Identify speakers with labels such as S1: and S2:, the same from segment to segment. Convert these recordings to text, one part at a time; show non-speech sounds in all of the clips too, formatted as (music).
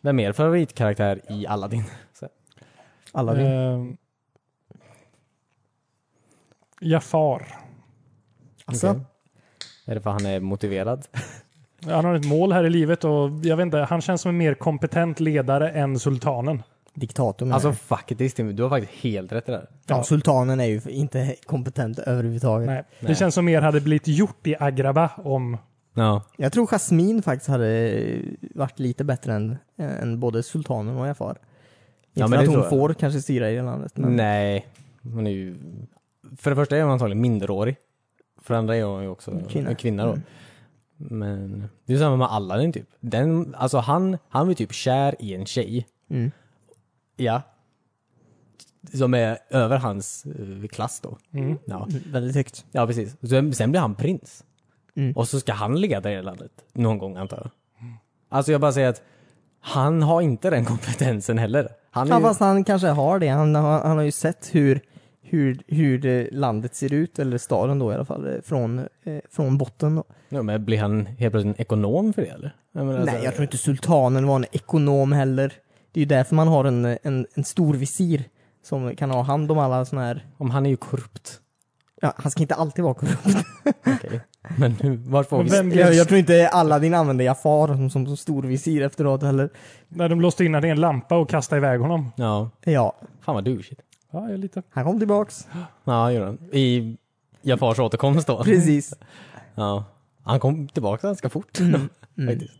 S1: Vem är er favoritkaraktär i Aladdin?
S2: Aladdin.
S3: Ehm, Jafar.
S2: Alltså,
S1: Okej. Är det för han är motiverad?
S3: Han har ett mål här i livet och jag vet inte, han känns som en mer kompetent ledare än sultanen.
S2: diktatorn. är-
S1: Alltså faktiskt Timmy, du har faktiskt helt rätt i det här.
S2: ja, sultanen är ju inte kompetent överhuvudtaget.
S3: Nej.
S1: Nej.
S3: Det känns som mer hade blivit gjort i Agraba om...
S1: Ja.
S2: Jag tror Jasmin faktiskt hade eh, varit lite bättre än, eh, än både sultanen och Jafar. Inte
S1: Ja, men
S2: för
S1: det
S2: att hon
S1: tror jag.
S2: får kanske styra i det landet. Men
S1: Nej, hon är ju... För det första är hon antagligen minderårig. För det andra är hon ju också
S2: Kvinna. Mm.
S1: kvinna, kvinna då. Men det är ju samma med Aladdin typ. Den, alltså han, han blir typ kär i en tjej.
S2: Mm.
S1: Ja. Som är över hans eh, klass då. Ja.
S2: Väldigt högt.
S1: ja, precis. Sen, sen blir han prins.
S2: Mm.
S1: Och så ska han ligga där i landet. Någon gång antar jag. Alltså jag bara säger att han har inte den (laughs) kompetensen heller. Han är
S2: Ja,
S1: ju...
S2: fast han kanske har det. Han, har- han har ju sett hur, hur, hur det landet ser ut, eller staden då i alla fall, eh, från, eh, från botten. Då.
S1: Ja, men blir han helt plötsligt en ekonom för det eller? Jag menar, alltså,
S2: Nej,
S1: så-
S2: jag tror inte sultanen var en ekonom heller. Det är ju därför man har en, en, en stor visir som kan ha hand om alla sådana här...
S1: Om han är ju korrupt.
S2: Ja, han ska inte alltid
S1: (laughs)
S2: vara korrupt.
S1: Okej. Men nu, vart var
S3: Men
S1: vi?
S3: vem blev,
S2: Jag, jag tror inte Aladdin använde Jafar som, som, som stor visir efteråt heller.
S3: när de låste in honom i en lampa och kastade iväg honom?
S1: Ja,
S2: Ja,
S1: fan vad douchigt.
S3: Ja, jag är lite...
S2: han kom tillbaks.
S1: Ja, gjorde han. I Jafars återkomst då.
S2: Precis.
S1: Ja. Han kom tillbaka ganska fort.
S2: Mm.
S1: (laughs) Faktiskt.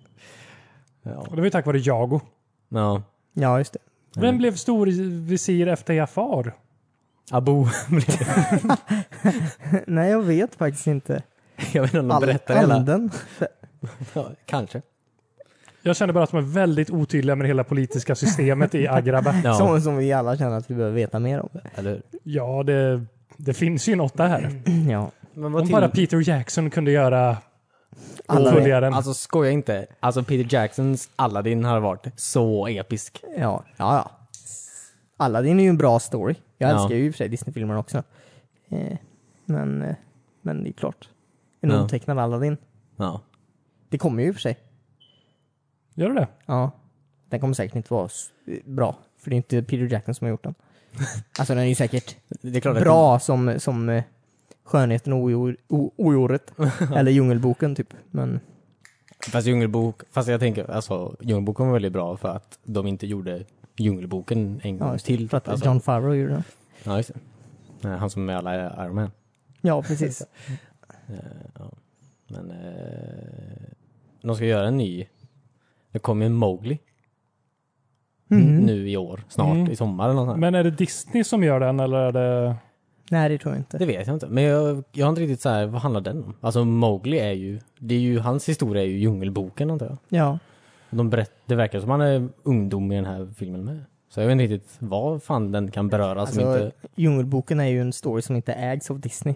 S1: Ja.
S3: Och det var ju tack vare Jago.
S1: ja.
S2: Ja, just det. (laughs)
S3: Vem blev stor visir efter Jafar?
S1: Abu (laughs) blev...
S2: Nej, jag vet faktiskt inte.
S1: Jag vet inte om de
S2: Al-
S1: berättar hela...
S2: Anden?
S1: Ja, kanske.
S3: Jag känner bara att de är väldigt otydliga med hela politiska systemet i Agraba.
S1: Ja,
S2: Som, som vi alla känner att vi behöver veta mer om.
S1: eller hur?
S3: Ja, det, det finns ju något där.
S2: (clears throat) Ja.
S1: Men
S3: Om bara Peter Jackson kunde göra
S2: Alla vet.
S3: uppföljaren.
S1: Alltså skoja inte. Alltså Peter Jacksons Aladdin har varit så episk.
S2: Ja, ja, ja. Aladdin är ju en bra story. Jag
S1: Ja.
S2: älskar ju i och för sig Disney-filmerna också. Eh, men, eh, men det är klart. En
S1: Ja.
S2: otecknad Aladdin.
S1: Ja.
S2: Det kommer ju i och för sig.
S3: Gör du det?
S2: Ja. Den kommer säkert inte vara s- bra. För det är inte Peter Jackson som har gjort den. alltså den är ju säkert
S1: Det är klart att-
S2: bra som, som eh, Skönheten och ojor- o- ojoret. Eller Djungelboken typ. Men
S1: Fast Djungelbok, fast jag tänker, alltså Djungelboken var väldigt bra för att de inte gjorde Djungelboken en gång
S2: ja, just det.
S1: till.
S2: för att
S1: alltså.
S2: John Favreau gjorde den.
S1: Ja, just det. Nej, Han som är med alla i Iron Man.
S2: Ja, precis.
S1: Eh, ja. Men eh, de ska göra en ny. Det kommer ju Mowgli
S2: Mm.
S1: nu i år, snart,
S3: Mm.
S1: i sommar eller något sånt här.
S3: Men är det Disney som gör den eller är det...
S2: Nej, det tror jag inte.
S1: Det vet jag inte. Men jag, jag har inte riktigt så här, vad handlar den om? Alltså Mowgli är ju, det är ju, hans historia är ju Djungelboken antar jag.
S2: Ja.
S1: De berätt, det verkar som han är ungdom i den här filmen med. Så jag vet inte riktigt vad fan den kan beröra som
S2: Alltså,
S1: inte...
S2: Djungelboken är ju en story som inte ägs av Disney.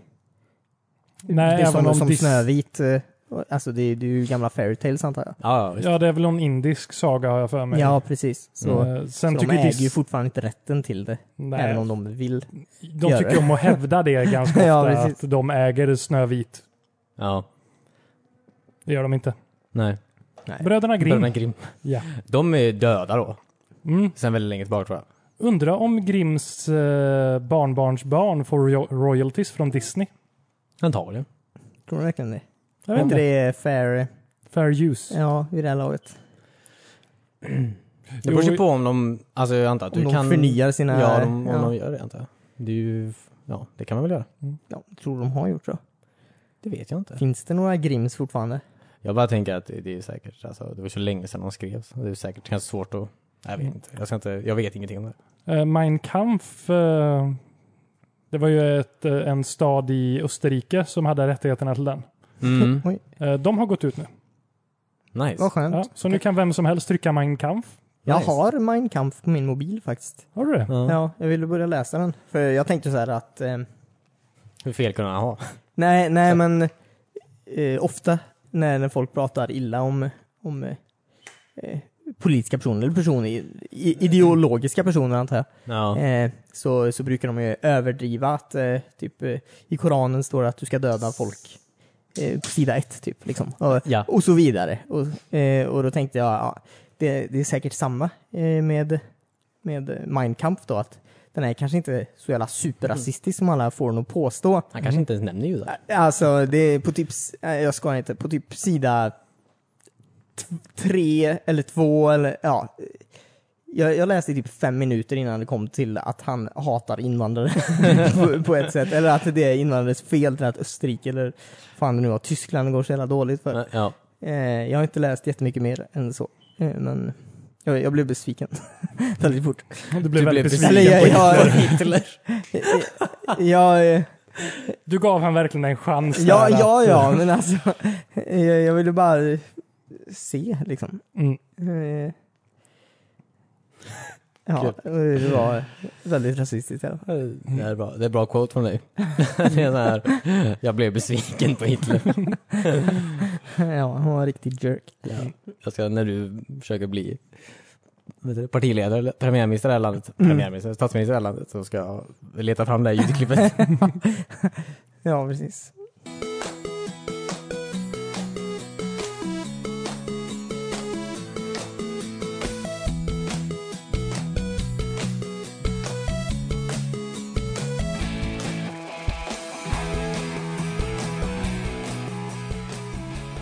S3: Nej,
S2: det är som, som
S3: Dis-
S2: Snövit. eh, Alltså det är, det är ju gamla fairy tales antar jag.
S1: Ja, ja, visst.
S3: Ja, det är väl någon indisk saga har jag för mig.
S2: Ja, precis. Så,
S3: Eh, Sen
S2: så de
S3: tycker
S2: äger
S3: Dis-
S2: ju fortfarande inte rätten till det.
S3: Nej,
S2: Även om de vill.
S3: de
S2: gör
S3: tycker
S2: det.
S3: om att hävda det
S2: (laughs)
S3: ganska ofta,
S2: Ja,
S3: att
S2: precis.
S3: de äger Snövit.
S1: Ja.
S3: Det gör de inte.
S1: Nej.
S3: Bröderna Grimm.
S1: Bröderna Grimm.
S3: Ja.
S1: De är döda då.
S3: Mm.
S1: Sen väldigt länge tillbaka tror jag.
S3: Undrar om Grimms eh, barnbarnsbarn får ro- royalties från Disney?
S1: Antagligen.
S2: Tror du verkligen det?
S3: Jag
S2: Är
S3: vet
S2: inte
S3: inte.
S2: det är fair,
S3: Fair use.
S2: ja, vid det här laget?
S1: Det beror
S3: Jo,
S1: ju på om de, alltså jag antar att
S2: Om
S1: du
S2: de
S1: kan...
S2: förnyar sina...
S1: Ja, de, om
S2: ja.
S1: de gör det antar jag. Det är ju, ja det kan man väl göra.
S2: Ja, tror de har gjort så.
S1: Det vet jag inte.
S2: Finns det några Grims fortfarande?
S1: Jag bara tänker att det det är säkert, alltså det var så länge sedan de skrevs. Det är säkert ganska svårt att, jag vet inte. Jag, ska inte, jag vet ingenting om det.
S3: Eh, Mein Kampf, eh, det var ju ett, eh, en stad i Österrike som hade rättigheterna till den.
S1: Mm.
S2: (laughs) Oj,
S3: Eh, de har gått ut nu.
S1: Nice.
S2: vad skönt.
S3: Ja, så nu kan vem som helst trycka Mein Kampf.
S2: Jag
S1: nice.
S2: har Mein Kampf på min mobil faktiskt.
S3: Har du det?
S1: Ja.
S2: Ja, jag ville börja läsa den. För jag tänkte så här att... Eh,
S1: Hur fel kunde han ha?
S2: Nej, nej men eh, ofta när, när folk pratar illa om, om eh, eh, politiska personer, eller personer, i- i- ideologiska personer antar jag,
S1: Ja.
S2: eh, så, så brukar de ju överdriva att eh, typ eh, i Koranen står det att du ska döda folk eh, på sida ett typ. Liksom. Och,
S1: Ja.
S2: och så vidare. Och, eh, och då tänkte jag, ja, det, det är säkert samma eh, med, med Mein Kampf då, att den är kanske inte så jävla superrasistisk som alla får nog påstå.
S1: Mm. Han kanske inte ens nämner judar.
S2: Alltså, det är på typ, s- nej, jag skojar inte, på typ sida t- tre eller två eller ja. Jag, jag läste i typ fem minuter innan det kom till att han hatar invandrare (laughs) på, på ett sätt. Eller att det är invandrares fel till att Österrike eller fan det nu var Tyskland går så jävla dåligt för.
S1: Men, Ja.
S2: Eh, jag har inte läst jättemycket mer än så. Eh, men jag, jag blev besviken (laughs) väldigt fort.
S3: Du blev väldigt besviken.
S2: Eller jag, jag,
S1: Hitler. (laughs)
S2: jag, eh,
S3: Du gav han verkligen en chans.
S2: Ja,
S3: där.
S2: ja,
S1: (laughs)
S2: ja, men alltså. Jag, jag ville bara se liksom.
S3: Mm.
S2: Eh, Ja, det var väldigt rasistiskt i alla fall.
S1: Det är, bra. det är bra quote från dig.
S2: (laughs)
S1: det är så här, jag blev besviken på Hitler.
S2: Ja, han var en riktig jerk.
S1: Jag ska, när du försöker bli vad heter det, partiledare eller premiärminister i det här landet,
S2: Mm.
S1: premiärminister, statsminister i det här landet, så ska jag leta fram det här ljudklippet.
S2: Ja, precis.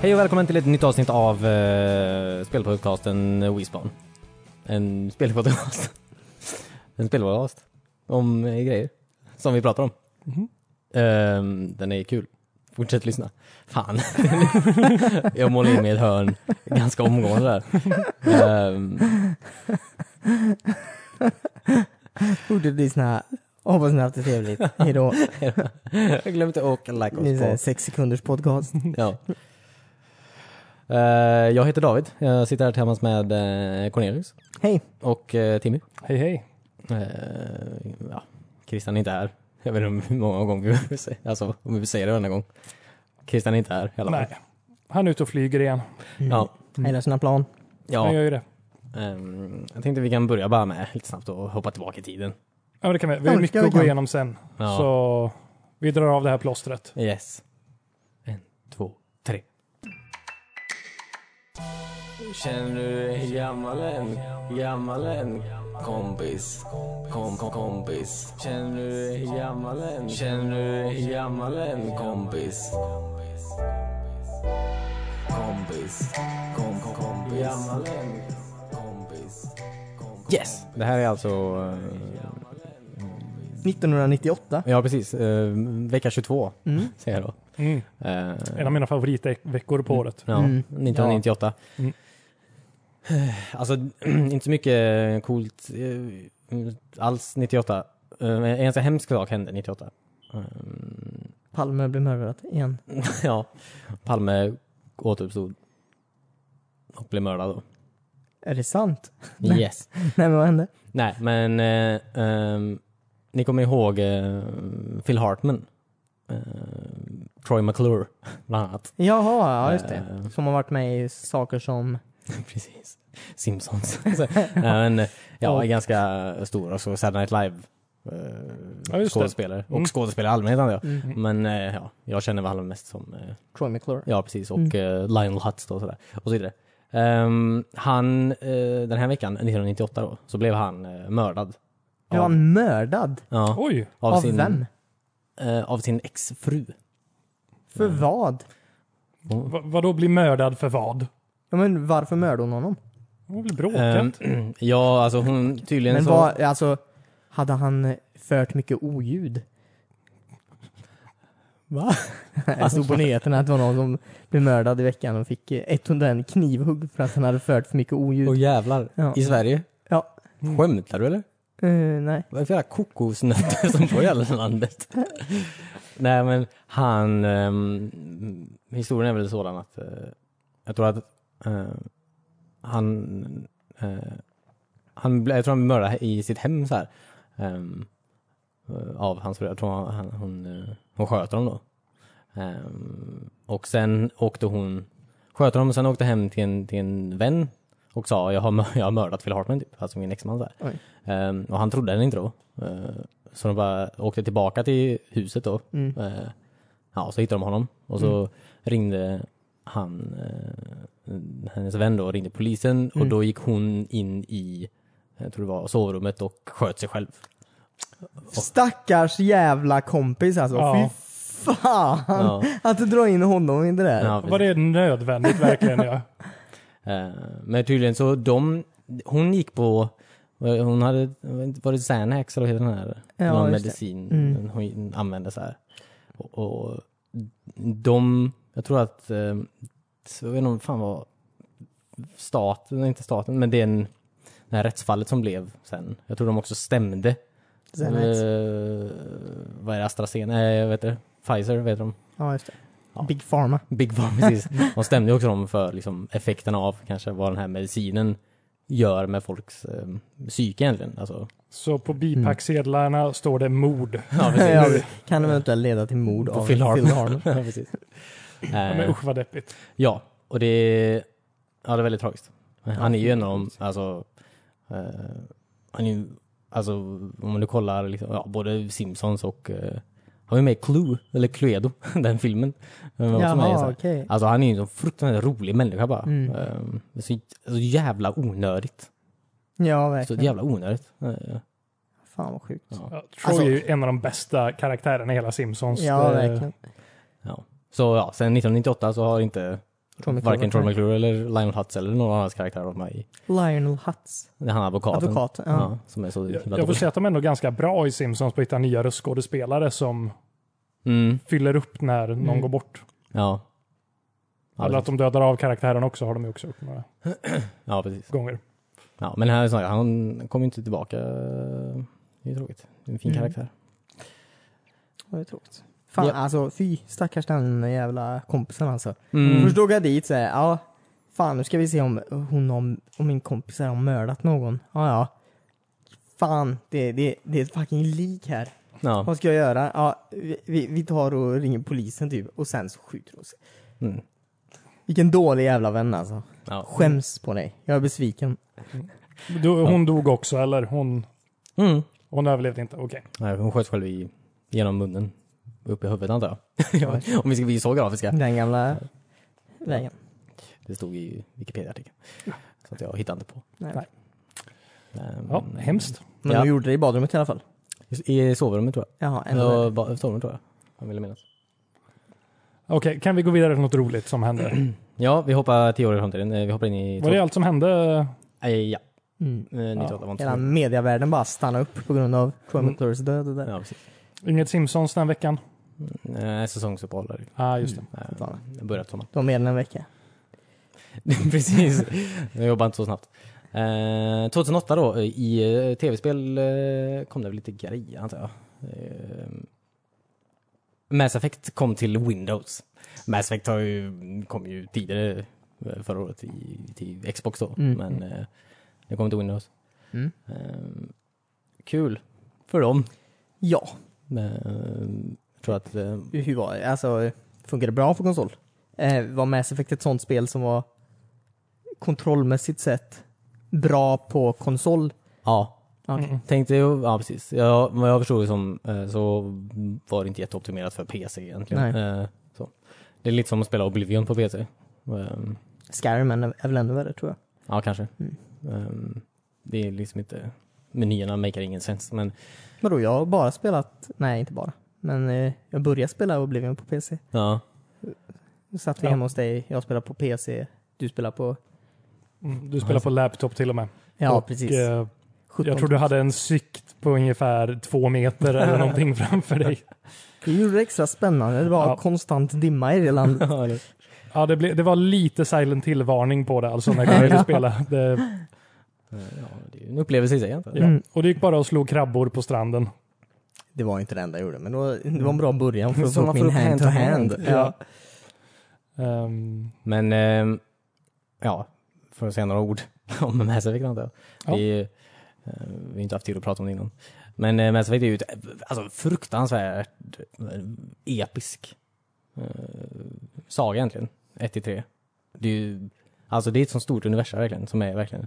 S1: Hej och välkommen till ett nytt avsnitt av eh, spelpodcasten Wispan. En spelpodcast. en spelpodcast. Om eh, grejer som vi pratar om.
S3: Mhm.
S1: Ehm, den är kul. Fortsätt lyssna. Fan. (laughs) jag målar in mig i ett hörn ganska omgående där. Ehm,
S2: Borde bli såna här, hoppas ni har haft
S1: (laughs)
S2: det trevligt. Hejdå.
S1: jag glömde åka like
S2: Det är så här
S1: oss
S2: sex sekunders podcast.
S1: på. Ja. Eh, jag heter David. Jag sitter här tillsammans med eh, Cornelius
S2: Hej.
S1: och eh, Timmy.
S3: Hej hej.
S1: Eh, ja, Christian är inte här. Jag vet inte hur många gånger vi behöver säga, alltså, om vi vill säga det varenda gång. Christian är inte här i alla fall.
S3: Nej. Han är ute och flyger igen.
S1: Ja,
S2: Han gillar Mm. sina plan.
S3: Han
S1: ja,
S3: gör ju det.
S1: ehm, jag tänkte vi kan börja bara med lite snabbt och hoppa tillbaka i tiden.
S3: Ja, men det kan vi. Vi
S2: Ja,
S3: har
S2: det
S3: mycket
S2: kan vi
S3: att gå
S2: kan.
S3: igenom sen.
S1: Ja.
S3: Så vi drar av det här plåstret.
S1: Yes. En, två, tre. Känner du dig gammal än? Gammal än? Kompis. Kom, kom, kompis. Känner du dig gammal än? Känner du dig gammal än? Kompis. Kompis. Kom, kom, kompis. Gammal än? Kompis. Yes! Det här är alltså...
S2: 1998.
S1: Ja, precis. Eh, vecka 22,
S2: Mm.
S1: säger jag då. Eh,
S3: Mm. En av mina favoritveckor på året.
S1: Ja,
S2: Mm.
S1: 1998.
S3: Mm.
S1: Eh, (sighs) Alltså, (clears throat) inte så mycket coolt eh, alls 98. Eh, En ganska hemsk sak hände 98. Mm,
S2: Palme blev mördad igen.
S1: (laughs) ja, Palme återuppstod och blev mördad då.
S2: Är det sant? (laughs)
S1: Yes.
S2: Nej, men vad hände?
S1: Nej, men eh, ehm, ni kommer ihåg eh, Phil Hartman. Eh, Troy McClure, bland annat.
S2: Jaha, ja just
S1: Eh.
S2: det. Som har varit med i saker som...
S1: (laughs) Precis. Simpsons. (laughs) Så, nej, men, eh, ja,
S3: Och-
S1: är ganska stor. Och så Saturday Night Live. eh,
S3: Ja, just det.
S1: skådespelare.
S3: Mm.
S1: Och skådespelare i allmänhet antar jag.
S2: Mm.
S1: Men eh, ja, jag känner väl honom mest som, eh,
S2: Troy McClure.
S1: ja precis, och eh, Lionel Hutz då, och sådär. Och så vidare. Ehm, han, eh, den här veckan, 1998 då, så blev han eh, mördad.
S2: Blev han mördad?
S1: ja,
S3: Oj!
S1: av,
S2: Av
S1: sin,
S2: vem?
S1: eh, av sin exfru.
S2: För
S1: Mm.
S2: vad?
S3: Va, vadå bli mördad för vad?
S2: Ja, men varför mördade hon honom?
S3: Hon blir bråkat.
S1: Ehm, (clears throat) ja, alltså hon, tydligen
S2: Men
S1: så...
S2: vad, alltså, hade han fört mycket oljud? Va? (laughs) Jag
S1: Alltså-
S2: stod på nyheterna att det var någon som blev mördad i veckan och fick eh, 101 knivhugg för att han hade fört för mycket oljud.
S1: Åh jävlar.
S2: Ja.
S1: I Sverige?
S2: Ja.
S1: Skämtar du eller?
S2: Eh, nej.
S1: Vad är det för jävla kokosnötter som får i hela landet? Nej men han, ehm, historien är väl sådan att, eh, jag tror att eh, han, eh, han, ble- jag tror han blev mördad i sitt hem så här. ehm, eh, av hans fru, jag tror han, han, hon, eh, hon sköt honom då. Ehm, och sen åkte hon, sköt honom och sen åkte hem till en, till en vän och sa jag har, mör- jag har mördat Phil Hartman typ, alltså min exman så här.
S2: Oj.
S1: Ehm, och han trodde den inte då. Ehm, så de bara åkte tillbaka till huset då. Eh,
S2: Mm.
S1: Ehm, ja, så hittade de honom. Och så ringde han, eh, hennes vän då ringde polisen och
S2: Mm.
S1: då gick hon in i, jag tror det var sovrummet och sköt sig själv.
S2: Stackars jävla kompis alltså.
S3: Ja.
S2: Fy fan!
S1: Ja.
S2: Att du drar in honom i det där.
S1: Ja,
S3: Var det nödvändigt verkligen?
S2: (laughs)
S3: Ja.
S1: Eh, Men tydligen så de, hon gick på, hon hade, var det Xanax eller vad heter den här?
S2: Ja,
S1: Någon
S2: just det.
S1: medicin
S2: Mm.
S1: hon använde så här. Och, och de, jag tror att, eh, så jag vet inte om fan var staten, inte staten, men det är en det här rättsfallet som blev sen. Jag tror de också stämde.
S2: Xanax.
S1: Eh, vad är det? AstraZeneca? Nej, jag vet det. Pfizer, vet de?
S2: Ja, just det.
S1: Ja.
S2: Big Pharma.
S1: Big Pharma, precis. De stämde ju också dem för liksom, effekterna av kanske vad den här medicinen gör med folks eh, psyke egentligen. Alltså,
S3: Så på
S2: Mm.
S3: bipacksedlarna står det mord.
S1: (laughs) ja,
S2: (laughs) Ja, kan eventuellt leda till mord
S1: På
S2: av
S1: Phil Hartman.
S2: Hartman.
S1: (laughs) ja, precis.
S3: Ja, men
S1: Eh,
S3: usch vad deppigt.
S1: ja, och det, ja, det är väldigt tragiskt. Han är ju en av dem, alltså, eh, han är ju, alltså om du kollar liksom, ja, både Simpsons och, eh, har ju med Clue, eller Cluedo, (laughs) den filmen. Den var också med i så här.
S2: Jaha, okej.
S1: Alltså han är ju en så fruktansvärt rolig människa bara.
S2: Mm.
S1: Ehm, det är så, så jävla onödigt.
S2: Ja,
S1: Så
S2: verkligen.
S1: jävla onödigt. Eh,
S2: Fan vad sjukt.
S1: Ja.
S3: Ja, Troy
S2: Alltså-
S3: är ju en av de bästa karaktärerna i hela Simpsons.
S2: Ja,
S3: Det-
S2: verkligen.
S1: Ja. Så ja, sen 1998 så har inte
S2: Troy McClure.
S1: varken Troy McClure eller Lionel Hutz eller någon av hans karaktärer varit med i.
S2: Lionel Hutz.
S1: Det är han advokaten.
S2: Advokaten.
S1: Ja.
S2: Ja.
S1: som är så
S3: Jag,
S1: himla
S3: jag får
S1: dålig.
S3: säga att de är ändå ganska bra i Simpsons på att hitta nya röstskådespelare som
S1: Mm,
S3: fyller upp när någon
S2: Mm.
S3: går bort.
S1: ja. Ja,
S3: Eller att
S1: precis.
S3: de dödar av karaktären också har de ju också gjort några
S1: ja, precis.
S3: gånger.
S1: Ja, men här, är det så här, han kommer inte tillbaka. Det är ju tråkigt. Det är en fin
S2: Mm.
S1: karaktär.
S2: Det är tråkigt. Fan
S1: Ja.
S2: alltså, fy stackars den jävla kompisen alltså.
S1: Mm.
S2: Först åker jag dit såhär, ja. Fan nu ska vi se om hon om, om min kompis här har mördat någon. Ja, ja. Fan, det, det, det är ett fucking lik här.
S1: Ja.
S2: Vad ska jag göra? Ja, vi, vi, vi tar och ringer polisen typ och sen så skjuter hon sig.
S1: Mm.
S2: Vilken dålig jävla vän alltså.
S1: ja.
S2: Skäms på dig. Jag är besviken.
S3: Du, hon dog också, eller? Hon,
S1: Mm.
S3: hon överlevde inte? Okej.
S1: Nej, hon sköt själv i, genom munnen. Upp i huvudet antar jag. (laughs) Ja, Om vi ska bli så grafiska.
S2: Den gamla vägen.
S1: Det stod i Wikipedia-artikeln. Så att jag hittade inte på.
S2: Nej.
S3: Nej.
S1: Ehm,
S3: Ja,
S2: Mm.
S3: hemskt.
S2: Men
S1: Ja.
S2: de gjorde det i badrummet i alla fall.
S1: I sovrummet tror jag.
S2: Jaha, ändå.
S1: Eller ba- sovrummet tror jag. Jag ville minnas.
S3: Okej, kan vi gå vidare till något roligt
S2: (clears throat)
S3: som hände?
S1: Ja, vi hoppar tio år i framtiden. Eh, Vi hoppar in i...
S3: Var det allt som hände?
S1: Eh, ja,
S2: Mm.
S1: Eh, 98 var inte så
S2: Hela
S1: mycket.
S2: mediavärlden bara stannade upp på grund av Troy
S3: Mm.
S2: McClures död och där.
S1: Ja, precis.
S3: Inget Simpsons den veckan?
S1: Eh, Säsongsuppehåll.
S3: Ja, ah, just det.
S1: Eh,
S2: Fortfarande.
S1: Det har börjat sommar.
S2: De var mer än en vecka.
S1: (laughs) Precis. Jag jobbar inte så snabbt. Eh, 2008 då, eh, i eh, tv-spel eh, kom det väl lite grejer antar jag. Eh, Mass Effect kom till Windows. Mass Effect har ju, kom ju tidigare eh, förra året i, till Xbox då,
S2: Mm.
S1: men eh, det kom till Windows.
S2: Mm.
S1: Eh, kul för dem.
S2: Ja,
S1: Men, eh, jag tror att eh,
S2: hur var det? Alltså, funkade det bra för konsol? Eh, var Mass Effect ett sånt spel som var kontrollmässigt sett bra på konsol?
S1: ja,
S2: Okej.
S3: Mm.
S1: Tänkte jag, ja precis. Ja, vad jag förstod det som eh, så var det inte jätteoptimerat för PC egentligen. Eh, Så. Det är lite som att spela Oblivion på PC. Ehm,
S2: Skyrim är är väl ännu värre tror jag.
S1: Ja, kanske.
S2: Mm.
S1: Ehm, Det är liksom inte, menyerna maker ingen sens. Men
S2: Vadå, jag har bara spelat, nej inte bara, men eh, jag började spela Oblivion på PC.
S1: ja, (laughs)
S2: Då satt vi
S3: Ja.
S2: hemma hos dig, jag spelar på PC, du spelar på...
S3: Mm, Du spelar på laptop till och med.
S2: Ja,
S3: och,
S2: precis.
S3: eh,
S2: 17.
S3: jag tror du hade en sikt på ungefär två
S2: (laughs)
S3: meter eller någonting framför dig.
S2: Det gjorde det extra spännande, det var
S3: Ja.
S2: konstant dimma i det landet. (laughs)
S1: Ja, eller-
S3: Ja, det, blev, det var lite silent till-varning på det alltså när jag ville spela. Det,
S1: eh, ja, det är ju en upplevelse i sig. antar jag.
S3: ja.
S2: Mm.
S3: Och det gick bara att slå krabbor på stranden.
S2: Det var inte det enda jag gjorde, men det var, det var en bra början för att
S1: Så
S2: få
S1: man
S2: upp
S1: får
S2: min
S1: upp hand to
S2: hand-to-hand.
S1: hand.
S2: Ja.
S3: Ehm,
S1: Men ehm, ja, för att säga några ord (laughs) om Mass Effect antar jag.
S3: Ja.
S1: Vi, eh, vi har inte haft tid att prata om det innan. Men eh, Mass Effect är ju ett, eh, alltså, fruktansvärt eh, episk eh, saga egentligen. 1 till 3. Det är ju, alltså det är ett så stort universum verkligen som är verkligen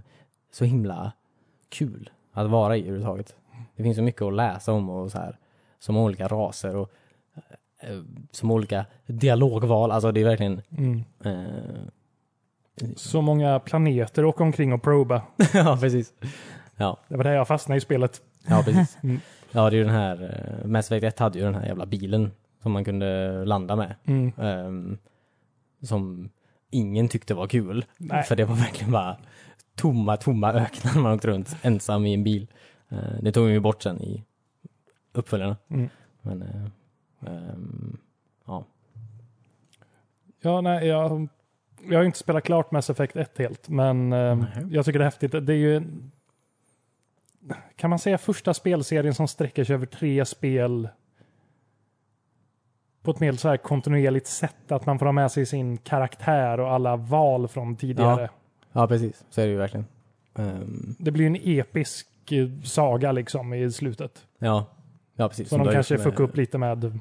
S1: så himla kul att vara i överhuvudtaget. Det finns så mycket att läsa om och så här, som olika raser och eh, eh, som olika dialogval. Alltså det är verkligen...
S3: Mm. (laughs)
S1: Eh,
S3: Så många planeter åker omkring och proba.
S1: ja, precis. Ja,
S3: Det var där jag fastnade i spelet.
S1: ja precis.
S3: Mm.
S1: Ja, det är ju den här... eh, Mass Effect 1 hade ju den här jävla bilen som man kunde landa med.
S3: Mm.
S1: ehm, som ingen tyckte var kul.
S3: Nej.
S1: För det var verkligen bara tomma, tomma öknar man åkte runt ensam i en bil. Eh, det tog de ju bort sen i uppföljarna.
S3: Mm.
S1: Men, eh, ehm,
S3: Ja, nej, jag, jag har ju inte spelat klart Mass Effect 1 helt, men eh,
S1: Nej.
S3: jag tycker det är häftigt. Det är ju, en- kan man säga första spelserien som sträcker sig över tre spel på ett mer så här kontinuerligt sätt, att man får ha med sig sin karaktär och alla val från tidigare.
S1: ja, precis. Så är det ju verkligen. Ehm,
S3: Det blir ju en episk eh, saga liksom i slutet.
S1: ja. ja, precis.
S3: Som de
S1: du har
S3: kanske
S1: gjort med-
S3: fuckar upp lite med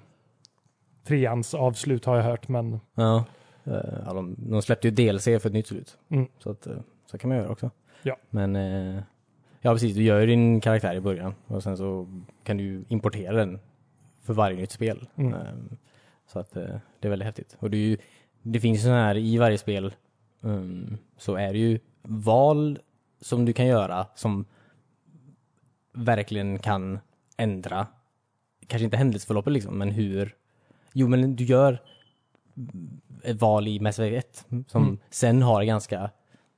S3: treans avslut har jag hört, men
S1: Ja. Eh, ja, de, de släppte ju DLC för ett nytt slut.
S3: Mm.
S1: Så att, eh, så kan man göra också.
S3: Ja.
S1: Men, eh, ja precis, du gör ju din karaktär i början och sen så kan du ju importera den för varje nytt spel.
S3: Mm.
S1: Eh, så att eh, det är väldigt häftigt. Och det, är ju, det finns ju sådana här i varje spel mm, så är det ju val som du kan göra som verkligen kan ändra, kanske inte händelseförloppet liksom, men hur, jo men du gör ett val i Mass Effect 1 som
S3: Mm.
S1: sen har ganska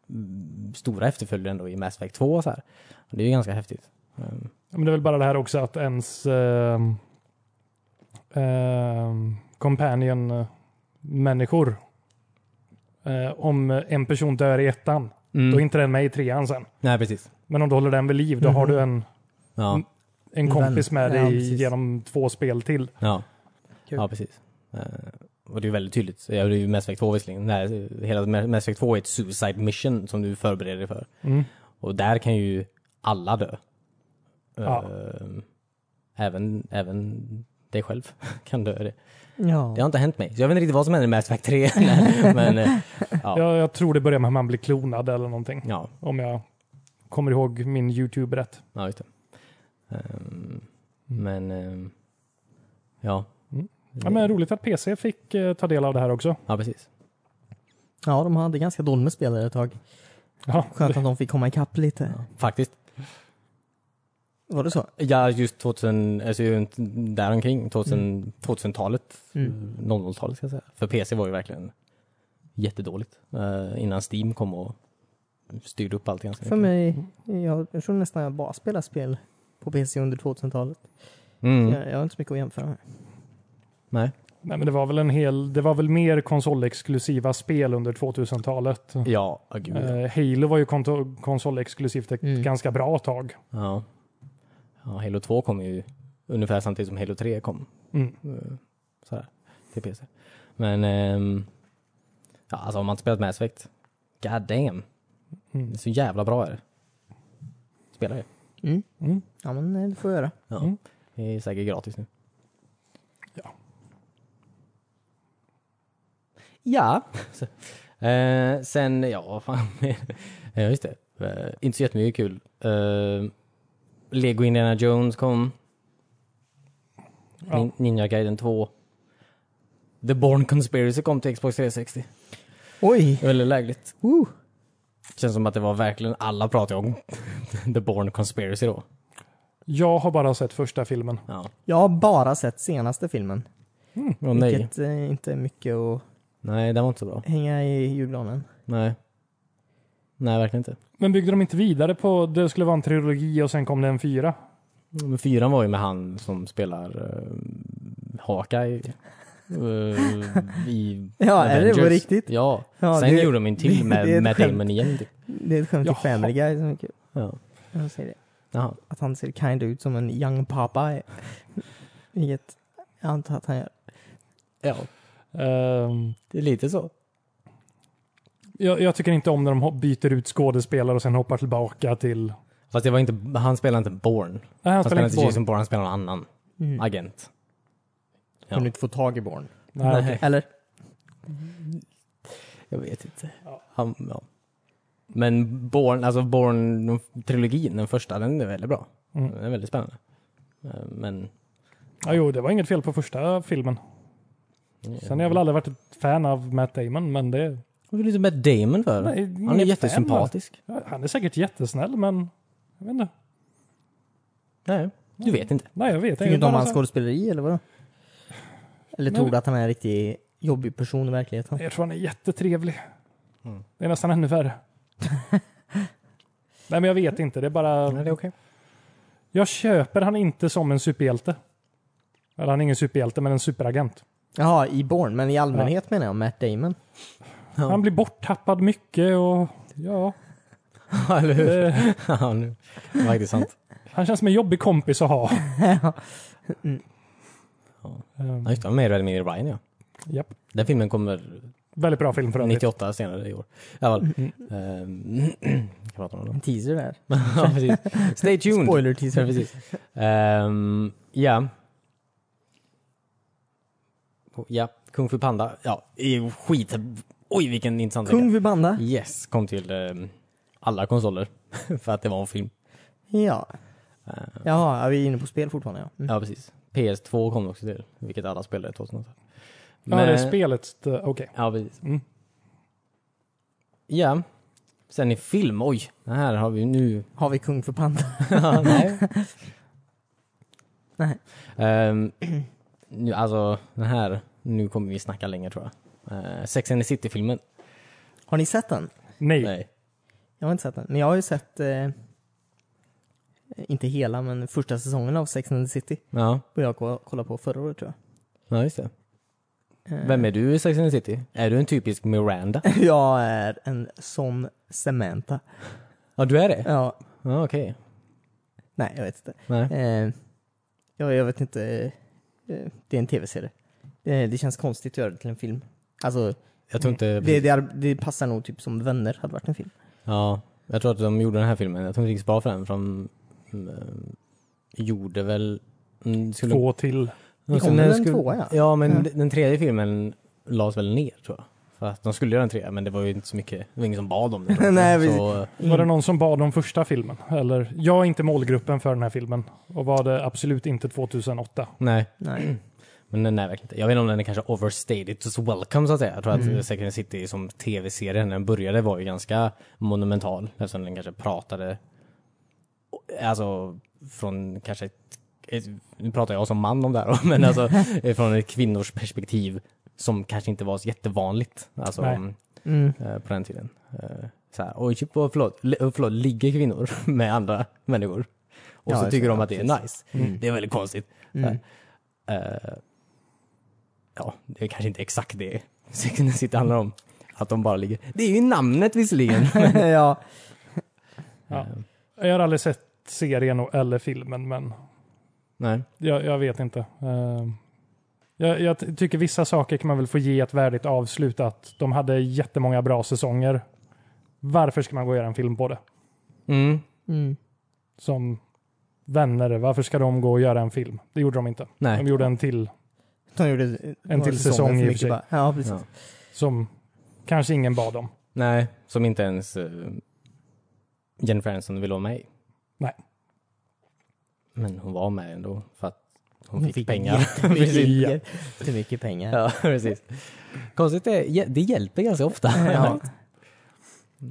S1: mm, stora efterföljder ändå i Mass Effect 2 och så här. Det är ju ganska häftigt. Mm.
S3: Ja, Men det är väl bara det här också att ens eh, eh, companion-människor. Eh, om en person dör i ettan,
S1: Mm.
S3: då är inte den med i trean sen.
S1: Nej, precis.
S3: Men om du håller den vid liv, då har du en,
S1: Ja,
S3: Mm. en
S2: Vän.
S3: kompis med dig
S2: Ja, precis.
S3: genom två spel till.
S1: ja.
S2: Kul.
S1: ja precis. Eh, Och det är väldigt tydligt. Ja, det är ju Mass Effect 2 visserligen. Nej, hela Mass Effect 2 är ett suicide mission som du förbereder dig för.
S3: Mm.
S1: Och där kan ju alla dö.
S3: Ja.
S1: Eh, Även, även dig själv (laughs) kan dö i det.
S2: Ja.
S1: Det har inte hänt mig. Så jag vet inte riktigt vad som händer i Mass Effect 3. Nej, (laughs) Men eh, Ja.
S3: Jag, jag tror det börjar med att man blir klonad eller någonting.
S1: ja,
S3: Om jag kommer ihåg min YouTube rätt.
S1: Ja, just det. Ehm, Men, ehm, ja.
S3: Mm. Ja, men roligt att PC fick eh, ta del av det här också.
S1: ja, precis.
S2: ja, de hade ganska dåligt med spelare ett tag.
S3: Ja,
S2: Skönt att de fick komma ikapp lite.
S1: Faktiskt.
S2: Var det så?
S1: Ja, just 2000, alltså runt däromkring, 2000, 2000-talet,
S2: Mm.
S1: 00-talet ska jag säga. För PC var ju verkligen jättedåligt eh, innan Steam kom och styrde upp allt ganska
S2: För
S1: mycket.
S2: mig, jag, jag tror nästan jag bara spelar spel på PC under 2000-talet.
S1: Mm.
S2: Jag, jag har inte så mycket att jämföra med.
S1: Nej.
S3: Nej, men det var väl en hel, det var väl mer konsolexklusiva spel under 2000-talet.
S1: Ja, oh, gud.
S3: Eh, Halo var ju konto- konsolexklusivt ett
S2: Mm.
S3: ganska bra tag.
S1: Ja. ja. Halo 2 kom ju ungefär samtidigt som Halo 3 kom.
S3: Mm.
S1: så här, till PC. Men ehm, ja, alltså om man inte spelat Mass Effect, god damn.
S3: Mm.
S1: Det är så jävla bra är det. Spelar det.
S2: Mm.
S3: Mm.
S2: Ja, men eh, det får jag göra.
S1: Ja.
S3: Mm.
S1: Det är säkert gratis nu.
S3: Ja.
S1: Ja. (laughs) Så, eh, sen, ja vad fan. (laughs) ja, just det. Eh, inte så jättemycket kul. Eh, Lego Indiana Jones kom.
S3: Ja.
S1: Nin- Ninja Gaiden 2. The Born Conspiracy kom till Xbox 360.
S2: Oj!
S1: Det är Väldigt lägligt.
S2: Uh.
S1: Känns som att det var verkligen alla pratade om (laughs) The Born Conspiracy då.
S3: Jag har bara sett första filmen.
S1: Ja.
S2: Jag har bara sett senaste filmen.
S3: Mm,
S1: Och nej.
S2: Vilket eh, inte är mycket att
S1: Nej, den var inte så bra.
S2: hänga i julgranen.
S1: Nej. Nej, verkligen inte.
S3: Men byggde de inte vidare på, det skulle vara en trilogi och sen kom det en fyra.
S1: Men fyran var ju med han som spelar uh, Hawkeye. eh, I
S2: (laughs) Ja, är det på
S1: Avengers.
S2: riktigt?
S1: Ja.
S2: Ja,
S1: Sen
S2: det-
S1: gjorde de en till
S2: det är
S1: med
S2: ett
S1: Matt
S2: skämt.
S1: Damon igen. Typ.
S2: Det är ett skämt i
S3: Jaha.
S2: Family Guy som är kul.
S1: Ja.
S2: Jag säger det.
S1: Jaha.
S2: Att han ser kind ut som en young pappa. Vilket jag antar att han gör.
S1: ja,
S3: Ehm,
S1: det är lite så.
S3: jag, jag tycker inte om när de hop- byter ut skådespelare och sen hoppar tillbaka till...
S1: Fast det var inte, han spelar inte Born.
S3: Nej, han
S1: Han spelar
S3: spelar
S1: inte
S3: inte Born.
S1: Jason Bourne, han spelar någon annan
S2: Mm.
S1: agent. Ja.
S2: Kunde inte få tag i Born.
S3: Nej, okej.
S1: Nej.
S2: Eller?
S1: Mm. Jag vet inte.
S3: Ja.
S1: Han, ja. Men Born, alltså Born-trilogin, den första, den är väldigt bra.
S3: Mm.
S1: Den är väldigt spännande. Eh, Men
S3: Ja, jo, det var inget fel på första filmen. Sen har jag väl aldrig varit ett fan av Matt Damon, men det...
S1: Varför är du inte med Damon för?
S3: Nej,
S1: han är
S3: inget alltså.
S1: jättesympatisk.
S3: Han är säkert jättesnäll, men... Jag vet inte.
S1: Nej, du vet inte.
S3: Nej, jag vet Alltså,
S2: Tycker du inte om
S3: Bara
S2: hans
S3: så här-
S2: skådespeleri eller vadå? Eller
S3: Men-
S2: tror du att han är en riktig jobbig person i verkligheten?
S3: Jag tror han är jättetrevlig.
S2: Mm.
S3: Det är nästan ännu värre.
S2: (laughs)
S3: Nej, men jag vet inte. Det är bara...
S1: Nej, det är okej.
S3: Jag köper han inte som en superhjälte. Eller han är ingen superhjälte, men en superagent.
S2: Jaha, i Born, men i allmänhet menar jag Matt Damon.
S1: Ja.
S3: Han blir borttappad mycket och... Ja.
S1: (laughs) Ja, eller hur?
S3: Det,
S2: (laughs)
S1: Ja, nu. Det är faktiskt sant.
S3: han känns som en jobbig kompis
S2: (laughs)
S3: att ha.
S2: Mm.
S1: Ja, just det, han är med i Red Media Ryan ja.
S3: Ehm, Japp.
S1: Den filmen kommer
S3: Väldigt bra film för övrigt. Mm.
S1: 98 senare i år. I alla fall. Ehm, (clears throat) kan prata om det då. (laughs)
S2: En teaser där.
S1: ja, precis. Stay tuned.
S2: Spoiler
S1: Ja,
S2: teaser.
S1: precis. Ehm, ja. Ja, Kung Fu Panda. Ja, är ju skit. Oj, vilken intressant
S2: Kung
S1: länk.
S2: Fu Panda.
S1: Yes, kom till ehm, alla konsoler. (laughs) för att det var en film.
S2: Ja.
S1: Ehm,
S2: Jaha, ja, vi är inne på spel fortfarande ja. Mm.
S1: Ja, precis. PS2 kom det också till, vilket alla spelade 2008.
S3: Ja, det är spelet. eh, Okej.
S1: Ja, precis.
S3: Mm.
S1: Ja. Sen i film, oj. Det här har vi nu.
S2: Har vi Kung Fu Panda?
S1: (laughs)
S2: (laughs)
S1: Nej.
S2: Nej.
S1: Ehm, nu, alltså, den här. Nu kommer vi snacka länge tror jag. Eh, Sex and the City-filmen.
S2: Har ni sett den?
S3: Nej.
S1: Nej.
S2: Jag har inte sett den, men jag har ju sett eh, inte hela, men första säsongen av Sex and the City.
S1: Ja,
S2: Började jag ko- kolla på förra året tror
S1: ja just det.
S2: jag. Eh,
S1: Vem är du i Sex and the City? Är du en typisk Miranda?
S2: (laughs) Jag är en sån Cementa.
S1: Ja, du är det?
S2: Ja,
S1: Ja, okej.
S2: nej jag vet inte.
S1: Nej.
S2: Eh, ja, jag vet inte. Eh, det är en tv-serie. Eh, det känns konstigt att göra det till en film. Alltså,
S1: Jag tror inte...
S2: det, det, är, det passar nog typ som Vänner hade varit en film.
S1: Ja, jag tror att de gjorde den här filmen. Jag tror inte riktigt spara för den, för de mm, gjorde väl... Mm, skulle,
S3: Två till.
S1: de
S2: kom väl en
S1: skulle-
S2: tvåa, ja.
S1: Ja, men
S2: Ja.
S1: d- den tredje filmen lades väl ner, tror jag. För att de skulle göra en trea, men det var ju inte så mycket, det var ingen som bad om det. tror jag.
S2: (laughs) Nej, precis.
S1: så, eh,
S3: Var det någon som bad om första filmen? Eller, jag är inte målgruppen för den här filmen. Och var det absolut inte 2008.
S1: nej,
S2: Nej.
S1: men nej, nej, verkligen inte. Jag vet inte om den är kanske overstated it's welcome, så att säga. Jag tror
S2: Mm.
S1: att Second City som tv-serie, när den började, var ju ganska monumental. Eftersom den kanske pratade, alltså från kanske ett, ett, nu pratar jag som man om det här, (laughs) men
S2: (laughs)
S1: alltså från ett kvinnors perspektiv som kanske inte var så jättevanligt. Alltså,
S3: Nej.
S2: Mm.
S1: eh, på den tiden. Eh, Så här, oj, typ, oh, förlåt, li- oh, förlåt, ligger kvinnor (laughs) med andra människor? Och
S2: Ja,
S1: så
S2: det
S1: tycker
S2: ser
S1: de
S2: jag,
S1: att det är nice. Mm.
S2: Mm.
S1: Det är väldigt konstigt. Så här, eh, ja, det är kanske inte exakt det (laughs) Sex and the City handlar om. Att de bara ligger. Det är ju namnet visserligen.
S2: (laughs)
S1: Eh,
S2: ja,
S3: Ja. Jag har aldrig sett serien och- eller filmen, men
S1: Nej.
S3: jag, jag vet inte. Eh, jag, jag ty- tycker vissa saker kan man väl få ge ett värdigt avslut. Att de hade jättemånga bra säsonger. Varför ska man gå och göra en film på det?
S1: Mm.
S2: mm.
S3: Som vänner, varför ska de gå och göra en film? Det gjorde de inte.
S1: Nej.
S3: De gjorde en till
S2: De gjorde en
S3: till säsong i och för sig.
S2: Ja, precis. (laughs)
S1: Ja.
S3: som kanske ingen bad om.
S1: Nej, som inte ens eh, Jennifer Aniston ville vara med i.
S3: Nej.
S1: Men hon var med ändå för att hon,
S2: Hon
S1: fick,
S2: fick
S1: pengar. Precis.
S3: (laughs)
S2: Mycket, för mycket pengar.
S1: Ja, (laughs) precis. Konstigt, det, det hjälper ganska ofta.
S2: Ja.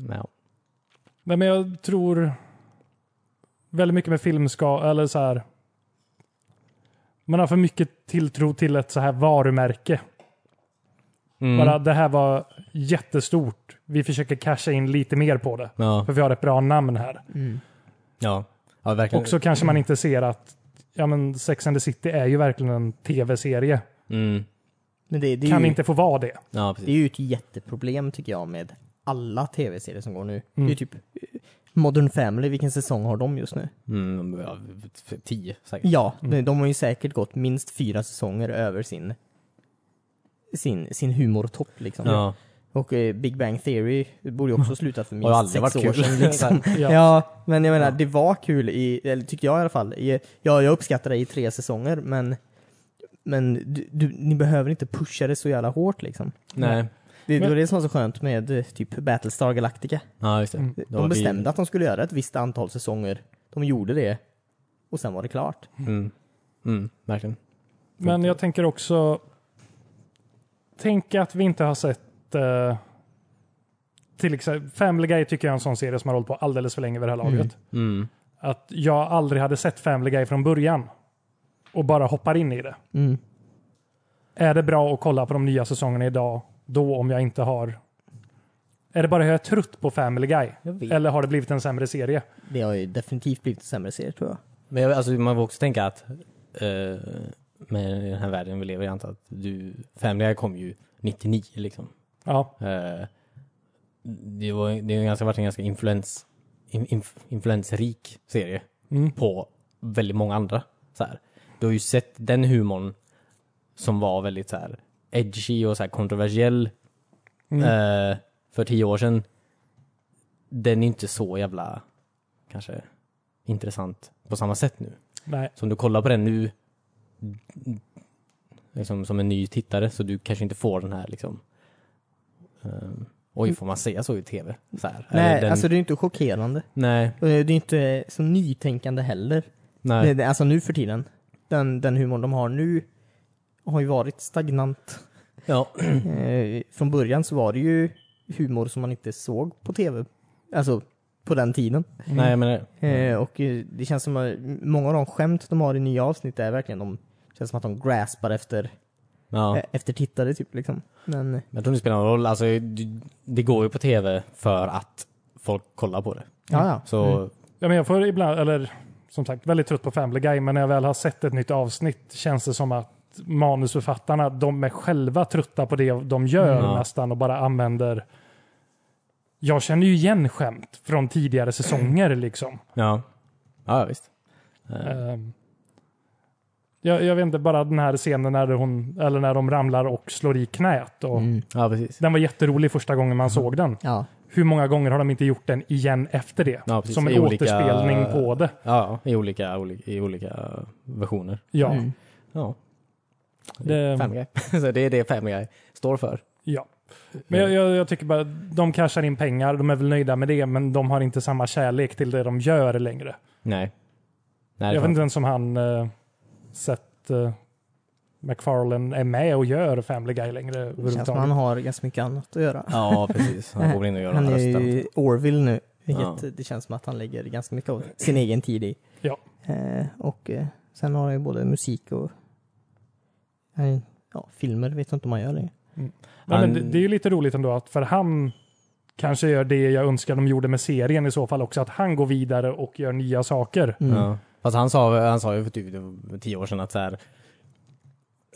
S1: Ja.
S3: Nej, men jag tror väldigt mycket med film ska, eller så här. Man har för mycket tilltro till ett så här varumärke.
S1: Mm.
S3: Bara det här var jättestort. Vi försöker casha in lite mer på det.
S1: Ja.
S3: För vi har ett bra namn här.
S2: Mm.
S1: Ja. ja, verkligen.
S3: Och så kanske man inte ser att ja, men Sex and the City är ju verkligen en tv-serie.
S1: Mm.
S2: Men det, det, är
S3: Kan
S2: ju,
S3: inte få vara det.
S1: Ja,
S2: det är
S1: precis.
S2: ju ett jätteproblem tycker jag med alla tv-serier som går nu. Det är ju
S3: Mm.
S2: typ eh, Modern Family, vilken säsong har de just nu?
S1: Mm, ja, f- tio säkert.
S2: Ja,
S3: Mm.
S2: de- de har ju säkert gått minst fyra säsonger över sin sin, sin humortopp liksom.
S1: Ja.
S2: Och eh, Big Bang Theory borde
S1: (laughs)
S2: ju också slutat för
S1: Har ju
S2: minst
S1: aldrig
S2: sex
S1: varit
S2: år
S1: kul.
S2: sedan. Liksom.
S3: Ja.
S2: ja. men jag menar, det var kul i, eller tyckte jag i alla fall. I, ja, jag uppskattar det i tre säsonger, men, men du, du, ni behöver inte pusha det så jävla hårt liksom.
S1: (laughs) Nej.
S2: Det, det
S3: Men-
S2: var det som var så skönt med eh, typ Battlestar Galactica.
S1: Ja, just det.
S3: Mm.
S1: Då har vi-
S2: De bestämde att de skulle göra ett visst antal säsonger. De gjorde det. Och sen var det klart.
S1: Mm. Mm, verkligen.
S3: Men jag tänker också tänk att vi inte har sett eh, till exempel Family Guy tycker jag är en sån serie som har hållit på alldeles för länge vid det här laget.
S1: Mm.
S3: Att jag aldrig hade sett Family Guy från början och bara hoppar in i det.
S2: Mm.
S3: Är det bra att kolla på de nya säsongerna idag då om jag inte har är det bara jag är trött på Family Guy?
S1: Jag vet.
S3: Eller har det blivit en sämre serie?
S2: Det har ju definitivt blivit en sämre serie tror jag.
S1: Men jag, alltså, man får också tänka att eh, med den här världen vi lever i, jag antar att du, Family Guy kom ju 99 liksom.
S3: Ja,
S1: Eh, det, var, det har ju ganska, varit en ganska influens, in, inf, influensrik serie
S3: Mm.
S1: på väldigt många andra. Så här. Du har ju sett den humorn som var väldigt så här, edgy och så här, kontroversiell eh, för tio år sedan. Den är inte så jävla kanske intressant på samma sätt nu.
S3: nej.
S1: Så om du kollar på den nu liksom, som en ny tittare så du kanske inte får den här liksom ehm, Oj, får man säga så i tv? Så här.
S2: Nej,
S1: Eller den,
S2: alltså det är ju inte chockerande.
S1: nej,
S2: Och det är ju inte så nytänkande heller.
S1: nej.
S2: Det, det, alltså nu för tiden. Den, den humorn de har nu har ju varit stagnant.
S1: Ja,
S2: Eh, från början så var det ju humor som man inte såg på tv. Alltså på den tiden.
S1: nej jag menar
S2: Eh, och eh, det känns som att många av de skämt de har i nya avsnitt är verkligen de det känns som att de graspar efter,
S1: ja.
S2: eh, efter tittare typ liksom. Men
S1: Men jag tror inte det spelar någon roll. Alltså, det, det går ju på tv för att folk kollar på det.
S2: ja, ja.
S1: Så
S3: Ja, men jag får ibland, eller som sagt, väldigt trött på Family Guy, men när jag väl har sett ett nytt avsnitt känns det som att manusförfattarna, de är själva trötta på det de gör
S1: Ja.
S3: nästan och bara använder. Jag känner ju igen skämt från tidigare säsonger liksom.
S1: ja. ja, visst.
S3: Ehm, Jag, jag vet inte, bara den här scenen när, hon, eller när de ramlar och slår i knät. Och
S2: Mm.
S1: Ja, precis.
S3: Den var jätterolig första gången
S1: Mm.
S3: man såg den.
S2: Ja.
S3: Hur många gånger har de inte gjort den igen efter det?
S1: Ja, precis.
S3: som
S1: I
S3: en
S1: olika-
S3: återspelning på det.
S1: Ja, i olika, oli- i olika versioner.
S3: Ja.
S2: Mm.
S1: Ja.
S3: Det-
S1: Family Guy. (laughs) Så det är det Family Guy står för.
S3: Ja. Men jag, jag, jag tycker bara, de cashar in pengar, de är väl nöjda med det, men de har inte samma kärlek till det de gör längre.
S1: Nej. Nej, det
S3: Jag
S1: är
S3: vet
S1: fan-
S3: inte ens om han eh, sett eh, McFarlane är med och gör Family Guy längre
S2: Det känns som att han
S3: överhuvudtaget.
S2: har ganska mycket annat att göra.
S1: Ja, precis. Han går väl in och gör den
S2: Han
S1: här
S2: är
S1: rösten.
S2: ju Orville nu, vilket
S1: Ja.
S2: det känns som att han lägger ganska mycket av sin egen tid i.
S3: Ja.
S2: Eh, och eh, sen har han ju både musik och eh, ja, filmer, vet jag inte om han gör det.
S3: Nej, men
S1: Han-
S3: det, det är ju lite roligt ändå, att för han kanske gör det jag önskar de gjorde med serien i så fall också, att han går vidare och gör nya saker.
S2: Mm.
S1: Ja. Fast han sa, han sa ju för typ tio år sedan att så här,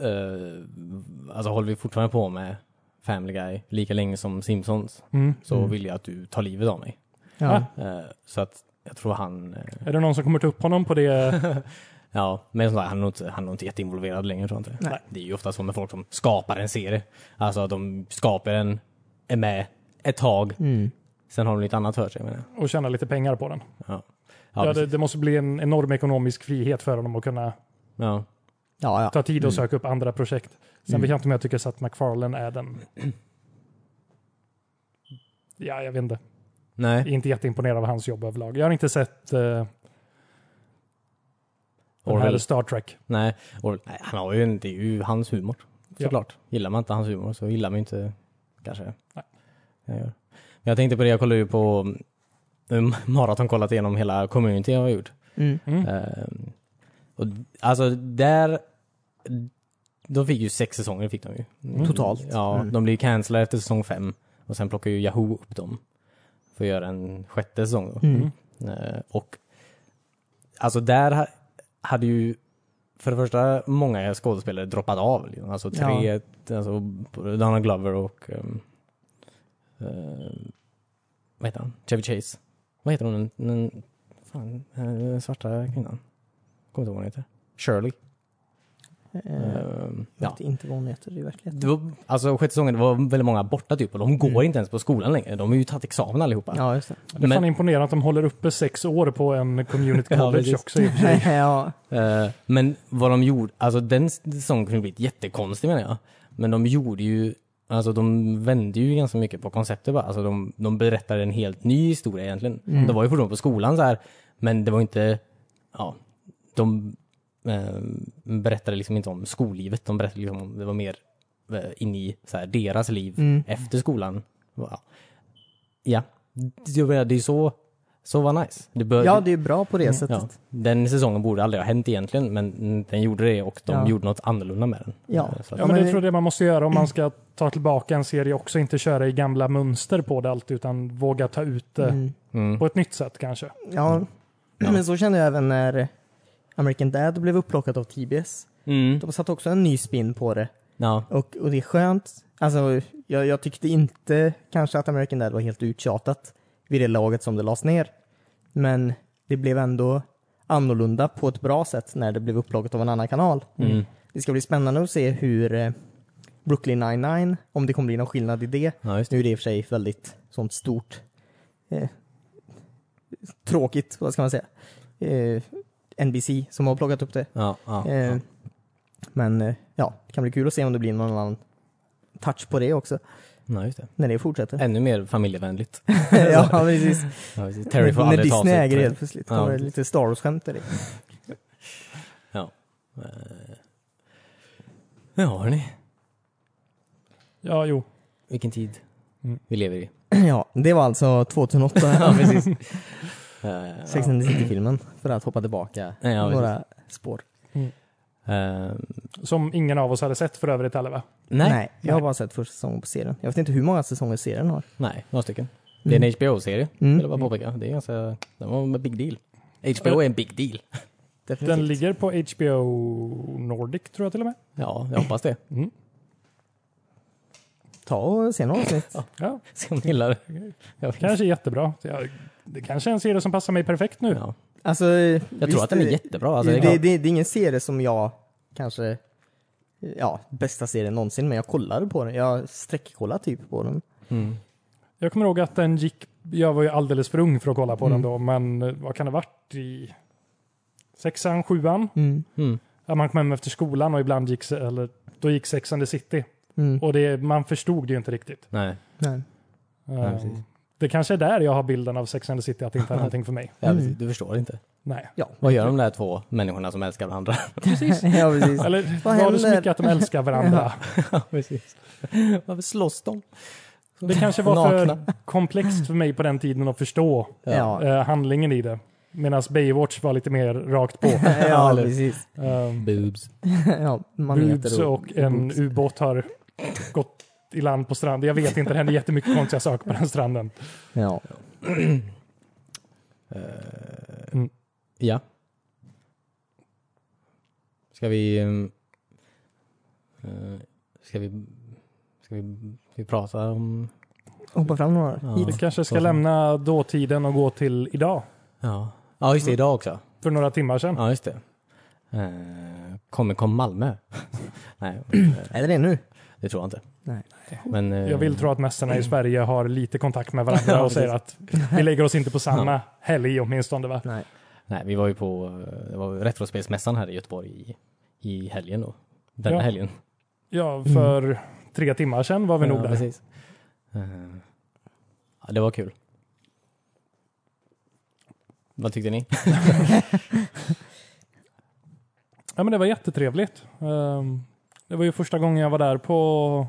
S1: eh, alltså håller vi fortfarande på med Family Guy lika länge som Simpsons
S3: Mm.
S1: så vill jag att du tar livet av mig.
S3: Ah.
S2: Ja.
S1: Eh, så att jag tror han, eh,
S3: Är det någon som kommer ta upp honom på det?
S1: ja, men som sagt, han är nog inte, han är nog inte jätteinvolverad längre tror jag inte.
S2: Nej.
S1: Det är ju ofta så med folk som skapar en serie. Alltså att de skapar en, är med ett tag,
S2: Mm.
S1: sen har de lite annat för sig menar jag.
S3: Och tjäna lite pengar på den.
S1: Ja,
S3: Ja,
S1: ja,
S3: det,
S1: precis.
S3: det måste bli en enorm ekonomisk frihet för honom att kunna
S1: ja.
S2: ja, ja.
S3: ta tid och söka upp andra projekt. Sen vet jag inte om jag tycker så att McFarlane är den... Ja, jag vet inte.
S1: Nej.
S3: Jag är inte jätteimponerad av hans jobb överlag. Jag har inte sett uh, den här
S1: Orwell.
S3: Star Trek.
S1: Nej, och, nej han har ju, en- det är ju hans humor.
S3: Ja.
S1: Såklart. Gillar man inte hans humor så gillar man inte kanske.
S3: Nej.
S1: Jag, gör. Men jag tänkte på det, jag kollade ju på mm, maraton kollat igenom hela community jag har gjort.
S2: Mm.
S1: Ehm, och, alltså där, de fick ju sex säsonger fick de ju.
S2: Mm. Totalt.
S1: Ja, de blir ju cancellade efter säsong fem. Och sen plockar ju Yahoo upp dem. För att göra en sjätte säsong då.
S2: Mm.
S1: Eh, Och alltså där ha- hade ju för det första många skådespelare droppat av. Liksom. Alltså tre, alltså Donald Glover och um, eh, vad heter han? Chevy Chase. Vad heter hon? Den, den, fan, eh, den svarta kvinnan. Kommer inte ihåg vad hon heter. Shirley.
S2: Eh,
S1: Ehm,
S2: jag
S1: ja.
S2: vet inte vad hon heter i verkligheten.
S1: Det var, alltså sjätte säsongen, det var väldigt många borta typ och de går
S2: Mm.
S1: inte ens på skolan längre. De har ju tagit examen allihopa.
S2: Ja, just
S3: Det är fan
S1: Men-
S3: imponerande att de håller uppe sex år på en community
S1: Ja,
S3: college
S1: precis.
S3: också. i och för sig.
S2: det. (laughs) ja.
S1: Eh, men vad de gjorde, alltså den säsongen kunde blivit jättekonstig menar jag. Men de gjorde ju, alltså de vände ju ganska mycket på konceptet bara. Alltså de, de berättade en helt ny historia egentligen. Det var ju fortfarande på skolan så här, men det var inte, ja, de eh, berättade liksom inte om skollivet. De berättade liksom om, det var mer eh, in i så här, deras liv
S2: Mm.
S1: efter skolan. Ja, ja. Jag menar, det är så, så var nice. Det bör,
S2: Ja, det är bra på det sättet.
S1: ja. Den säsongen borde aldrig ha hänt egentligen, men den gjorde det och de
S2: Ja.
S1: gjorde något annorlunda med den. Eh,
S2: Ja.
S1: Så att,
S3: Ja, men
S2: men
S3: det
S2: vi-
S3: tror jag det man måste göra om man ska ta tillbaka en serie också. Inte köra i gamla mönster på det alltid utan våga ta ut det
S2: Mm.
S1: mm.
S3: på ett nytt sätt kanske.
S2: Ja.
S1: Ja.
S2: men så kände jag även när American Dad blev upplockat av TBS.
S1: Mm.
S2: De satte också en ny spin på det
S1: Ja.
S2: och, och det är skönt. Alltså, jag, jag tyckte inte kanske att American Dad var helt uttjatat vid det laget som det lades ner. Men det blev ändå annorlunda på ett bra sätt när det blev upplockat av en annan kanal.
S1: Mm.
S2: Det ska bli spännande att se hur eh, Brooklyn 99, om det kommer bli någon skillnad i det.
S1: ja, just det.
S2: Nu är det i och för sig ett väldigt sånt stort eh, tråkigt, vad ska man säga, eh, NBC som har plockat upp det.
S1: Ja, ja,
S2: eh,
S1: ja.
S2: Men eh, ja, det kan bli kul att se om det blir någon annan touch på det också
S1: ja, just det.
S2: när det fortsätter.
S1: Ännu mer familjevänligt.
S2: ja, precis.
S1: (laughs) Ja,
S2: (laughs)
S1: precis. Terry får
S2: När
S1: aldrig ta
S2: Disney
S1: sig
S2: äger det
S1: till-
S2: helt plötsligt
S1: Ja.
S2: kommer det lite Star Wars-skämt i det. (clears throat)
S1: Eh, Ja, hörni.
S3: Ja, jo.
S1: Vilken tid
S3: Mm.
S1: vi lever i.
S2: ja, det var alltså 2008.
S1: (laughs)
S2: ja, (laughs) precis.
S1: Eh,
S2: Sex and the City-filmen, för att hoppa tillbaka
S1: Ja, ja, precis.
S2: några spår.
S1: Eh,
S3: Som ingen av oss hade sett för övrigt heller va?
S1: nej, nej,
S2: Nej, jag har bara sett första säsongen på serien. Jag vet inte hur många säsonger serien har.
S1: några stycken. Det är en HBO-serie,
S2: Mm.
S1: vill jag bara påpeka. Det är ganska, den var en big deal. HBO är en big deal.
S2: Definitivt.
S3: Den ligger på HBO Nordic tror jag till och med.
S1: Ja, jag hoppas det.
S3: Mm.
S2: Ta och se några avsnitt.
S3: Ja,
S1: Se om ni gillar det. Jag vet
S3: kanske jättebra. Ja, Det kanske är en serie som passar mig perfekt nu.
S1: inte. Ja.
S2: Alltså,
S1: Jag tror att den är jättebra. Alltså, det,
S2: det,
S1: är
S2: det,
S1: klart.
S2: det, det är ingen serie som jag kanske, ja, bästa serien någonsin, men jag kollade på den. Jag sträckkollade typ på den.
S1: Mm.
S3: Jag kommer ihåg att den gick, jag var ju alldeles för ung för att kolla på
S2: Mm.
S3: den då, men eh, vad kan det ha varit i sexan, sjuan?
S1: Mm.
S3: Ja, man kom hem efter skolan och ibland gick, se- eller, då gick Sex and the City.
S2: Mm.
S3: Och det, man förstod det ju inte riktigt.
S1: Nej,
S2: Nej.
S3: Eh,
S1: precis.
S3: det kanske är där jag har bilden av Sex and the City, att det inte är någonting för mig.
S1: jag vet,
S2: Mm.
S1: du förstår inte.
S3: Nej.
S1: Vad gör de
S3: (laughs)
S1: där två människorna som älskar varandra? (laughs)
S2: (laughs) ja, precis.
S3: Eller
S2: Vad
S3: var det så
S2: händer?
S3: mycket att de älskar varandra?
S1: Precis. Varför slåss de?
S3: Det kanske var för
S1: Nakna.
S3: komplext för mig på den tiden att förstå
S2: Ja,
S3: (laughs)
S2: ja,
S3: eh, handlingen i det. Medan Baywatch var lite mer
S1: (laughs)
S3: rakt på.
S1: eller-
S2: precis. (laughs)
S3: Um,
S1: Boobs.
S2: ja,
S3: boobs
S2: maneter och...
S3: och en
S2: boobs.
S3: ubåt har gått i land på stranden. Jag vet inte, det hände jättemycket konstiga saker på den stranden.
S2: Ja.
S1: Eh,
S3: Mm.
S1: Ja. Ska vi... ehm, eh, Ska vi... Ska vi, ska vi prata om...
S2: Hoppa fram några.
S1: Ja.
S2: Hit.
S3: Vi kanske ska
S1: så-
S3: lämna dåtiden och gå till idag,
S1: Ja, ja just det. Idag också.
S3: för några timmar sedan.
S1: Ja, just det. Eh, Comic Con Malmö. (laughs) Nej,
S2: Är det det nu?
S1: det tror jag inte.
S2: Nej.
S1: Men, eh,
S3: Jag vill tro att mästarna i Sverige har lite kontakt med
S1: (laughs)
S3: varandra
S1: Ja,
S3: och säger att vi lägger oss inte på samma
S1: Ja.
S3: helg åtminstone. Va?
S2: Nej.
S1: Nej, vi var ju på eh, det var Retrospelsmässan här i Göteborg i, i helgen då. Denna
S3: Ja,
S1: helgen.
S3: Ja, för tre timmar sedan var vi nog där.
S1: Mm. precis. Eh, ja, det var kul. Vad tyckte ni?
S3: Ja, men det var jättetrevligt. Ehm, Det var ju första gången jag var där på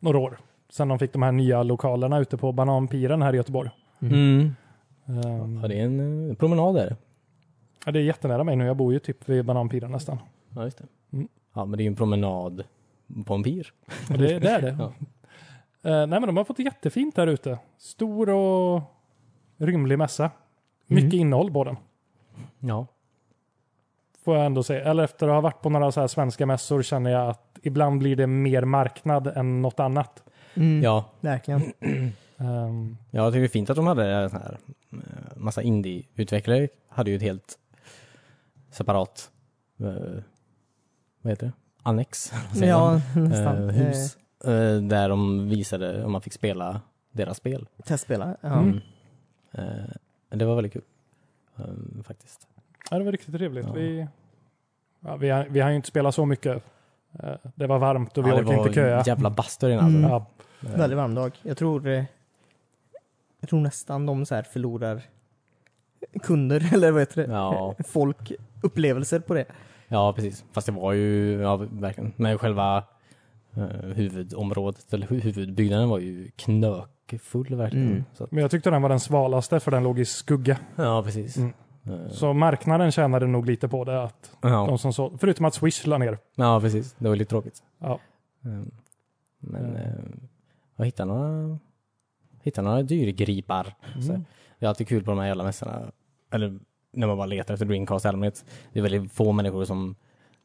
S3: några år. Sen de fick de här nya lokalerna ute på Bananpiren här i Göteborg. Ehm,
S1: Mm. Ja, det är en eh, promenad där.
S3: Ja, det är jättenära mig nu. Jag bor ju typ vid Bananpiren nästan.
S1: Ja, just det.
S3: Mm.
S1: Ja, men det är ju en promenad på en pir.
S3: Och det, det är det.
S1: (laughs) Ja.
S3: Eh, nej, men de har fått det jättefint där ute. Stor och rymlig mässa. Mycket innehåll på den.
S1: Ja.
S3: Får jag ändå säga. Eller efter att ha varit på några så här svenska mässor känner jag att ibland blir det mer marknad än något annat.
S2: Mm.
S1: ja.
S2: Verkligen.
S3: Ehm,
S1: Ja, jag tycker det är fint att de hade en sån här eh, massa indie-utvecklare. Hade ju ett helt separat, eh, vad heter det? Annex? (laughs) vad säger man?
S2: Ja, nästan.
S1: eh, hus. Eh, där de visade om man fick spela deras spel.
S2: Eh, testspela. Ja.
S3: Mm.
S1: Eh, det var väldigt kul. Eh, faktiskt.
S3: ja, det var riktigt trevligt.
S1: Ja.
S3: Vi, ja, vi, har- vi har ju inte spelat så mycket. Eh, det var varmt och vi
S1: Ja, det
S3: orkade
S1: var
S3: inte köa.
S1: jävla bastu i den alltså.
S2: Mm.
S3: Ja,
S1: Eh,
S2: Väldigt varm dag. Jag tror, eh, jag tror nästan de så här förlorar kunder, (laughs) eller vad heter det?
S1: Ja.
S2: Folk, upplevelser på det.
S1: Ja, precis. Fast det var ju, ja verkligen. Men själva eh, huvudområdet, eller hu- huvudbyggnaden var ju knökfull verkligen.
S2: Mm.
S1: Så att,
S3: Men jag tyckte den var den svalaste för den låg i skugga.
S1: ja, precis.
S3: Mm.
S1: Eh,
S3: Så marknaden tjänade nog lite på det. Att
S1: ja.
S3: de som såg, förutom att Swish la ner.
S1: ja, precis. Det var lite tråkigt.
S3: Ja.
S1: Eh, Men
S3: Ja.
S1: eh, jag hittade några, hittade några dyrgripar. Så.
S3: Mm.
S1: Det är alltid kul på de här jävla mässorna. Eller när man bara letar efter Dreamcast i allmänhet. Det är väldigt få människor som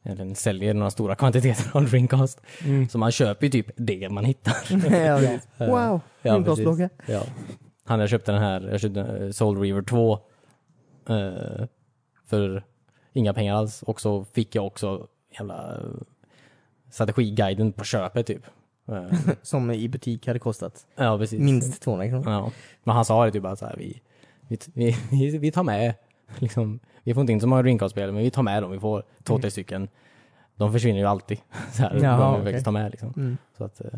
S1: egentligen säljer några stora kvantiteter av Dreamcast.
S3: Mm.
S1: Så man köper ju typ det man hittar.
S2: (laughs) Ja, ja.
S1: Eh,
S2: (laughs) Wow,
S1: ja,
S2: min plåtblogga.
S1: Ja. Han, jag köpte den här, jag köpte eh, Soul Reaver 2 eh, för inga pengar alls. Och så fick jag också jävla eh, strategiguiden på köpet typ. Eh,
S2: (laughs) Som i butik hade kostat
S1: ja, precis.
S2: minst 200 kronor.
S1: Ja. Men han sa det typ bara så här, vi, vi, vi, vi, vi tar med, (laughs) liksom, vi får inte in så många Dreamcast-spel, men vi tar med dem, vi får två, tre stycken. De försvinner ju alltid. (laughs) Så här,
S2: Jaha,
S1: de vi
S2: Mm. okej.
S1: faktiskt tar med liksom.
S2: Mm.
S1: Så att, eh,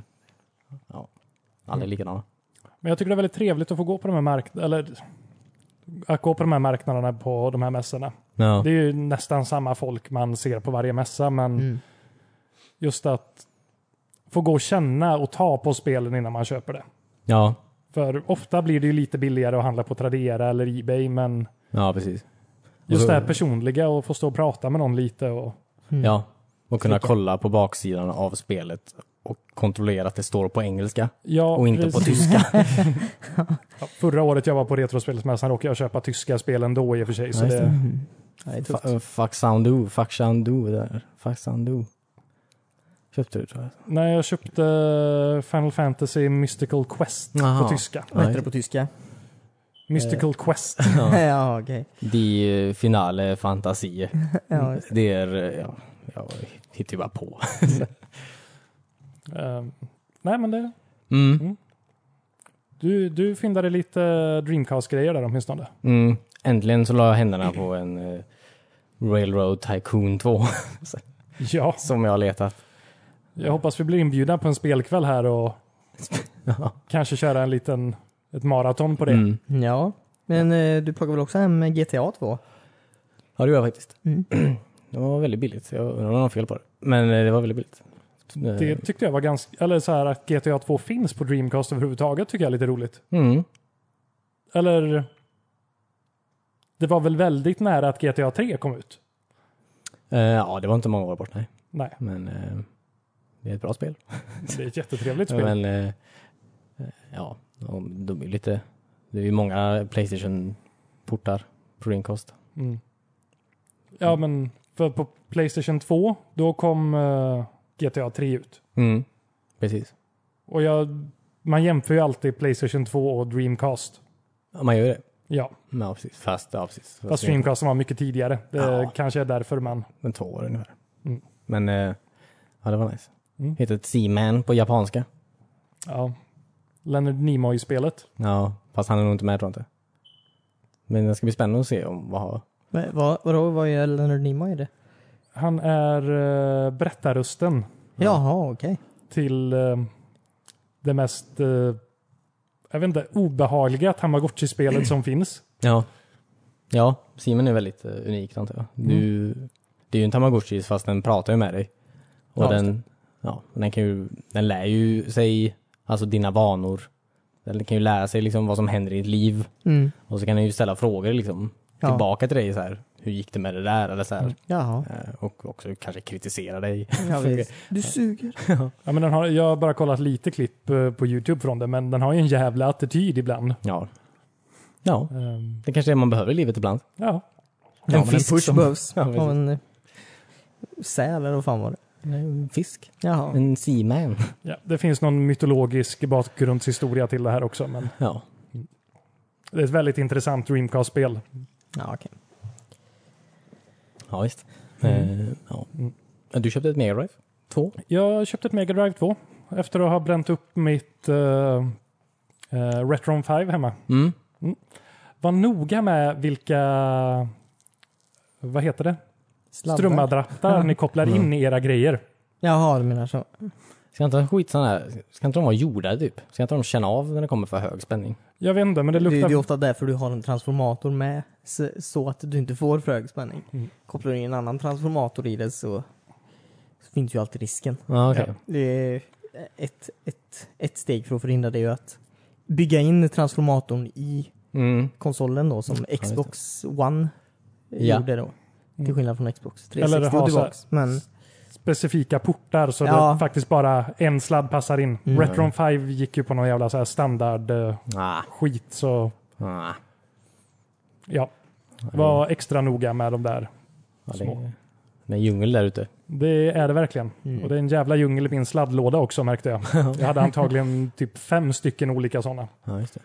S1: ja, aldrig likadana.
S3: Men jag tycker det är väldigt trevligt att få gå på de här marknaderna. Eller att gå på de här marknaderna på de här mässorna.
S1: Ja.
S3: Det är ju nästan samma folk man ser på varje mässa. Men
S2: Mm.
S3: just att få gå och känna och ta på spelen innan man köper det.
S1: ja,
S3: För ofta blir det ju lite billigare att handla på Tradera eller Ebay. Men
S1: ja precis.
S3: just
S1: Och-
S3: det här personliga och få stå och prata med någon lite. Och,
S1: Ja, och kunna kolla på baksidan av spelet och kontrollera att det står på engelska
S3: ja,
S1: och inte på
S3: precis.
S1: tyska.
S3: Ja, Förra året jag var på Retrospelsmässan råkade jag köpa tyska spel ändå i och för sig. Så
S1: Ja, just
S3: det,
S2: Ja, det är tufft.
S1: Fa- Fuck sound do, fuck sound do där. Fuck sound do. Köpte du tror jag.
S3: när jag köpte Final Fantasy Mystical Quest
S1: Aha. Eh.
S3: på tyska.
S2: Vad heter det på tyska?
S3: Mystical Quest.
S1: Ja.
S2: (laughs) ja, okej.
S1: Die finale fantasi.
S2: Ja, just
S1: Det är, eh, ja, jag hittar ju bara på.
S3: Eh, nej, men det,
S1: Mm.
S3: du, du fyndade lite Dreamcast-grejer där åtminstone.
S1: Mm. Äntligen så la jag händerna på en eh, Railroad Tycoon 2
S3: Ja,
S1: (laughs) som jag har letat.
S3: jag hoppas vi blir inbjudna på en spelkväll här och kanske köra en liten, ett maraton på det.
S1: Mm.
S2: det. ja. Men eh, du plockar väl också hem GTA 2?
S1: Ja, det gör jag faktiskt.
S2: Mm.
S1: (clears throat) Det var väldigt billigt. Jag undrar om det var fel på det. Men eh, det var väldigt billigt. Eh,
S3: Det tyckte jag var ganska, eller så här att GTA 2 finns på Dreamcast överhuvudtaget tycker jag är lite roligt.
S1: Mm.
S3: Eller det var väl väldigt nära att GTA 3 kom ut?
S1: Eh, ja, det var inte många år bort, nej.
S3: Nej,
S1: Men eh, det är ett bra spel.
S3: det är ett jättetrevligt spel.
S1: Men eh, eh, ja, de, de är lite... Det är ju många Playstation-portar på Dreamcast.
S3: Mm. Ja, men för på Playstation 2, då kom eh, GTA 3 ut.
S1: Mm. Precis.
S3: Och jag, man jämför ju alltid Playstation 2 och Dreamcast.
S1: Ja, man gör det.
S3: Ja,
S1: Ja, precis. Fast, ja, precis.
S3: fast Dreamcast var mycket tidigare. Det
S1: Ja.
S3: kanske är därför man...
S1: Men två år ungefär.
S3: Mm.
S1: Men eh, ja, det var nice.
S3: Mm.
S1: Heter ett Seaman på japanska.
S3: Ja. Leonard Nimoy-spelet.
S1: Ja, fast han är nog inte med tror jag inte. Men det ska bli spännande att se om vad...
S2: Va- va- Vadå, vad gör Leonard Nimoy i det?
S3: Han är uh, berättarrösten
S2: Jaha, okej.
S3: till eh, det mest, eh, jag vet inte, obehagliga Tamagotchi-spelet som finns.
S1: Ja. Ja, Seaman är väldigt eh, unikt antar jag. Du, det är ju en Tamagotchi fast den pratar ju med dig. Och
S3: Ja, just
S1: den, ja, den kan ju, den lär ju sig, alltså dina vanor. Den kan ju lära sig liksom vad som händer i ditt liv.
S2: Mm.
S1: Och så kan den ju ställa frågor liksom.
S2: Ja.
S1: Tillbaka till dig så här. Hur gick det med det där? Eller så här.
S2: Jaha.
S1: Eh, Och också kanske kritisera dig.
S2: (laughs) Ja, visst. Du suger.
S3: Ja, men den har, jag har bara kollat lite klipp eh, på YouTube från den, men den har ju en jävla attityd ibland.
S1: Ja. Ja,
S3: Ehm,
S1: det kanske är det man behöver i livet ibland.
S3: ja,
S1: Ja,
S2: En
S1: men en
S2: fisk
S1: push
S2: som
S1: om-
S2: behövs.
S1: Ja,
S2: Ja,
S1: precis.
S2: av en eh, säl eller vad fan var det?
S1: En fisk.
S2: Jaha.
S1: En seaman.
S3: ja, det finns någon mytologisk bakgrundshistoria till det här också, men
S1: (laughs) Ja.
S3: det är ett väldigt intressant Dreamcast-spel.
S2: Ja, okej.
S1: Ja, visst. Eh, ja.
S3: Mm.
S1: Ja, Du köpte ett Mega Drive? Två?
S3: Jag köpte ett Mega Drive 2 efter att ha bränt upp mitt uh, Retron 5 hemma.
S1: Mm.
S3: Var noga med vilka, vad heter det?
S2: Sladdar.
S3: Strömadapter ni kopplar in i era grejer.
S2: Jaha, du menar så.
S1: Ska inte skit sådana här, ska inte de vara gjorda typ? Ska inte de känna av när det kommer för hög spänning?
S3: Jag vet inte, men det
S2: Det, det
S3: luktar...
S2: är ofta därför du har en transformator med, så, så att du inte får för hög spänning.
S3: Mm.
S2: Kopplar du in en annan transformator i det så finns ju alltid risken.
S1: Ja, okej.
S3: Ja.
S2: Det är ett, ett, ett steg för att förhindra det är ju att bygga in transformatorn i
S1: Mm.
S2: konsolen då som
S1: det.
S2: Xbox One
S1: Ja.
S2: gjorde då. Till
S3: Mm.
S2: skillnad från Xbox
S3: Eller
S2: 360
S3: ha
S2: och
S3: så här-
S2: tillbaks. Men
S3: specifika portar så
S2: Ja.
S3: det faktiskt bara en sladd passar in.
S2: Mm.
S3: Retron 5 gick ju på någon jävla så här standard eh,
S1: Ah,
S3: skit så
S1: ah.
S3: ja,
S2: Mm.
S3: var extra noga med de där.
S1: Ja, det,
S3: Små.
S1: är, det är en djungel där ute.
S3: Det är det verkligen.
S2: Mm.
S3: Och det är en jävla djungel i min sladdlåda också märkte
S2: (laughs)
S3: jag. Jag hade antagligen typ fem stycken olika sådana.
S1: Ja, just det.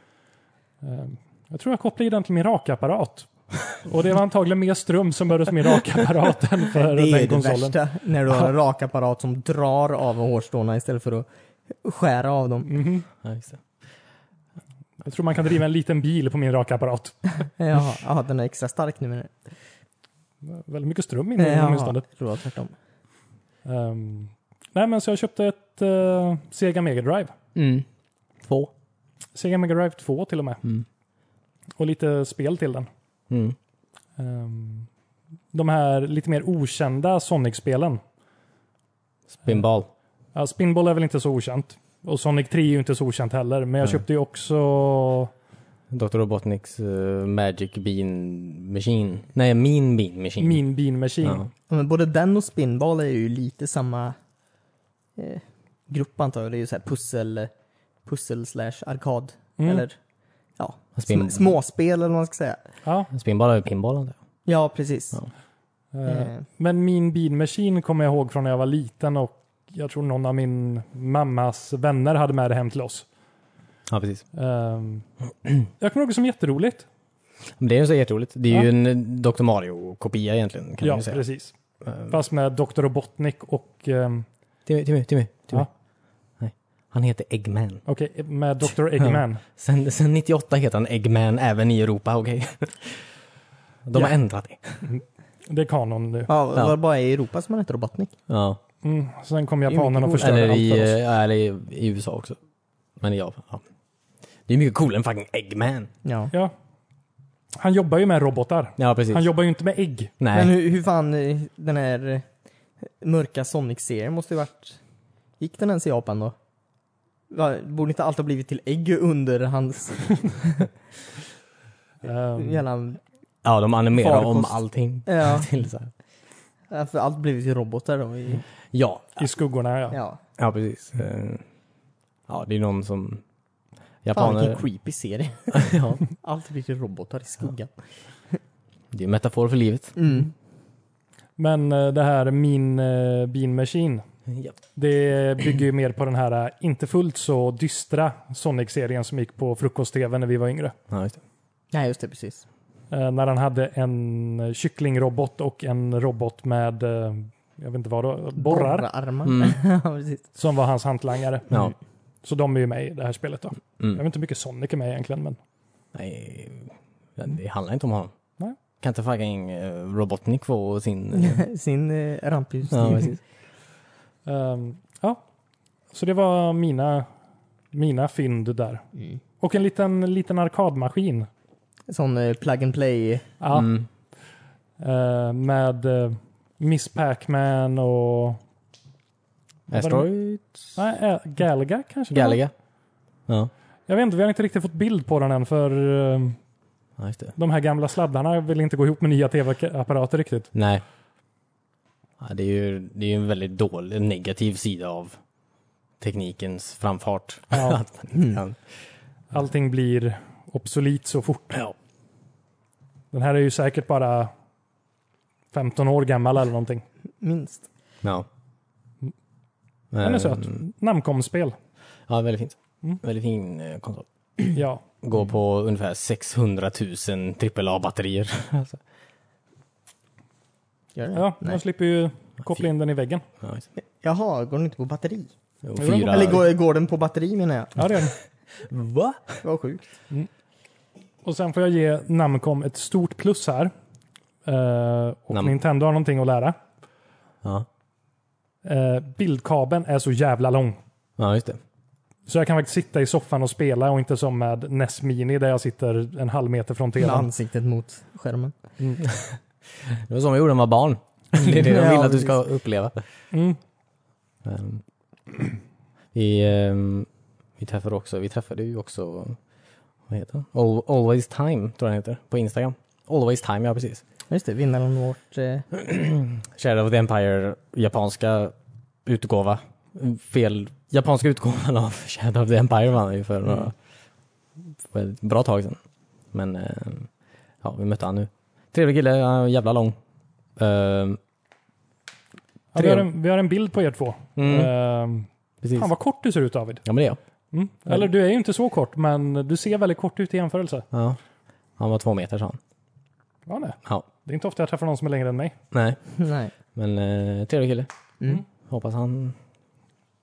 S3: Eh, Jag tror jag kopplade den till min rakapparat. (laughs) Och det var antagligen mer ström som behövdes för min rakapparat än
S2: (laughs)
S3: för
S2: det är ju
S3: den
S2: det
S3: konsolen.
S2: värsta. När du har en rakapparat som drar av hårstråna istället för att skära av dem.
S3: Mhm.
S1: Ja, just det.
S3: Jag tror man kan driva en liten bil på min rakapparat. Mm.
S2: Jaha, aha, den är extra stark nu menar
S3: Väldigt mycket ström
S2: du?
S3: inne
S2: Jaha,
S3: åtminstone.
S2: jag tror det var tvärtom.
S3: Ehm, nej, men så jag köpte ett eh, Sega Mega Drive.
S1: Mm. Två.
S3: Sega Mega Drive 2 till och med.
S1: Mm.
S3: Och lite spel till den.
S1: Mm.
S3: Ehm, de här lite mer okända Sonic-spelen.
S1: Spinball.
S3: Ja, Spinball är väl inte så okänt. Och Sonic 3 är ju inte så okänt heller. Men jag
S1: Nej.
S3: köpte ju också...
S1: Dr. Robotniks eh, Magic Bean Machine. Nej, Mean Bean Machine.
S3: Min Bean Machine.
S1: Ja.
S2: Ja, Men både den och Spinball är ju lite samma eh, grupp antar jag. Det är ju så här pussel, pussel slash arkad.
S3: Mm.
S2: Eller ja,
S1: Spin-
S2: sm- småspel eller vad man ska säga.
S3: Ja,
S1: Spinball är ju pinball antar jag.
S2: Ja, precis.
S1: Ja. Mm.
S3: eh,
S2: Eh,
S3: Men Min Bean Machine kommer jag ihåg från när jag var liten och jag tror någon av min mammas vänner hade med det hem till oss.
S1: Ja, precis. (clears throat)
S3: Ehm, jag kommer ihåg det som jätteroligt.
S1: Men det är ju så jätteroligt. Det är
S3: Ja.
S1: ju en Dr. Mario-kopia egentligen kan
S3: ja,
S1: man ju säga.
S3: precis.
S1: Eh,
S3: Fast med Dr. Robotnik och... ehm,
S1: Timmy, Timmy, Timmy. Timmy.
S3: Ja.
S1: Nej. Han heter Eggman.
S3: Okej, med Dr. Eggman.
S1: Sen, sen 98 heter han Eggman även i Europa, okej? (laughs) De har
S3: Ja.
S1: ändrat det.
S3: Det är kanon nu.
S2: ja,
S1: Ja.
S2: Var det bara i Europa som man heter Robotnik?
S1: Ja.
S3: Mm. Sen kom
S2: är mycket
S3: japanerna och
S2: coolt.
S3: förstörde
S1: Eller
S3: allt
S1: i,
S3: för oss.
S1: eh, eller i, i USA också. Men i Japan. Ja. Det är mycket coolare än fucking Eggman.
S2: Ja.
S3: Ja. Han jobbar ju med robotar.
S1: Ja, precis.
S3: Han jobbar ju inte med ägg.
S1: Nej.
S2: Men hur, hur fan eh, den här eh, mörka Sonic-serien måste ju varit... Gick den ens i Japan då? Va, Borde inte allt ha blivit till ägg under hans
S3: Ehm,
S2: (laughs) jävla...
S1: Ja, de animerar om
S2: Farkost.
S1: allting.
S2: Ja,
S1: Till så här.
S2: Ja, för allt blivit till robotar då. I,
S1: Ja.
S3: Ehm, I skuggorna, ja.
S2: ja.
S1: ja, precis. Eh, Ja, det är någon som...
S2: Fan
S1: Japaner...
S2: vilken creepy serie.
S1: (laughs) ja.
S2: Allt blir till robotar i skuggan.
S1: Det är en metafor för livet.
S2: Mm.
S3: Men eh, det här Min eh, Bean Machine,
S1: Ja.
S3: det bygger ju mer på den här eh, inte fullt så dystra Sonic-serien som gick på frukost-tv när vi var yngre.
S1: Ja, just det.
S2: Nej, just det. Precis.
S3: Eh, När han hade en eh, kycklingrobot och en robot med, eh, jag vet inte vad det var, borrar.
S2: Borrarmar.
S1: Mm.
S2: (laughs) ja, precis.
S3: Som var hans hantlangare.
S1: Ja.
S3: Så de är ju med i det här spelet då. Jag vet
S1: Mm.
S3: inte hur mycket Sonic är med egentligen, men
S1: Nej, det handlar inte om honom.
S3: Nej.
S1: Kan inte fucking eh, Robotnik få
S3: (laughs)
S1: sin... eh,
S2: Sin eh, rampljus.
S1: ja, precis.
S3: ehm, ja. Så det var mina, mina fynd där.
S2: Mm.
S3: Och en liten, liten arkadmaskin.
S2: Sån eh, plug and play.
S3: Ja,
S1: Mm.
S3: eh, med eh, Miss Pac-Man och
S1: Asteroid?
S3: nej, eh, Galaga kanske? det var?
S1: Galaga? Ja.
S3: Jag vet inte, vi har inte riktigt fått bild på den än för eh,
S1: ja, just det.
S3: de här gamla sladdarna vill inte gå ihop med nya tv-apparater riktigt.
S1: Nej. Ja, det är ju det är ju en väldigt dålig, negativ sida av teknikens framfart.
S3: Ja.
S1: (laughs)
S3: Mm.
S1: Att man inte kan-
S3: allting blir obsolet så fort.
S1: Ja.
S3: Den här är ju säkert bara 15 år gammal eller någonting.
S2: Minst.
S1: ja.
S3: Den är
S1: Eh,
S3: söt.
S1: (clears throat)
S3: Namnkomspel.
S1: Ja, väldigt fint.
S3: Mm.
S1: Väldigt fin eh, konsol.
S3: Ja.
S1: Går på ungefär 600 000 AAA-batterier. (laughs) Alltså.
S2: Gör den?
S3: ja, man
S2: Nej.
S3: slipper ju koppla in den i väggen.
S1: Ja, just det.
S2: Jaha, går den inte på batteri?
S1: Och
S3: Jo,
S1: fyra...
S2: Eller går, går den på batteri menar jag?
S3: Ja,
S1: (laughs)
S3: det är den.
S1: Va?
S2: Vad sjukt.
S3: Och sen får jag ge Namcom ett stort plus här. Eh, och
S1: Nam-
S3: Nintendo har någonting att lära.
S1: Ja.
S3: Eh, bildkabeln är så jävla lång.
S1: ja, just det.
S3: Så jag kan faktiskt sitta i soffan och spela och inte som med NES Mini där jag sitter en halv meter från
S2: Med
S3: tvn.
S2: ansiktet mot skärmen.
S1: Det var som jag gjorde när jag var barn. Det är det de
S2: Ja,
S1: vill att du
S2: precis.
S1: ska uppleva.
S3: Mm.
S1: Ehm, Vi, ehm, vi träffade också, vi träffade ju också, vad heter han? Al- Always Time tror jag han heter, på Instagram. Always Time, ja precis.
S2: Just det, vinnaren av vårt... Eh, (laughs)
S1: Shadow of the Empire, japanska utgåva. Fel, japanska utgåvan av (laughs) Shadow of the Empire vann ju för, några, för ett bra tag sedan. Men eh, ja, vi mötte han nu. Trevlig kille, han är jävla lång. Eh,
S3: Ja, vi,
S1: Tre.
S3: har en, vi har en bild på er två.
S1: Mm.
S3: Ehm,
S1: precis.
S3: fan vad kort du ser ut David.
S1: Ja men det är jag.
S3: Mm. Eller du är ju inte så kort, men du ser väldigt kort ut i jämförelse.
S1: Ja. Han var två meter sa han.
S3: Ja, nej.
S1: Ja.
S3: Det är inte ofta jag träffar någon som är längre än mig.
S1: Nej,
S2: nej.
S1: men eh, trevlig kille.
S2: Mm.
S1: Hoppas han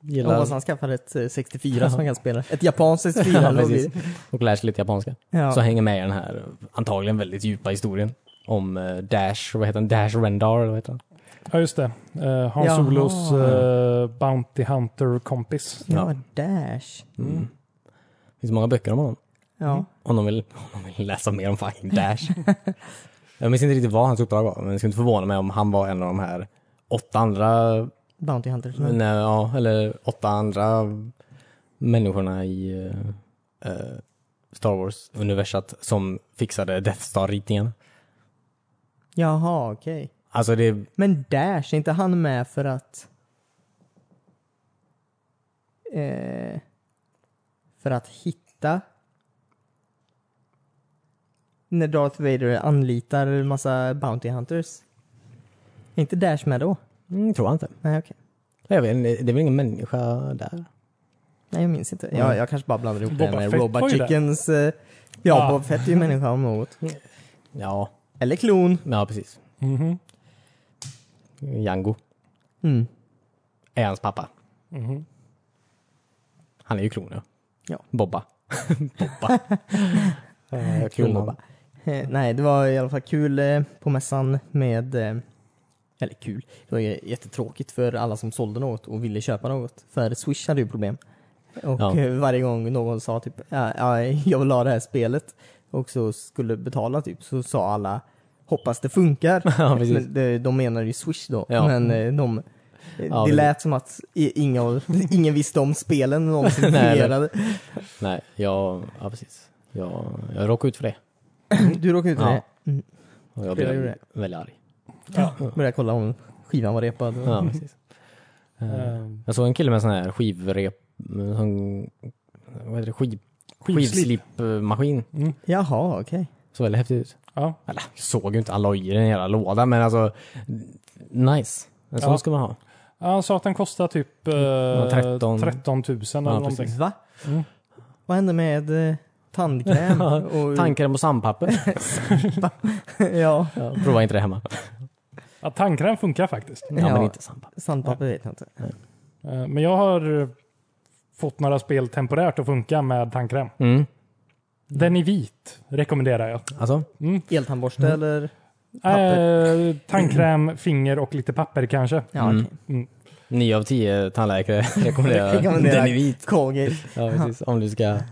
S2: Jag
S1: gillar
S2: hoppas han skaffar ett eh, 64 som kan spela. Ett
S1: (laughs)
S2: japanskt 64.
S1: Ja,
S2: då blir-
S1: precis. och lär sig lite japanska.
S2: Ja.
S1: Så hänger med i den här antagligen väldigt djupa historien om eh, Dash, vad heter han? Dash Rendar, eller vad heter han?
S3: Ja, just det. Eh, Hans
S2: Jaha.
S3: Solos eh, Bounty Hunter-kompis.
S2: ja, Dash.
S1: Mm. Det finns många böcker om honom.
S2: Ja.
S1: Om de vill, (laughs) om de vill läsa mer om fucking Dash. jag minns inte riktigt vad hans uppdrag var, men det skulle inte förvåna mig om han var en av de här åtta andra,
S2: Bounty Hunter.
S1: nej, ja, eller åtta andra människorna i eh, eh, Star Wars-universat som fixade Death Star-ritningarna.
S2: Jaha, okej.
S1: Alltså det,
S2: Men Dash, är inte han med för att... Eh, för att hitta... När Darth Vader anlitar massa Bounty Hunters? Är inte Dash med då?
S1: mm, tror jag inte.
S2: Nej, okej.
S1: Jag vet, inte, det är väl ingen människa där?
S2: Nej, jag minns inte. Jag, jag kanske bara blandar ihop det
S3: Boba
S2: med
S3: Fett
S2: Robot
S3: var ju där.
S2: Chickens... Eh, ja,
S3: Ah.
S2: Boba Fett är ju människa om
S3: (laughs)
S2: något.
S1: Ja,
S2: Eller klon.
S1: ja precis.
S3: Mhm.
S1: Jango
S2: Mm.
S1: är hans pappa. Mm.
S3: Mhm.
S1: Han är ju klon ja.
S2: Ja.
S1: Bobba. (laughs) Bobba. Eh,
S2: Kul
S1: Klonan.
S2: Bobba. Eh, Nej, det var i alla fall kul eh, på mässan med... eh, Eller kul, det var ju jättetråkigt för alla som sålde något och ville köpa något. För Swish hade ju problem. Och
S1: Ja.
S2: eh, varje gång någon sa typ ja, ja, jag vill ha det här spelet och så skulle betala typ så sa alla hoppas det funkar.
S1: (laughs) Ja, precis.
S2: Men de, de menar ju Swish då.
S1: Ja.
S2: Men eh, de,
S1: Ja,
S2: det
S1: precis.
S2: lät som att i- inga, (laughs) av- ingen visste om spelen
S1: (laughs)
S2: någonsin
S1: Nej, eller- (clears throat)
S2: fungerade.
S1: Nej, jag, ja precis. Jag, jag råkade ut för det.
S2: Du råkade ut för
S1: Ja.
S2: det. Mm.
S1: Och jag
S2: Flera gjorde
S1: blev väldigt arg.
S2: Började kolla om skivan var repad.
S1: Ja, precis. Eh,
S3: Eh,
S1: Jag såg en kille med sån här skivrep, med sån, vad heter det, skiv,
S3: Skivslip.
S1: skivslipmaskin.
S2: Jaha, okej.
S1: Såg väldigt häftigt ut.
S3: Ja.
S1: Eller jag såg ju inte, han la i den hela lådan men alltså, nice. En sån
S3: Ja.
S1: ska man ha.
S3: Ja, Han sa att den kostar typ eh,
S1: Mm. Ja, 13.
S3: 13 000 eller
S1: Ja,
S3: någonting.
S2: Va?
S3: Mm.
S2: Vad hände med eh,
S3: (laughs)
S2: tandkräm? och,
S1: Tankar på sandpapper.
S2: (laughs) ja,
S1: Ja, prova inte det hemma.
S3: Ja, tandkräm funkar faktiskt.
S1: Ja, men
S2: Ja.
S1: inte sandpapper.
S2: sandpapper vet jag inte.
S3: Eh, Men jag har eh, fått några spel temporärt att funka med tandkräm.
S1: Mm.
S3: Den i vit rekommenderar jag. Mm.
S1: Alltså,
S2: Eltandborste eller?
S3: Eh, tandkräm, finger och lite papper kanske.
S2: Ja,
S1: Mm.
S2: mm. okej.
S1: 9 av 10 tandläkare rekommenderar
S2: Rekommenderar
S1: den i vit.
S2: Colgate.
S1: Ja, precis. Om du ska...
S3: Eh,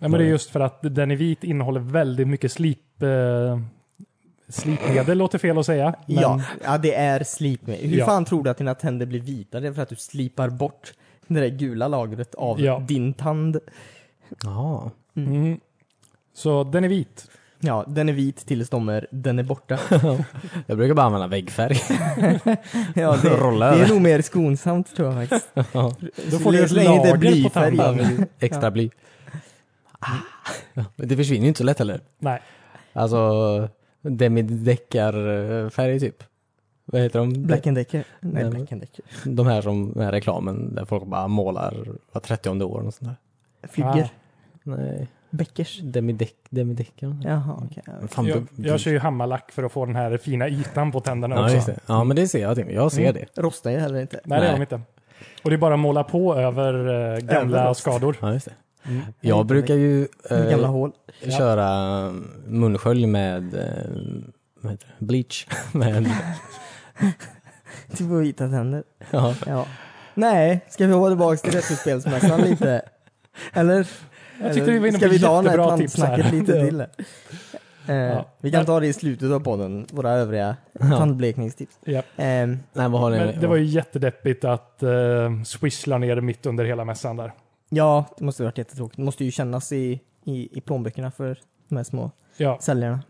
S3: men det är just för att den i vit innehåller väldigt mycket slip, eh, slipmedel, låter fel att säga. Men,
S2: Ja, ja, det är slip med. Hur
S3: Ja.
S2: fan tror du att dina tänder blir vita? Det är för att du slipar bort det där gula lagret av
S3: Ja.
S2: din tand.
S1: Jaha.
S3: Mm. Så den är vit.
S2: Ja, den är vit tills de är, den är
S3: (laughs)
S2: borta.
S1: Jag brukar bara använda
S2: (laughs)
S1: väggfärg.
S2: Ja, det,
S1: Rolla
S2: det
S1: över.
S2: är nog mer skonsamt tror jag faktiskt.
S1: Ja.
S3: Då får du ett
S2: Så länge det är
S3: lager på
S2: blyfärg.
S3: tanden.
S1: Extra bly. Ah. Ja, men det försvinner ju inte så lätt heller.
S3: Nej.
S1: Alltså, demideckarfärg typ. Vad heter de?
S2: Black and Decker. Nej,
S1: Nej,
S2: Black and Decker.
S1: De här som, den här reklamen där folk bara målar var 30 år och sånt där.
S2: Flygger.
S3: Ah.
S1: Nej,
S2: Bäckers.
S1: demideck, demideckar.
S2: Jaha, okej. ja.
S1: Fan,
S3: Jag,
S1: du-
S3: jag kör ju hammarlack för att få den här fina ytan på tänderna
S1: Ja,
S3: också.
S1: just det. Ja, men det ser jag. Tim. Jag
S2: Mm.
S1: ser det.
S2: Rostar ju heller inte.
S3: Nej, det är
S1: Nej.
S3: de inte. Och det är bara att måla på över eh, gamla
S2: Överallt.
S3: skador.
S1: Ja, just det.
S3: Mm.
S1: Jag brukar ju eh,
S2: Gamla
S3: (laughs)
S2: hål.
S3: Ja.
S1: köra eh, munskölj med eh, vad heter det? bleach. (laughs) med,
S2: Typ på vita tänder.
S1: ja.
S2: Ja. (laughs) Nej, ska vi hoppa tillbaka till retrospelsmässan
S3: (laughs)
S2: lite? Eller?
S3: Jag tyckte vi var inne
S2: ska
S3: på
S2: vi ta den här
S3: jättebra tips här.
S2: tandsnacket lite till? Eh,
S3: Ja.
S2: Vi kan ta det i slutet av podden, våra övriga tandblekningstips.
S3: Japp.
S2: Eh,
S1: Nej, vad har ni?
S3: Men det var ju jättedeppigt att eh, swishla ner mitt under hela mässan där.
S2: ja, det måste ha varit jättetråkigt. Det måste ju kännas i, i, i plånböckerna för de här små
S3: Ja.
S2: säljarna.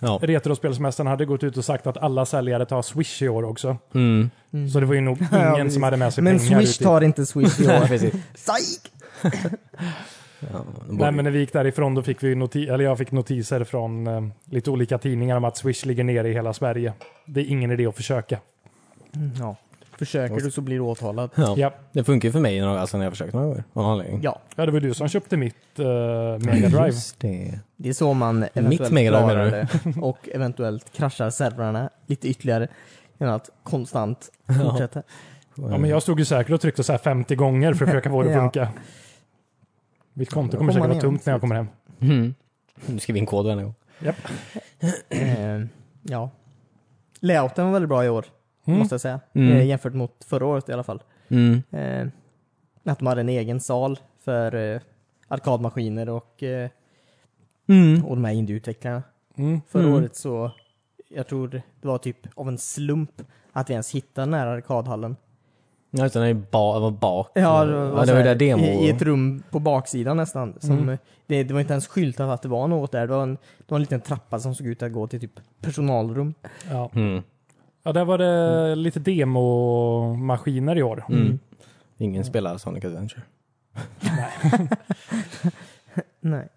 S1: ja.
S3: Retrospelsmässan hade gått ut och sagt att alla säljare tar Swish i år också.
S1: Mm.
S3: Så det var ju nog
S2: (laughs) Ja,
S3: ingen
S2: precis.
S3: som hade med sig
S2: Men
S3: pengar.
S2: Swish
S3: ut i-
S2: tar inte Swish i
S3: (laughs)
S1: ja,
S2: år.
S1: precis.
S2: Psyk!
S1: (laughs) Ja, de
S3: Nej,
S1: borde-
S3: men när vi gick därifrån då fick vi noti- eller jag fick notiser från eh, lite olika tidningar om att Swish ligger nere i hela Sverige. Det är ingen idé att försöka.
S2: Mm, Ja. Försöker du så blir du åtalad.
S1: ja.
S3: Ja,
S1: Det funkar ju för mig några, alltså, när jag försökt några gånger. av någon anledning.
S2: Ja,
S3: ja det var du som köpte mitt eh, Mega Drive.
S1: Just det.
S2: det är så man eventuellt
S1: Mega Drive
S2: klarar
S1: menar
S2: det. Och eventuellt kraschar servrarna lite ytterligare. Genom att
S1: (laughs)
S2: konstant fortsätta.
S3: Ja, men jag stod ju säkert och tryckte så här 50 gånger för att försöka få det att
S2: Ja.
S3: funka. Mitt konto
S2: Kommer
S3: kommer säkert vara
S2: igen,
S3: tomt när jag kommer hem.
S1: Mm. Du skriver in kod varje gång.
S2: Eh, ja. Layouten var väldigt bra i år,
S3: Mm.
S2: måste jag säga.
S1: Mm.
S2: Eh, jämfört mot förra året i alla fall.
S1: Mm.
S2: Eh, att de hade en egen sal för eh, arkadmaskiner och, eh,
S1: Mm.
S2: och de här indieutvecklarna.
S3: Mm.
S2: Förra
S1: Mm.
S2: året så, jag tror det var typ av en slump att vi ens hittade den här arkadhallen.
S1: Ja, utan det är ba- det var bak.
S2: Ja,
S1: det var,
S2: så
S1: det var ju
S2: här,
S1: där demo...
S2: I, I ett rum på baksidan nästan. Som,
S3: Mm.
S2: det, det var inte ens skyltat att det var något där. Det var, en, det var en liten trappa som såg ut att gå till typ personalrum.
S3: Ja.
S1: Mm.
S3: ja, där var det lite demomaskiner i år.
S1: Mm. Ingen spelar Sonic Adventure.
S2: Nej.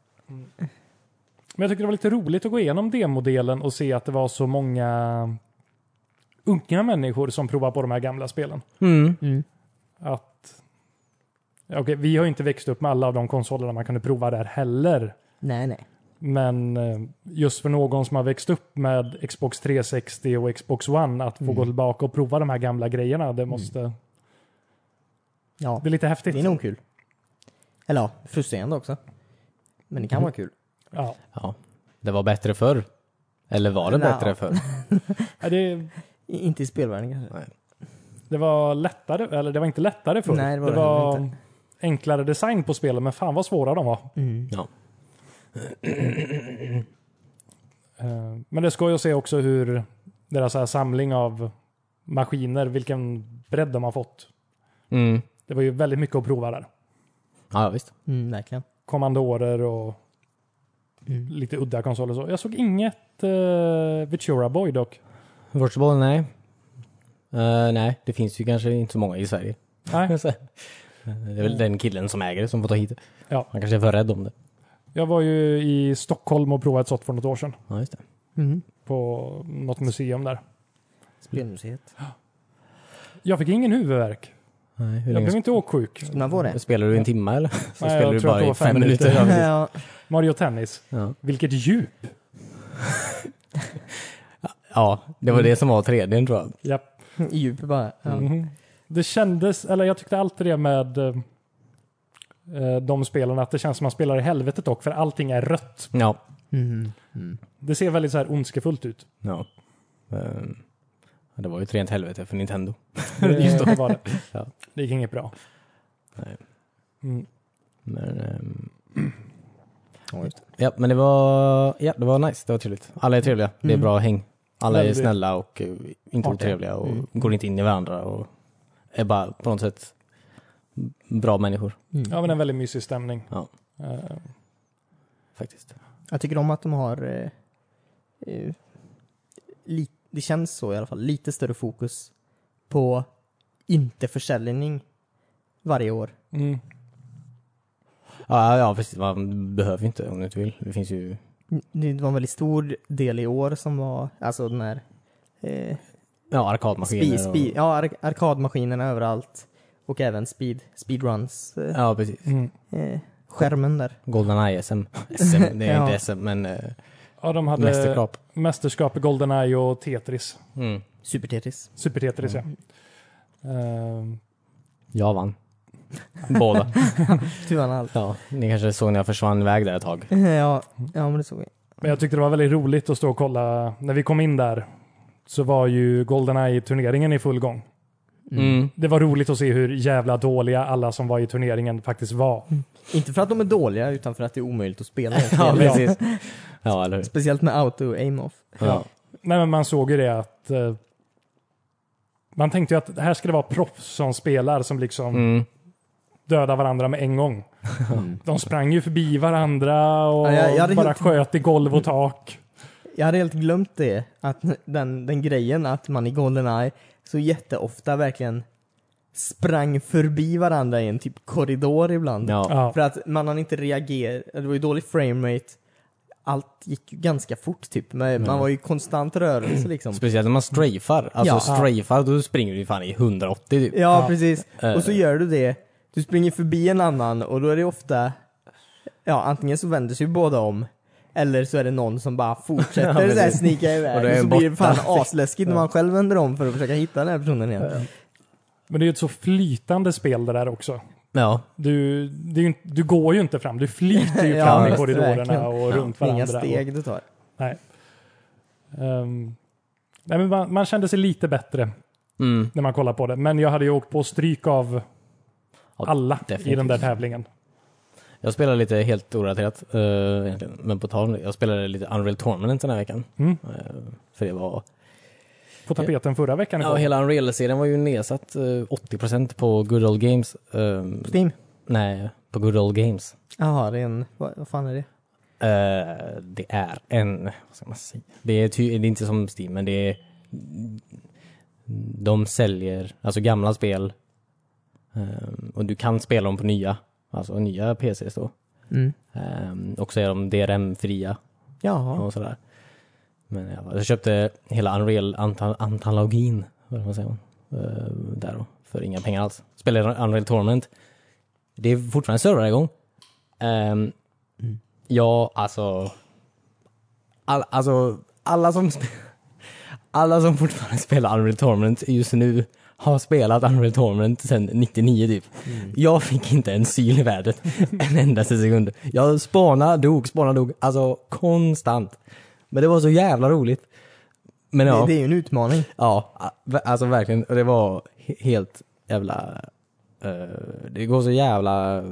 S3: Men jag tyckte det var lite roligt att gå igenom demodelen och se att det var så många unga människor som provar på de här gamla spelen.
S1: Mm.
S3: Att ja, okej, vi har ju inte växt upp med alla av de konsolerna man kunde prova där heller.
S2: Nej, nej.
S3: Men eh, just för någon som har växt upp med Xbox 360 och Xbox One att få
S2: Mm.
S3: gå tillbaka och prova de här gamla grejerna, det måste...
S2: Ja,
S3: Det är lite häftigt.
S2: Mm. det är nog kul. Eller ja, frustrerande också. Men
S1: Mm.
S2: det kan vara kul.
S3: Ja.
S1: Ja. Det var bättre förr. Eller var det
S2: Nej.
S1: bättre förr?
S3: Ja, Det,
S2: I, inte i spelvärlden kanske.
S3: det var lättare, eller det var inte lättare förr.
S2: Nej, det var det heller inte.
S3: enklare design på spelen, men fan vad svåra de var.
S2: Mm.
S1: Ja.
S3: Eh, Men det ska ju att se också hur deras här samling av maskiner, vilken bredd de har fått.
S1: Mm.
S3: Det var ju väldigt mycket att prova där.
S1: Ja, visst.
S2: Mm, verkligen.
S3: Kommandorer och lite udda konsoler. och Så. Jag såg inget uh, Ventura Boy dock.
S1: Virtual, nej. Eh, nej, det finns ju kanske inte så många i Sverige. (laughs)
S3: Nej,
S1: Så- Det är väl den killen som äger det som får ta hit det.
S3: Mm. Ja.
S1: Han kanske är för rädd om det.
S3: jag var ju i Stockholm och provade ett sånt för något år sedan
S1: Ja, just det.
S2: Mm.
S3: på något museum där.
S2: Spelmuseet.
S3: Jag fick ingen huvudvärk.
S1: Nej, hur
S3: Jag blev
S1: länge
S3: inte åksjuk.
S2: Skulle man få det?
S1: spelar du i en timme eller? (laughs) Så
S3: jag
S1: spelar du
S3: tror att
S1: bara
S3: det
S1: i
S3: var fem
S1: fem minuter.
S3: minuter.
S1: Ja, precis.
S2: (laughs) ja.
S3: Mario Tennis.
S1: Ja.
S3: Vilket djup!
S1: ja, det var
S3: Mm.
S1: det som var tredje tror jag.
S3: Japp.
S2: I djupet bara. Ja.
S1: Mm.
S3: Mhm. Det kändes, eller jag tyckte alltid det med eh, eh, de spelen, att det känns som man spelar i helvetet dock, för allting är rött.
S1: Ja.
S2: Mhm.
S3: Det ser väldigt så här ondskefullt ut.
S1: ja. Ehm, det var ju ett rent helvete för Nintendo.
S3: Just det. (laughs) Var det.
S1: Ja.
S3: det gick inget bra.
S1: Nej.
S3: Mm.
S1: Men, ehm,
S2: Ja, just det.
S1: ja, men det var, ja, det var nice. Det var trevligt. Alla är trevliga. Det är
S2: Mm.
S1: bra häng. Alla är
S3: Väldigt.
S1: snälla och eh, inte
S3: Artiga.
S1: otrevliga och
S2: Mm.
S1: går inte in i varandra och är bara på något sätt bra människor
S2: Mm.
S3: Ja, men en väldigt mysig stämning.
S1: Ja.
S3: Eh,
S1: faktiskt.
S2: Jag tycker om att de har eh, eh, li- det känns så i alla fall, lite större fokus på inte försäljning varje år.
S3: mm.
S1: Ja, ja precis. Man behöver ju inte om du inte vill. Det finns ju...
S2: Det var en väldigt stor del i år som var, alltså den här eh,
S1: Ja, arkadmaskiner.
S2: speed, speed, ja, ar- arkadmaskinerna överallt och även speed, speedruns.
S1: Och,
S2: Eh,
S1: ja, precis.
S3: Mm.
S2: eh, skärmen där.
S1: Goldeneye SM. SM. (laughs) Det är
S2: Ja.
S1: inte SM, men eh,
S3: Ja, de hade mästerskap.
S1: mästerskap.
S3: mästerskap i Goldeneye och Tetris.
S1: Mm.
S2: Super Tetris.
S3: Super Tetris, ja. Eh,
S1: Jag vann. (laughs) Båda.
S2: Tuvan allt. (laughs)
S1: Ja, ni kanske såg när jag försvann iväg där ett tag.
S2: ja, ja, men det såg vi.
S3: Men jag tyckte det var väldigt roligt att stå och kolla. När vi kom in där så var ju Goldeneye-turneringen i full gång.
S1: Mm.
S3: Det var roligt att se hur jävla dåliga alla som var i turneringen faktiskt var.
S1: (laughs)
S2: Inte för att de är dåliga utan för att det är omöjligt att spela.
S1: Ja, precis. Ja, eller hur?
S2: Speciellt med auto-aim off.
S1: Ja.
S3: Nej, men man såg ju det att eh, man tänkte ju att det här ska det vara proffs som spelar som liksom
S1: Mm.
S3: dödar varandra med en gång. De sprang ju förbi varandra och
S2: Ja, jag- jag hade
S3: bara
S2: helt-
S3: sköt i golv och tak.
S2: Jag hade helt glömt det, att den, den grejen att man i Goldeneye så jätteofta verkligen sprang förbi varandra i en typ korridor ibland.
S1: Ja.
S3: Ja.
S2: För att man hann inte reagera, det var ju dålig framerate. Allt gick ju ganska fort typ, men man var ju i konstant rörelse liksom.
S1: Speciellt när man strafar. Alltså
S2: Ja.
S1: strafar, då springer du ju fan i 180 typ.
S2: Ja, precis.
S1: Eh.
S2: Och så gör du det. Du springer förbi en annan och då är det ofta, ja antingen så vänder sig båda om, eller så är det någon som
S1: (laughs)
S2: bara
S1: Ja,
S2: fortsätter
S1: precis.
S2: så här snika
S1: Och då
S2: iväg.
S1: är
S2: Och så
S1: den
S2: blir det fan
S1: (laughs) borta.
S2: asläskigt när man själv vänder om för att försöka hitta den här personen igen.
S3: Men det är ju ett så flytande spel det där också.
S1: Ja.
S3: Du, det är ju, inte- du går ju inte fram, du
S2: (laughs)
S3: flyter ju
S2: Ja,
S3: fram i
S2: visst,
S3: korridorerna
S2: verkligen.
S3: och runt
S2: Det är Inga
S3: varandra. Och,
S2: steg du tar.
S3: nej. Ehm, nej, men man, man kände sig lite bättre
S1: Mm.
S3: när man kollar på det. Men jag hade ju åkt på stryk av
S1: Ja,
S3: alla i
S1: definitivt.
S3: den där tävlingen.
S1: Jag spelar lite helt orelaterat eh, egentligen, men på tal om det. Jag spelade lite Unreal Tournament den här veckan.
S3: Mm.
S1: Eh, för det var...
S3: På tapeten förra veckan.
S1: Ja,
S3: igår.
S1: hela Unreal-serien var ju nedsatt eh, 80% på Good Old Games. Eh,
S2: Steam?
S1: nej, på Good Old Games.
S2: Jaha, det är en, vad, vad fan är det?
S1: Eh, det är en, vad ska man säga? Det är, ty- det är inte som Steam, men det är... De säljer, alltså gamla spel. eh, och du kan spela dem på nya, alltså nya PCs då.
S2: Mm.
S1: Eh, och så är de DRM-fria
S2: Jaha.
S1: och sådär. Men i alla fall, jag köpte hela Unreal antal- antalogin, vad man säger, eh, där då, för inga pengar alls. Spelade Unreal Tournament. Det är fortfarande servrar igång. Um, Ja, alltså, all, alltså alla som spe- (laughs) alla som fortfarande spelar Unreal Tournament just nu har spelat Unreal Tournament sedan 99 typ. Jag fick inte en syl i världen (laughs) en endaste sekund. Jag spana dog, spana dog, alltså konstant. Men det var så jävla roligt. Men ja,
S2: Det, det är ju en utmaning.
S1: ja a- alltså verkligen. Och Det var he- helt jävla... eh, det går så jävla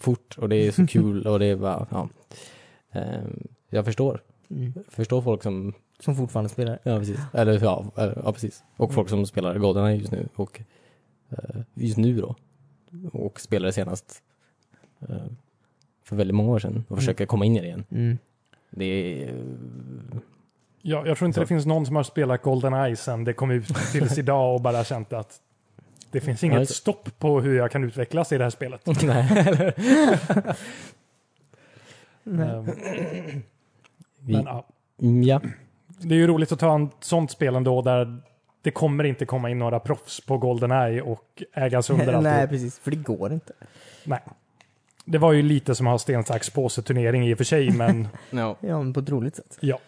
S1: fort och det är (laughs) så kul och det är bara, ja. Eh, jag förstår. Förstår folk som
S2: Mm. Som fortfarande spelar.
S1: Ja, precis. Eller, ja, eller, ja, precis. Och folk som spelar Goldeneye just nu. Och eh, just nu då. Och spelade senast eh, för väldigt många år sedan. Och försöker komma in i det igen.
S2: Mm.
S1: Det är... eh,
S3: Ja, jag tror inte
S1: Så.
S3: det finns någon som har spelat Goldeneye sen det kom ut
S2: (laughs)
S3: tills idag och bara känt att det finns inget
S1: Ja, just det.
S3: stopp på hur jag kan utvecklas i det här spelet.
S1: nej, (laughs) eller?
S3: Ehm,
S1: Vi-
S3: Men, ja.
S1: Mm, ja.
S3: Det är ju roligt att ta en sånt spel ändå där det kommer inte komma in några proffs på Goldeneye och
S2: (laughs)
S3: ägas under allt.
S2: Nej, precis. För det går inte.
S3: Nej. Det var ju lite som att ha sten, sax, påse turnering i och
S2: (laughs)
S3: för sig, men
S1: No.
S2: Ja, men på ett roligt sätt.
S3: ja.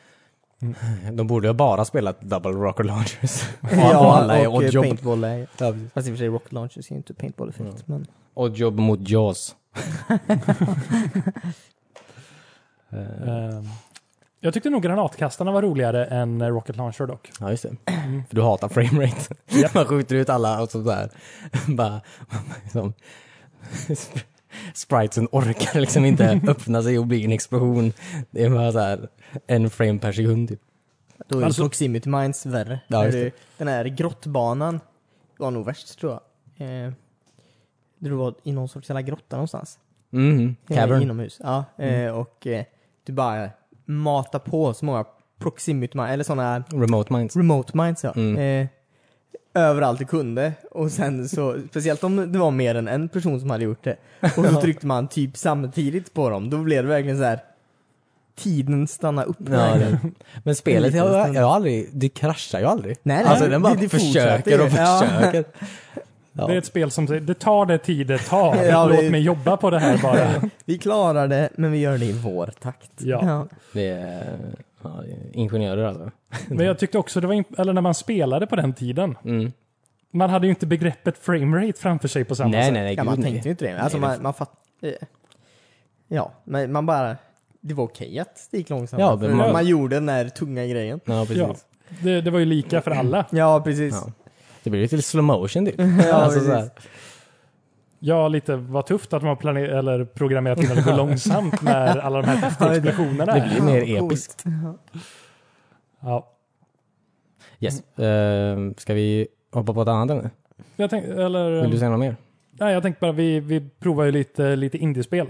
S1: De borde ju bara spelat Double Rocker Launchers. och
S2: (laughs) Ja,
S1: alla är
S2: och eh,
S1: Oddjob.
S2: paintball är
S1: Ja, precis.
S2: Fast i och för sig Rocket Launchers är ju inte paintball effekt men
S1: Oddjob mot Jaws.
S3: Ehm, Jag tyckte nog granatkastarna var roligare än eh, Rocket Launcher dock.
S1: Ja, just det. Mm. För du hatar framerate. Man skjuter ut alla och sådär. (laughs) Bara, liksom, sp- spritesen orkar liksom inte öppna sig och bli en explosion. Det är bara såhär en frame per sekund typ.
S2: då är
S3: Alltså-
S2: alltså, proximity mines värre.
S1: Ja,
S2: När
S1: just
S2: du, den här grottbanan var nog värst tror jag. Eh, där du var i någon sorts jävla grotta någonstans.
S1: Mm,
S2: Eh,
S1: cavern. Mm.
S2: Inomhus. Ja, eh, och eh, du bara matar på så många proximity mines, eller sådana
S1: Remote minds.
S2: remote mines ja.
S1: Mm.
S2: Eh, överallt du kunde och sen så, (laughs) speciellt om det var mer än en person som hade gjort det. Och så tryckte man typ samtidigt på dem, då blev det verkligen så här. Tiden stannar upp.
S1: Ja, det. Men spelet,
S2: Liten
S1: jag,
S2: stund.
S1: jag har aldrig, det kraschar ju aldrig.
S2: Nej, nej,
S1: alltså den bara
S2: det- det
S1: försöker och
S2: fortsätter ju. Ja. (laughs)
S1: försöker. Ja.
S3: Det är ett spel som säger, det tar det tid det tar.
S2: (laughs) Ja,
S3: Låt
S2: det-
S3: mig jobba på det här
S2: (laughs)
S3: bara.
S2: Vi klarar det, men vi gör det i vår takt.
S3: Ja.
S1: Det är, ja, det är ingenjörer alltså.
S3: Men jag tyckte också det var, imp- eller när man spelade på den tiden,
S1: Mm.
S3: man hade ju inte begreppet framerate framför sig på samma
S1: Nej, nej,
S3: sätt.
S1: nej.
S2: Ja,
S1: gud,
S2: man
S1: nej.
S2: tänkte ju inte det. Alltså
S1: Nej,
S2: man, man fatt... eh, Ja, men man bara... Det var okej att det gick långsamt.
S1: Ja,
S2: Ja,
S1: men
S3: man-
S2: man... gjorde den där tunga grejen.
S1: Ja, precis.
S3: Ja, det, det var ju lika för alla.
S2: Ja, precis.
S1: (laughs) Ja. Det blir lite slow motion typ.
S2: Ja,
S1: alltså,
S2: precis.
S1: såhär.
S3: Ja, lite vad tufft att de har planer- eller programmerat in att det går långsamt när alla
S1: (laughs)
S3: de här häftiga explosionerna
S1: Det
S3: är.
S1: blir mer
S2: Coolt.
S1: episkt.
S3: Ja.
S1: Yes. Eh, ska vi hoppa på ett annat ämne?
S3: Jag tänk, eller,
S1: Vill du säga något mer?
S3: nej, jag tänkte bara, vi, vi provar ju lite, lite indiespel.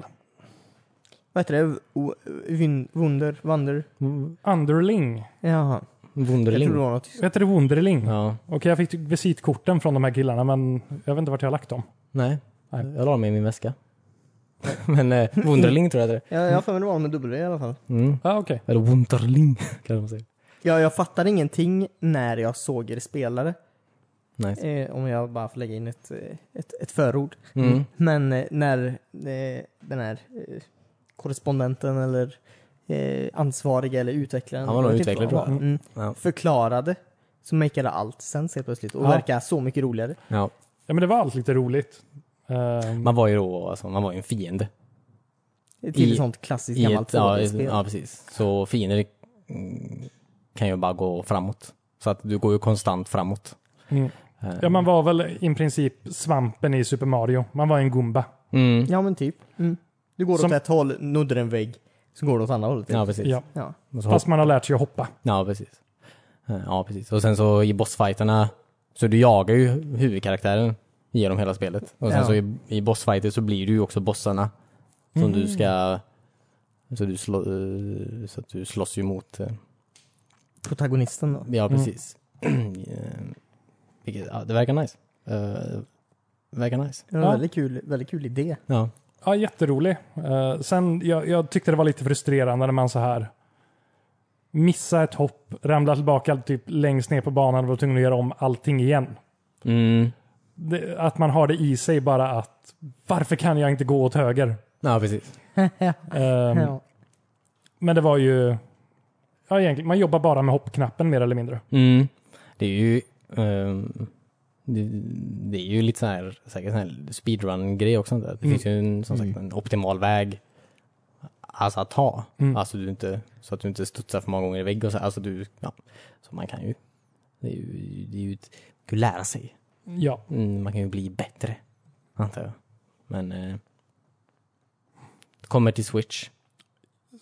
S2: Vad heter det? O- Vin- Wunder? Wander?
S1: Mm.
S3: Underling.
S2: Jaha. Jag
S1: Wunderling.
S2: tror det var något.
S3: Heter det Wunderling?
S1: Ja.
S3: Okej, jag fick visitkorten från de här killarna, men jag vet inte vart jag har lagt dem.
S1: Nej.
S3: Nej.
S1: Jag la dem i min väska. (laughs) Men eh, Wunderling tror jag det är.
S2: Ja, jag har för mig det var med W i alla fall.
S1: Mm.
S3: Ja, okej.
S1: Eller Wunderling (laughs) kan man säga.
S2: Ja, jag fattade ingenting när jag såg er spelare.
S1: Nice.
S2: Eh, om jag bara får lägga in ett, eh, ett, ett förord.
S1: Mm.
S2: Men eh, när eh, den här eh, korrespondenten eller eh, ansvariga eller utvecklaren
S1: Han var nog
S2: jag vet inte vad
S1: utvecklare,
S2: han var, mm,
S1: Ja.
S2: förklarade så makeade allt sens helt plötsligt och
S3: Ja.
S2: verkar så mycket roligare.
S1: Ja.
S3: Ja, men det var allt lite roligt. Ehm,
S1: Man var ju då, alltså, man var ju en fiende.
S2: Till
S1: I-
S2: sånt klassiskt
S1: I
S2: gammalt
S1: ett, ja,
S2: rollspel.
S1: i- ja, precis. Så fiender mm, kan ju bara gå framåt. Så att du går ju konstant framåt.
S3: mm.
S1: Eh,
S3: Ja, man var väl i princip svampen i Super Mario. Man var en Goomba.
S1: Mm.
S2: Ja men typ. Mm. Du går
S3: Som-
S2: åt ett håll, nuddar en vägg, så går du åt andra hållet.
S1: Ja, precis.
S3: Ja.
S2: Ja.
S1: Och så
S3: Fast man har lärt sig att hoppa.
S1: Ja, precis. Eh, Ja, precis. Och sen så i bossfighterna, så du jagar ju huvudkaraktären genom hela spelet. Och sen
S2: Ja.
S1: så i, i bossfighter så blir du ju också bossarna som du ska... Så, du slå, eh, så att du slåss ju mot... eh,
S2: Protagonisten då.
S1: Ja, precis. (clears throat) Eh, Vilket, ja, det verkar nice. Eh, verkar nice.
S2: Det var
S3: Ja.
S2: en väldigt kul, väldigt kul idé.
S1: Ja.
S3: Ja, jätterolig. Eh, sen, jag, jag tyckte det var lite frustrerande när man så här missar ett hopp, ramlar tillbaka typ längst ner på banan och var tvungen att göra om allting igen.
S1: Mm.
S3: Det, att man har det i sig bara att varför kan jag inte gå åt höger?
S1: Ja, precis.
S3: Ehm,
S1: Mm.
S2: Ja.
S3: Men det var ju... Ja, egentligen, man jobbar bara med hoppknappen mer eller mindre.
S1: Mm. Det är ju... ehm, det, det är ju lite så här, säkert sån här speedrun-grej också. Där. Det
S3: Mm.
S1: finns ju en, som sagt en optimal väg alltså att ta.
S3: Mm.
S1: Alltså du inte, så att du inte studsar för många gånger i vägg och så. Alltså du, ja. Så man kan ju... Det är ju, det är ju ett, man kan ju lära sig.
S3: Ja.
S1: Mm, man kan ju bli bättre, antar jag. Men... Eh, det kommer till Switch.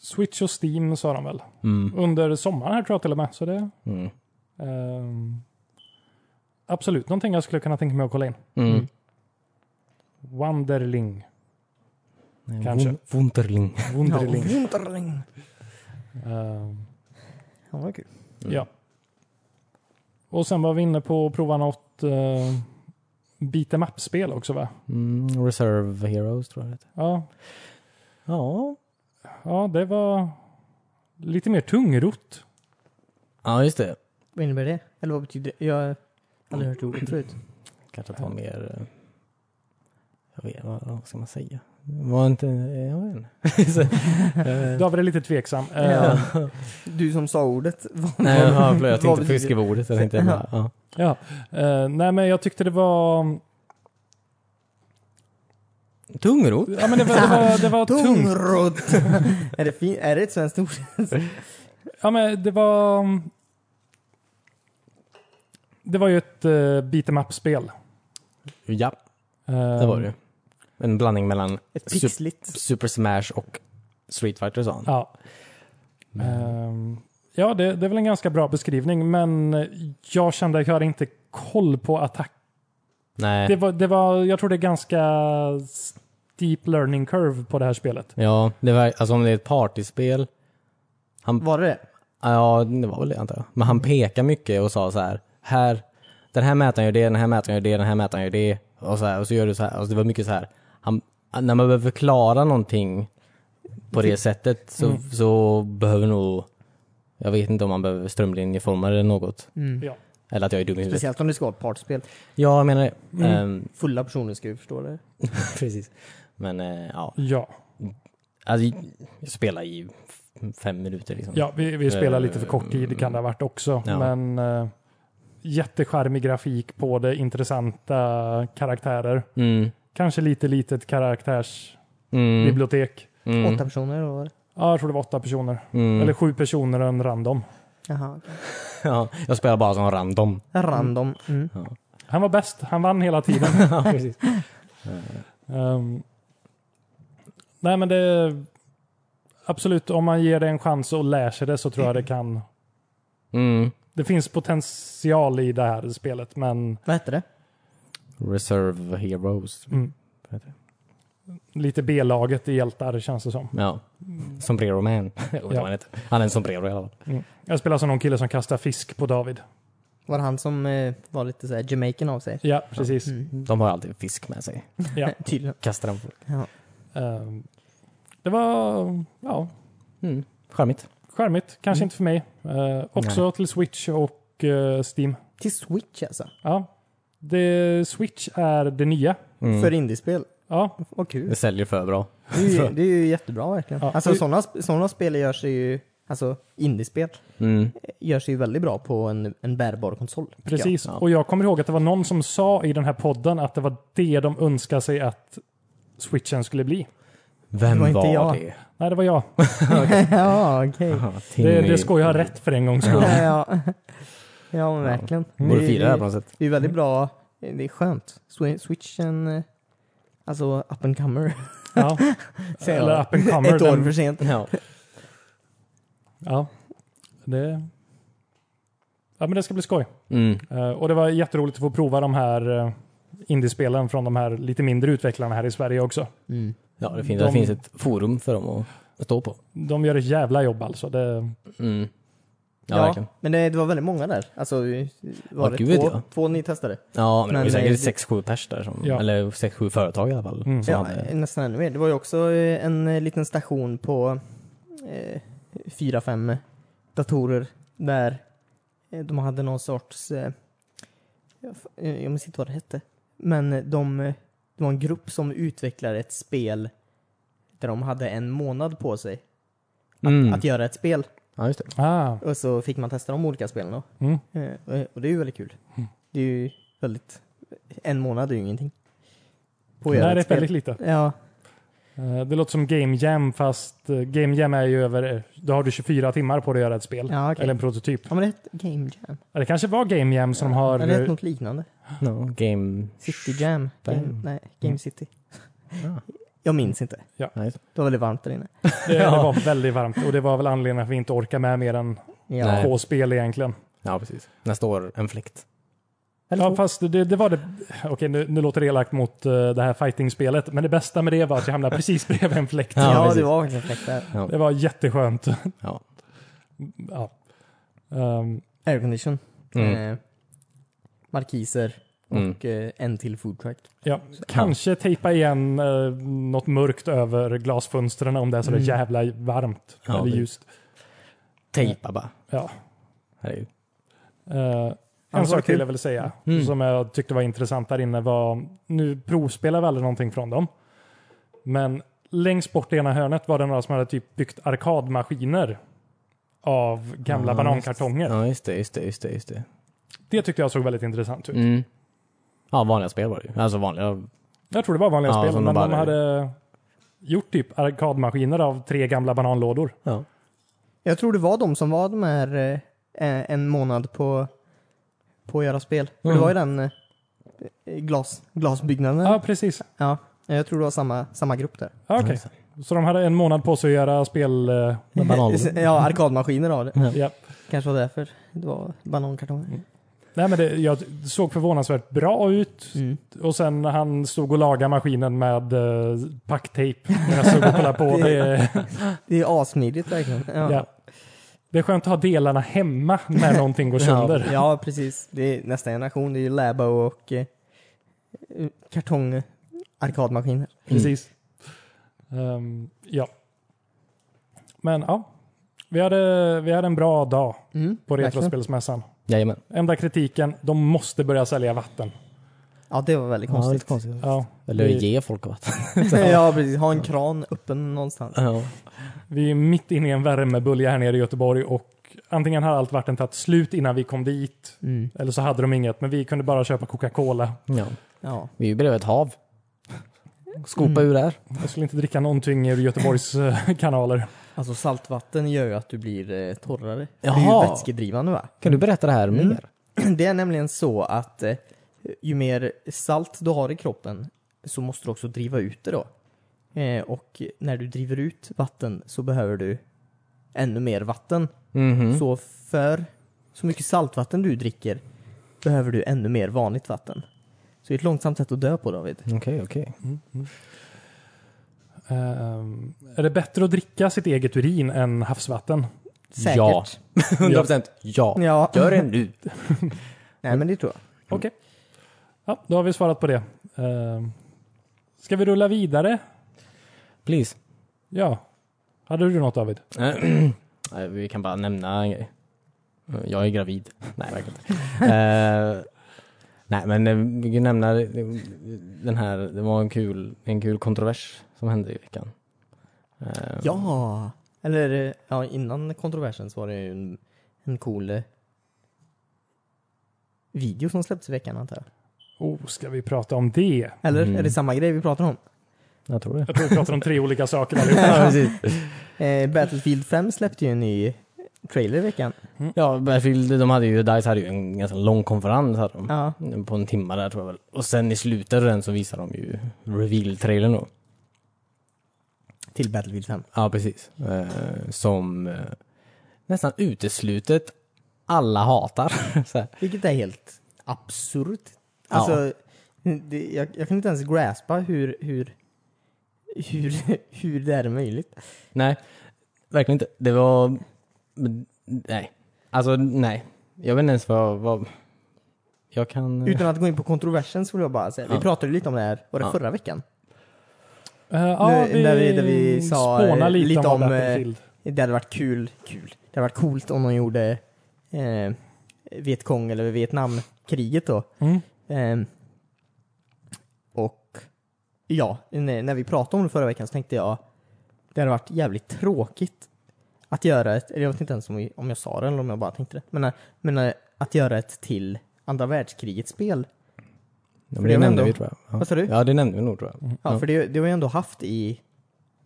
S3: Switch och Steam sa de väl.
S1: Mm.
S3: Under sommaren här tror jag till och med. Så det...
S1: Mm.
S3: ehm, absolut någonting jag skulle kunna tänka mig att kolla in.
S1: Mm.
S3: Wanderling.
S1: Nej,
S3: Kanske.
S1: Wun- Wunderling. (laughs)
S3: Wunderling.
S2: Ja, Wunderling.
S3: Ehm,
S2: Ja, vad kul.
S3: Ja. Och sen var vi inne på att prova något uh, beat em up-spel också va?
S1: Mm, Reserve Heroes tror jag det heter.
S3: Ja,
S1: Ja.
S3: ja, det var lite
S1: (laughs)
S3: mer tungrott.
S1: Ja, just det.
S2: Vad innebär det? Eller vad betyder det? Jag har aldrig hört ordet förut.
S1: Kanske ta mer... eh, Jag vet vad, vad ska man säga? Var inte... eh, Jag vet inte. Så-
S3: David är lite tveksam. Eh,
S2: Ja. Ehm, Du som sa ordet. vad-
S1: Nej, jag,
S2: vad-
S1: jag, jag
S2: vad
S1: tänkte
S2: betyder-
S1: fiska på ordet. Jag tänkte bara, ja.
S3: ja. Eh, nej, men jag tyckte det var...
S1: Tungrot?
S3: Ja, men det var, det var, det var tungt. (laughs)
S2: Tungrot! är, det fin- är det ett svenskt ord?
S3: Ja, men det var... Det var ju ett uh, beat em up-spel.
S1: Ja,
S3: Eh,
S1: det var det. En blandning mellan
S2: Ett
S1: Sup-
S2: pixligt.
S1: Super Smash och Street Fighter sa han.
S3: Ja.
S1: Mm.
S3: Ehm, ja, det, det är väl en ganska bra beskrivning, men jag kände att jag hade inte koll på attack. Det
S1: Nej.
S3: var, det var, jag tror det är ganska steep learning curve på det här spelet.
S1: Ja, det var, alltså om det är ett partyspel
S2: Var det det?
S1: Ja, det var väl det antar jag. Men han pekade mycket och sa så här, här den här mätaren gör det, den här mätaren gör det, den här mätaren gör det. Och så, här, och så gör du så här. Alltså, det var mycket så här. Han, när man behöver förklara någonting på det sättet så,
S3: Mm.
S1: så behöver nog, jag vet inte om man behöver strömlinjeforma det något.
S3: Ja.
S1: Eller att jag är dum i huvudet.
S2: Mm. Speciellt om det ska vara ett partspel.
S1: Ja, jag menar det.
S3: Mm. (laughs)
S1: Ehm,
S2: Fulla personer ska ju förstå det.
S1: precis. Men eh, ja,
S3: Ja,
S1: alltså, jag spelar i f- fem minuter liksom.
S3: ja vi, vi spelar lite för kort tid, kan det ha varit också.
S1: Ja.
S3: Men uh, jättecharmig grafik på det, intressanta karaktärer.
S1: Mm,
S3: Kanske lite litet karaktärsbibliotek.
S1: mm, mm,
S2: Åtta personer och var det?
S3: Ja, jag tror det var åtta personer.
S1: mm.
S3: Eller sju personer och en random.
S2: Jaha. okej.
S1: Ja, jag spelar bara som random.
S2: Random. Mm.
S3: Han var bäst, han vann hela tiden.
S1: Ja, precis.
S3: (laughs) Ehm, nej men det... Absolut, om man ger det en chans och lär sig det så tror jag det kan...
S1: Mm.
S3: Det finns potential i det här spelet men
S2: Vad hette det?
S1: Reserve Heroes.
S3: Mm.
S1: Vad heter
S3: lite B-laget i hjältar känns det som.
S1: det? Ja.
S3: Mm.
S1: Sombrero Man. (laughs) Eller vad
S3: Ja.
S1: han heter. Han är en sombrero i alla fall.
S3: Jag spelar som någon kille som kastar fisk på David.
S2: Var det han som eh, var lite såhär Jamaican av sig?
S3: Ja, precis.
S2: Mm.
S1: De har alltid fisk med sig.
S3: Ja.
S2: Tydligen.
S1: Kastar dem på folk.
S2: Ja.
S3: Ehm, det var ja,
S1: Mm. Charmigt.
S3: charmigt. Kanske inte för mig. Ehm, också till Switch och eh, Steam.
S2: Till Switch alltså?
S3: Ja. Det, Switch är det nya.
S1: Mm.
S2: För indiespel?
S3: Ja,
S2: Vad kul.
S1: Det säljer för bra.
S2: Det
S1: (laughs)
S2: är ju, det är ju jättebra verkligen.
S3: Ja.
S2: Alltså sådana såna spel görs ju, alltså indiespel,
S1: Mm.
S2: görs ju väldigt bra på en, en bärbar konsol. tycker jag. (laughs)
S3: precis.
S1: Ja.
S3: Och jag kommer ihåg att det var någon som sa i den här podden att det var det de önskade sig att Switchen skulle bli.
S1: Vem
S2: Det var
S1: var,
S2: inte jag.
S1: det?
S3: Nej, det var jag.
S2: ja, okej.
S1: Aha,
S3: Det,
S1: Timmy.
S3: det ska jag ha rätt för en gångs skull.
S2: Ja, ja. ja men verkligen.
S1: Borde
S2: Det,
S1: fira det här på
S2: är-
S1: något sätt.
S2: det är väldigt bra. Det är skönt. Swi- Switchen, eh, alltså up and comer.
S3: Ja. Eller up and
S2: (laughs)
S3: comer.
S2: Ett år
S3: Den-
S2: för sent.
S1: Ja.
S3: Ja. Det... Ja, men det ska bli skoj.
S1: Mm.
S3: Eh, och det var jätteroligt att få prova de här uh, indiespelen från de här lite mindre utvecklarna här i Sverige också.
S2: Mm.
S1: ja, det finns,
S3: De-
S1: det finns ett forum för dem att stå på.
S3: De gör ett jävla jobb alltså. Det,
S1: Mm. Ja,
S2: Ja,
S1: verkligen.
S2: men det, det var väldigt många där. Alltså, vi- var
S1: Ja,
S2: det
S1: gud vet
S2: två,
S1: jag.
S2: två ni testade?
S1: Ja, men, det var ju
S2: Men, eh,
S1: säkert sex sju pers där. Som,
S3: Ja.
S1: Eller sex sju företag i alla fall.
S3: Mm.
S1: Som
S2: Ja,
S1: hade,
S2: nästan ännu mer. Det var ju också eh, en eh, liten station på eh, fyra, fem eh, datorer där eh, de hade någon sorts, eh, jag f- eh, jag minns inte vad det hette, men eh, de, eh, det var en grupp som utvecklade ett spel där de hade en månad på sig
S1: mm.
S2: att göra ett spel
S1: ja, just det.
S3: ah,
S2: och så fick man testa de olika spelen då.
S3: mm.
S2: Eh, och- Och det är ju väldigt kul. Det är ju väldigt, en månad är ju ingenting. På att göra
S3: Nej, det
S2: ett
S3: är
S2: spel.
S3: väldigt lite.
S2: Ja,
S3: Eh, det låter som Game Jam fast eh, Game Jam är ju över, eh, då har du 24 timmar på dig att göra ett spel.
S2: ja okej.
S3: Eller en prototyp.
S2: Ja men det hette Game Jam.
S3: Ja, Det kanske var Game Jam som har...
S2: Eller det hette
S3: eh,
S2: något liknande.
S1: No, game...
S2: City Jam. Game,
S1: Bam.
S2: nej,
S3: Mm.
S2: Game City.
S1: Ja.
S2: Jag minns inte.
S1: Ja, just det.
S2: Det var väldigt varmt där inne.
S3: Det, det var väldigt varmt och det var väl anledningen att vi inte orkar med mer än
S2: Ja.
S1: Nej.
S3: två spel egentligen.
S1: ja, precis. Nästa år, en fläkt.
S3: Ja, fast det, det var det... Okej, nu, nu låter det elakt mot eh, det här fighting-spelet, men det bästa med det var att jag hamnade precis bredvid en fläkt.
S1: Ja,
S2: Ja, det
S1: precis.
S2: var verkligen fräckt där.
S1: Ja.
S3: Det var jätteskönt.
S1: Ja.
S3: Ja. Ehm,
S2: Aircondition.
S1: Mm.
S2: Eh, markiser.
S1: Mm.
S2: Och eh, en till food truck.
S3: ja. Kanske tejpa igen eh, något mörkt över glasfönstren om det är så
S2: Mm.
S3: jävla varmt
S1: Ja,
S3: eller
S1: det-
S3: ljust.
S1: Tejpa bara.
S3: Ja.
S1: Herregud.
S3: Eh, en
S2: var
S3: sak
S2: kul.
S3: till jag vill säga
S1: Mm.
S3: som jag tyckte var intressant där inne var, nu provspelar vi aldrig någonting från dem, men längst bort i ena hörnet var det några som hade typ byggt arkadmaskiner av gamla
S1: Ja,
S3: banankartonger.
S1: Ja, just det, just det, just det. Just det.
S3: Det tyckte jag såg väldigt intressant ut.
S1: Mm. Ja, vanliga spel var det ju. Alltså vanliga...
S3: Jag tror det var vanliga
S1: Ja,
S3: spel,
S1: som
S3: men
S1: de
S3: de,
S1: bara-
S3: hade gjort typ arkadmaskiner av tre gamla bananlådor.
S1: Ja.
S2: Jag tror det var de som var de här eh, en månad på, på att göra spel. För
S1: Mm.
S2: det var ju den eh, glas, glasbyggnaden.
S3: Ja,
S2: Ja.
S3: precis.
S2: Jag tror det var samma, samma grupp där.
S3: Ja, Okej. Så de hade en månad på sig att göra spel. eh,
S1: Med (laughs) banan.
S2: (laughs) ja, arkadmaskiner av det.
S3: Ja.
S2: Kanske var därför det var banankartonger.
S3: Nej, men det, jag det såg förvånansvärt bra ut.
S2: Mm.
S3: Och sen när han stod och lagade maskinen med eh, packtejp när jag stod och
S2: (laughs)
S3: kollade på. Det,
S2: Det är assmidigt verkligen. Ja.
S3: ja. det är skönt att ha delarna hemma
S2: (laughs)
S3: när någonting går sönder.
S2: Ja, mm. precis. Det är nästa generation. Det är ju Läba och eh, kartongarkadmaskiner.
S3: Precis. Ehm, ja. Men ja, vi hade, vi hade en bra dag
S2: Mm,
S3: på
S2: verkligen.
S3: Retrospelsmässan.
S1: Jajamän.
S3: Enda kritiken, de måste börja sälja vatten.
S2: Ja, det var väldigt konstigt.
S1: konstigt.
S3: Ja,
S1: Eller
S3: vi,
S1: ge folk vatten.
S2: (laughs) ja, precis. Ha en kran öppen någonstans.
S1: (laughs) Ja.
S3: vi är mitt inne i en värmebölja här nere i Göteborg och antingen har allt vatten tagit slut innan vi kom dit
S2: Mm.
S3: eller så hade de inget, men vi kunde bara köpa Coca-Cola.
S1: ja.
S2: Ja.
S1: Vi är ju bredvid ett hav. Skopa ur där.
S3: Jag skulle inte dricka någonting ur Göteborgs eh, kanaler.
S2: Alltså saltvatten gör ju att du blir eh, torrare. Det är
S1: Jaha.
S2: ju vätskedrivande va?
S1: Kan du berätta det här mer?
S2: (clears throat) Det är nämligen så att eh, ju mer salt du har i kroppen så måste du också driva ut det då. Eh, och när du driver ut vatten så behöver du ännu mer vatten.
S1: Mhm.
S2: Så för så mycket saltvatten du dricker behöver du ännu mer vanligt vatten. Så det är ett långsamt sätt att dö på David.
S1: Okej, okej.
S3: Ehm, är det bättre att dricka sitt eget urin än havsvatten?
S2: Säkert.
S1: Ja. (laughs) 100 procent ja.
S2: Ja.
S1: Gör det nu.
S2: (laughs) Nej men det tror jag.
S3: Okej. Ja, då har vi svarat på det. Ehm, ska vi rulla vidare?
S1: Please.
S3: Ja. Hade du något David?
S1: Eh, nej, Vi kan bara nämna en grej. Eh, Jag är gravid. (laughs) Nej, verkligen inte. Eh, nej, men eh, vi kan nämna eh, den här. Det var en kul, en kul kontrovers som hände i veckan. Eh,
S2: Ja! Eller eh, ja, innan kontroversen så var det ju en, en cool eh, video som släpptes i veckan antar jag.
S3: Oh, ska vi prata om det?
S2: Eller
S1: Mm.
S2: är det samma grej vi pratar om?
S1: Jag tror det.
S3: Jag tror vi pratar om tre olika saker allihop.
S1: (laughs)
S3: (laughs)
S1: Ja, precis.
S2: (laughs) Eh, Battlefield 5 släppte ju en ny trailer i veckan.
S1: Ja, Battlefield, de hade ju, DICE hade ju en ganska lång konferens hade de.
S2: Ja.
S1: På en timme där tror jag väl. Och sen i slutet av den så visar de ju reveal-trailern då.
S2: Till Battlefield 5.
S1: Ja, precis. Eh, som eh, nästan uteslutet alla hatar. så här.
S2: Vilket är helt absurt. Alltså, det, jag, jag kan inte ens graspa hur, hur, hur, (laughs) hur det är möjligt.
S1: Nej, verkligen inte. Det var... men, Nej. Alltså, nej. Jag vet inte ens vad... vad... Jag kan...
S2: Utan att gå in på kontroversen så vill jag bara säga, vi
S1: Mm. Ja.
S2: pratade lite om det här, var det
S1: Ja.
S2: förra veckan?
S3: Eh, ja,
S2: Nu- där vi- där vi sa,
S3: spånar
S2: eh,
S3: lite,
S2: lite om,
S3: om,
S2: eh,
S3: Battlefield.
S2: Det hade varit kul, kul. Det hade varit coolt om de gjorde eh, Vietkong eller Vietnamkriget då.
S3: Mm.
S2: Ehm, och ja, när när vi pratade om det förra veckan så tänkte jag det hade varit jävligt tråkigt att göra ett, eller jag vet inte ens om, vi, om jag sa det eller om jag bara tänkte det, men, eh, men eh, att göra ett till andra världskrigets spel.
S1: Ja, men
S2: för det
S1: det
S2: var
S1: nämnde
S2: ändå-
S1: vi tror jag. Ja.
S2: Vad sa du? Mm.
S1: Ja, det nämnde vi nog tror jag.
S2: Ja, för det, det har vi ändå haft i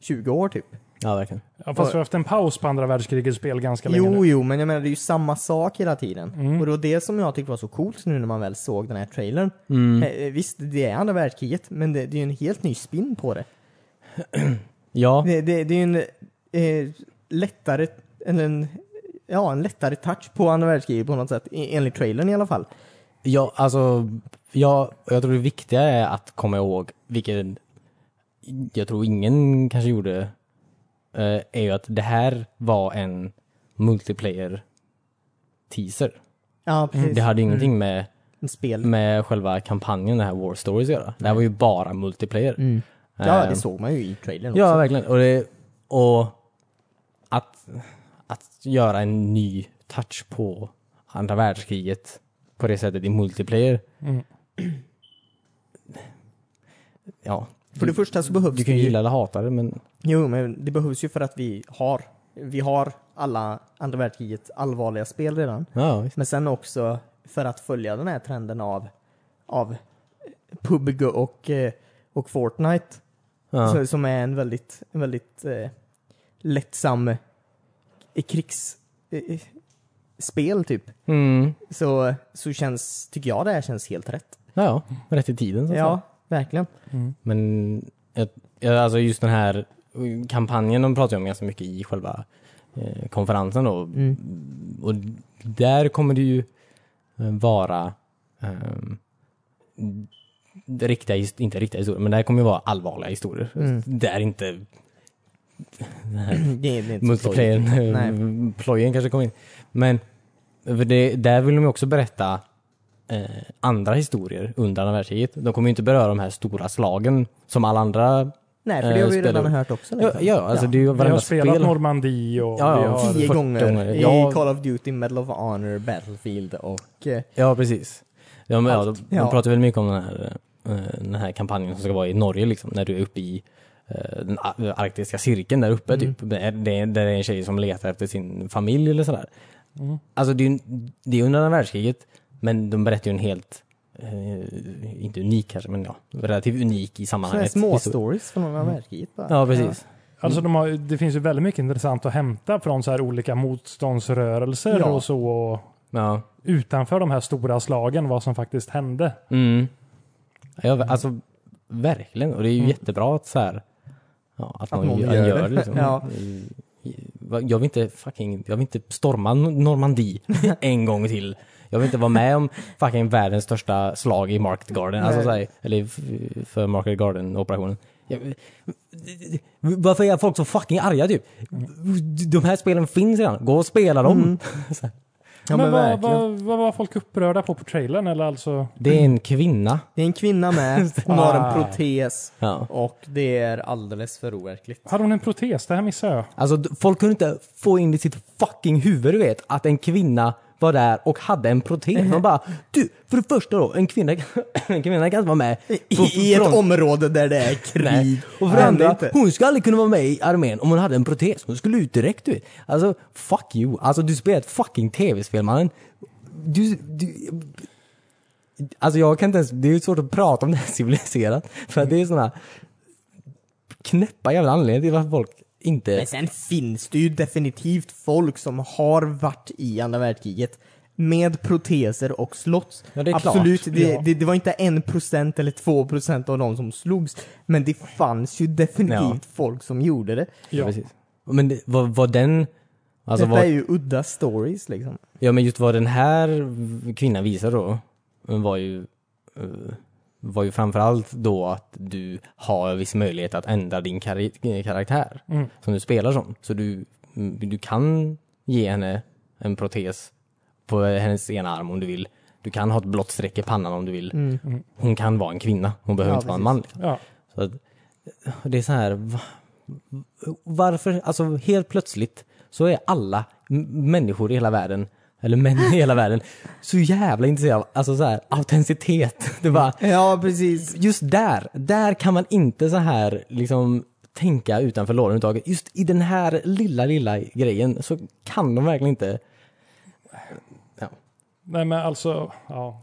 S2: 20 år typ.
S1: Ja, verkligen.
S3: Ja, fast vi har haft en paus på andra världskrigets spel ganska länge
S2: Jo,
S3: nu. Mm.
S2: jo, men jag menar det är ju samma sak hela tiden.
S1: Mm.
S2: Och det var det som jag tyckte var så coolt nu när man väl såg den här trailern.
S1: Mm.
S2: Eh, eh, Visst, det är andra världskriget, men det, det är ju en helt ny spin på det.
S1: Ja,
S2: Det, det, det är ju en eh, lättare, eller en, ja, en lättare touch på andra världskriget på något sätt, e- enligt trailern i alla fall.
S1: ja alltså... Ja, jag tror det viktiga är att komma ihåg, vilket jag tror ingen kanske gjorde, eh, är ju att det här var en multiplayer-teaser.
S2: Ja, precis. Mm.
S1: Det hade ingenting med
S2: En spel.
S1: med själva kampanjen, det här War Stories att göra. Det här var ju bara multiplayer.
S2: Mm. Ja, det
S1: Eh,
S2: såg man ju i trailern också.
S1: ja verkligen. Och, det, och att, att göra en ny touch på andra världskriget på det sättet i multiplayer.
S2: Mm.
S1: (clears throat) Ja,
S2: För det första så behövs
S1: du kan
S2: det
S1: ju
S2: ju-
S1: gilla eller hata det men
S2: Jo, men det behövs ju för att vi har, vi har alla andra världskriget allvarliga spel redan.
S1: ja, visst.
S2: Men sen också för att följa den här trenden av, av PubG och, eh, och Fortnite.
S1: Ja.
S2: Så, som är en väldigt, en väldigt eh, lättsam eh, krigsspel eh, spel, typ.
S1: Mm.
S2: Så, så känns, tycker jag det här känns helt rätt.
S1: Ja, ja, rätt i tiden så att säga.
S2: Ja, verkligen. (clears throat)
S1: Men jag, jag, alltså just den här eh, kampanjen de pratar ju om ganska mycket i själva eh, konferensen då. Och där kommer det ju eh, vara ehm, riktiga, his- inte riktiga historier, men där kommer ju vara allvarliga historier. Där inte
S2: Det, är- det är inte så
S1: multiplayern, (laughs) plojen kanske kommer in. Men för det, där vill de ju också berätta eh, andra historier under andra världskriget. De kommer ju inte beröra de här stora slagen som alla andra
S2: Nej, för det har
S1: eh,
S2: vi ju
S1: spel-
S2: redan hört liksom. också.
S1: Ja, ja alltså det är ju
S3: Vi har
S1: varenda spel.
S3: spelat Normandie och
S1: Ja, ja.
S3: vi har...
S2: Tio
S1: 40
S2: gånger,
S1: gånger.
S2: i
S1: Ja.
S2: Call of Duty, Medal of Honor, Battlefield och... eh,
S1: Ja, precis. Ja, men, ja, de,
S2: Ja.
S1: de pratar väl mycket om den här, eh, den här kampanjen som ska vara i Norge, liksom, när du är uppe i eh, den a- arktiska cirkeln där
S2: Mm.
S1: uppe, typ. Det är- det är- Där det är en tjej som letar efter sin familj eller sådär.
S2: Mm.
S1: Alltså, det är, ju- det är under andra världskriget, men de berättar ju en helt, eh, inte unik kanske, men ja, relativt unik i
S2: Sådana här
S1: sammanhanget.
S2: små
S1: historia.
S2: stories från andra världskriget bara.
S1: Mm. Ja, precis.
S3: Alltså de har, det finns ju väldigt mycket intressant att hämta från så här olika motståndsrörelser
S2: Ja.
S3: och så. Och
S1: Ja.
S3: utanför de här stora slagen, vad som faktiskt hände.
S1: Mm. Ja, alltså Verkligen, och det är ju
S2: Mm.
S1: jättebra att så här, ja, att, någon,
S2: någon
S1: gör,
S2: gör
S1: gör,
S2: det.
S1: det. Liksom.
S2: (laughs) Ja.
S1: Va- Jag vill inte fucking, jag vill inte storma N-
S2: (laughs)
S1: Normandie en gång till. Jag vill inte vara med om fucking världens största slag i Market Garden, alltså,
S2: Nej.
S1: så här, eller f- för Market Garden-operationen. Jag- Varför är folk så fucking arga typ?
S2: Mm.
S1: De här spelen finns redan, gå och spela dem! Så här.
S2: Ja, men,
S3: men vad,
S2: verkligen.
S3: vad, vad var folk upprörda på på trailern? Eller alltså,
S1: Det är en kvinna.
S2: Det är en kvinna med, hon har en
S3: Ah.
S2: protes
S1: Ja.
S2: och det är alldeles för overkligt.
S3: hade hon en protes? Det här missade jag.
S1: Alltså d- folk kunde inte få in i sitt fucking huvud du vet att en kvinna var där och hade en protes. Man bara, du, för det första då, en kvinna, en kvinna kan (clears throat) inte vara med
S2: I,
S1: på-
S2: I ett
S1: från-
S2: område där det är
S1: Nej.
S2: krig.
S1: Och för
S2: Det
S1: det
S2: händer
S1: andra,
S2: inte.
S1: hon skulle aldrig kunna vara med i armén om hon hade en protes. Hon skulle ut direkt du vet. Alltså, fuck you. Alltså du spelar ett fucking tv-spel mannen. Du, du, alltså jag kan inte ens, det är ju svårt att prata om det här (laughs) civiliserat. För att det är sådana knäppa jävla anledningar till varför folk inte...
S2: Men sen finns det ju definitivt folk som har varit i andra världskriget med proteser och slotts.
S1: Ja, det är klart.
S2: Absolut, det,
S3: Ja.
S2: det, det var inte en procent eller två procent av de som slogs. Men det fanns ju definitivt
S1: Ja.
S2: folk som gjorde det.
S1: Ja.
S3: Ja.
S1: Precis. Men det- vad, vad den... Alltså
S2: Detta är
S1: vad,
S2: ju udda stories liksom.
S1: Ja men just vad den här kvinnan visar då var ju, eh, var ju framförallt då att du har viss möjlighet att ändra din kari- karaktär
S3: Mm.
S1: som du spelar som. Så du, mm, du kan ge henne en protes på hennes ena arm om du vill. Du kan ha ett blått streck i pannan om du vill. Hon kan vara en kvinna, hon behöver
S2: Mm. Ja,
S1: inte vara en
S2: precis.
S1: man. Liksom.
S3: Ja.
S1: Så att, det är så här, va, varför, alltså helt plötsligt så är alla m- människor i hela världen, eller män i hela världen, så jävla intresserade av alltså så här, autenticitet. (laughs) Det var
S2: Ja, precis.
S1: just där, där kan man inte så här liksom tänka utanför lådan överhuvudtaget. Just i den här lilla, lilla grejen så kan de verkligen inte.
S3: Nej men alltså, ja.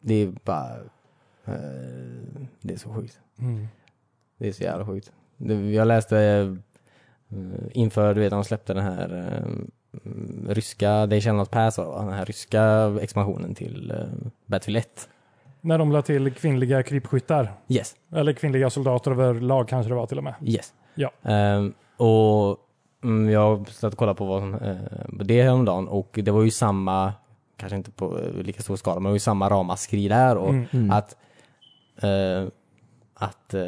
S1: Det är bara, eh, det är så sjukt.
S3: Mm.
S1: Det är så jävla sjukt. Det- Jag läste eh, inför, du vet, de släppte den här eh, mm, ryska, They shall not pass, va? den här ryska expansionen till eh, Battlefield 1.
S3: När de la till kvinnliga krypskyttar.
S1: Yes,
S3: Eller kvinnliga soldater överlag kanske det var till och med.
S1: yes.
S3: Ja.
S1: Ehm, och mm, jag satt och kollade på vad som, eh, på det häromdagen och det var ju samma, kanske inte på eh, lika stor skala, men det var ju samma ramaskri där och
S3: Mm.
S1: att, eh, att eh,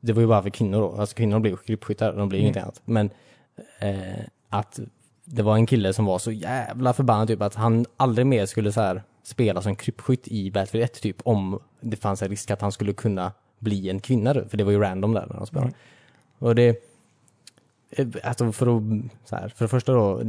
S1: det var ju bara för kvinnor då, alltså kvinnor blir ju krypskyttar, de blir ju
S3: Mm.
S1: ingenting annat. Men eh, att det var en kille som var så jävla förbannad typ att han aldrig mer skulle så här spela som krypskytt i Battlefield 1 typ om det fanns en risk att han skulle kunna bli en kvinna då, för det var ju random där när han spelade.
S3: Mm.
S1: Och det, eh, alltså för att, så här, för det första då,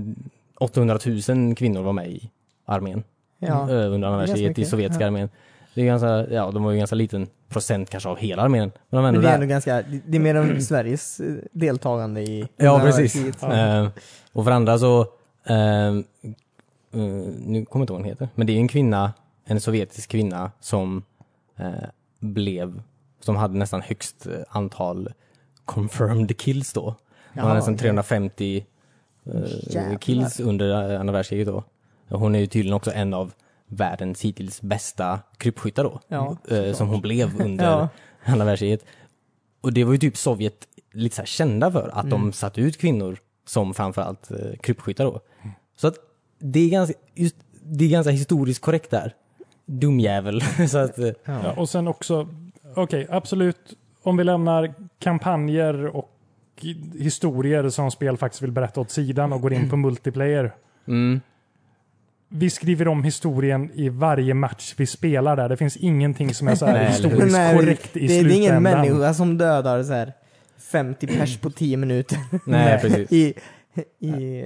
S1: 800 000 kvinnor var med i armén
S2: Ja.
S1: eh, under andra
S2: ganska
S1: världskriget i
S2: mycket,
S1: sovjetiska
S2: ja.
S1: armén. Det är ganska, ja, de var ju ganska liten procent kanske av hela armén. Men de var ändå
S2: Men det är
S1: där.
S2: ändå ganska, det det är mer än Sveriges eh, deltagande i
S1: Ja,
S2: andra
S1: precis.
S2: världskriget.
S1: Eh, och för andra så, ehm, eh, nu kommer jag inte ihåg vad hon heter, men det är en kvinna, en sovjetisk kvinna som eh, blev, som hade nästan högst eh, antal confirmed kills då. Hon
S2: Jaha,
S1: hade nästan
S2: okej.
S1: 350
S2: Jävlar.
S1: eh, kills under eh, andra världskriget då. Hon är ju tydligen också en av världens hittills bästa krypskyttar då.
S2: Ja,
S1: eh, som hon
S2: (laughs)
S1: blev under
S2: Ja.
S1: andra världskriget. Och det var ju typ Sovjet lite så här kända för, att
S2: Mm.
S1: de satte ut kvinnor som framförallt eh, krypskyttar då. Så att det är ganska, just, det är ganska historiskt korrekt där. Dumjävel. (laughs) så att, eh,
S3: Ja, och sen också, okej, absolut, om vi lämnar kampanjer och historier som spel faktiskt vill berätta åt sidan och går in på multiplayer.
S1: mm,
S3: Vi skriver om historien i varje match vi spelar där. Det finns ingenting som är så
S1: Nej,
S3: här
S1: eller hur?
S2: (laughs)
S3: historiskt
S2: Nej,
S3: korrekt
S2: det,
S3: i
S2: det är ingen
S3: slutändan.
S2: människa som dödar så här 50 pers på 10 minuter
S1: nej,
S2: (laughs)
S1: precis.
S2: i, i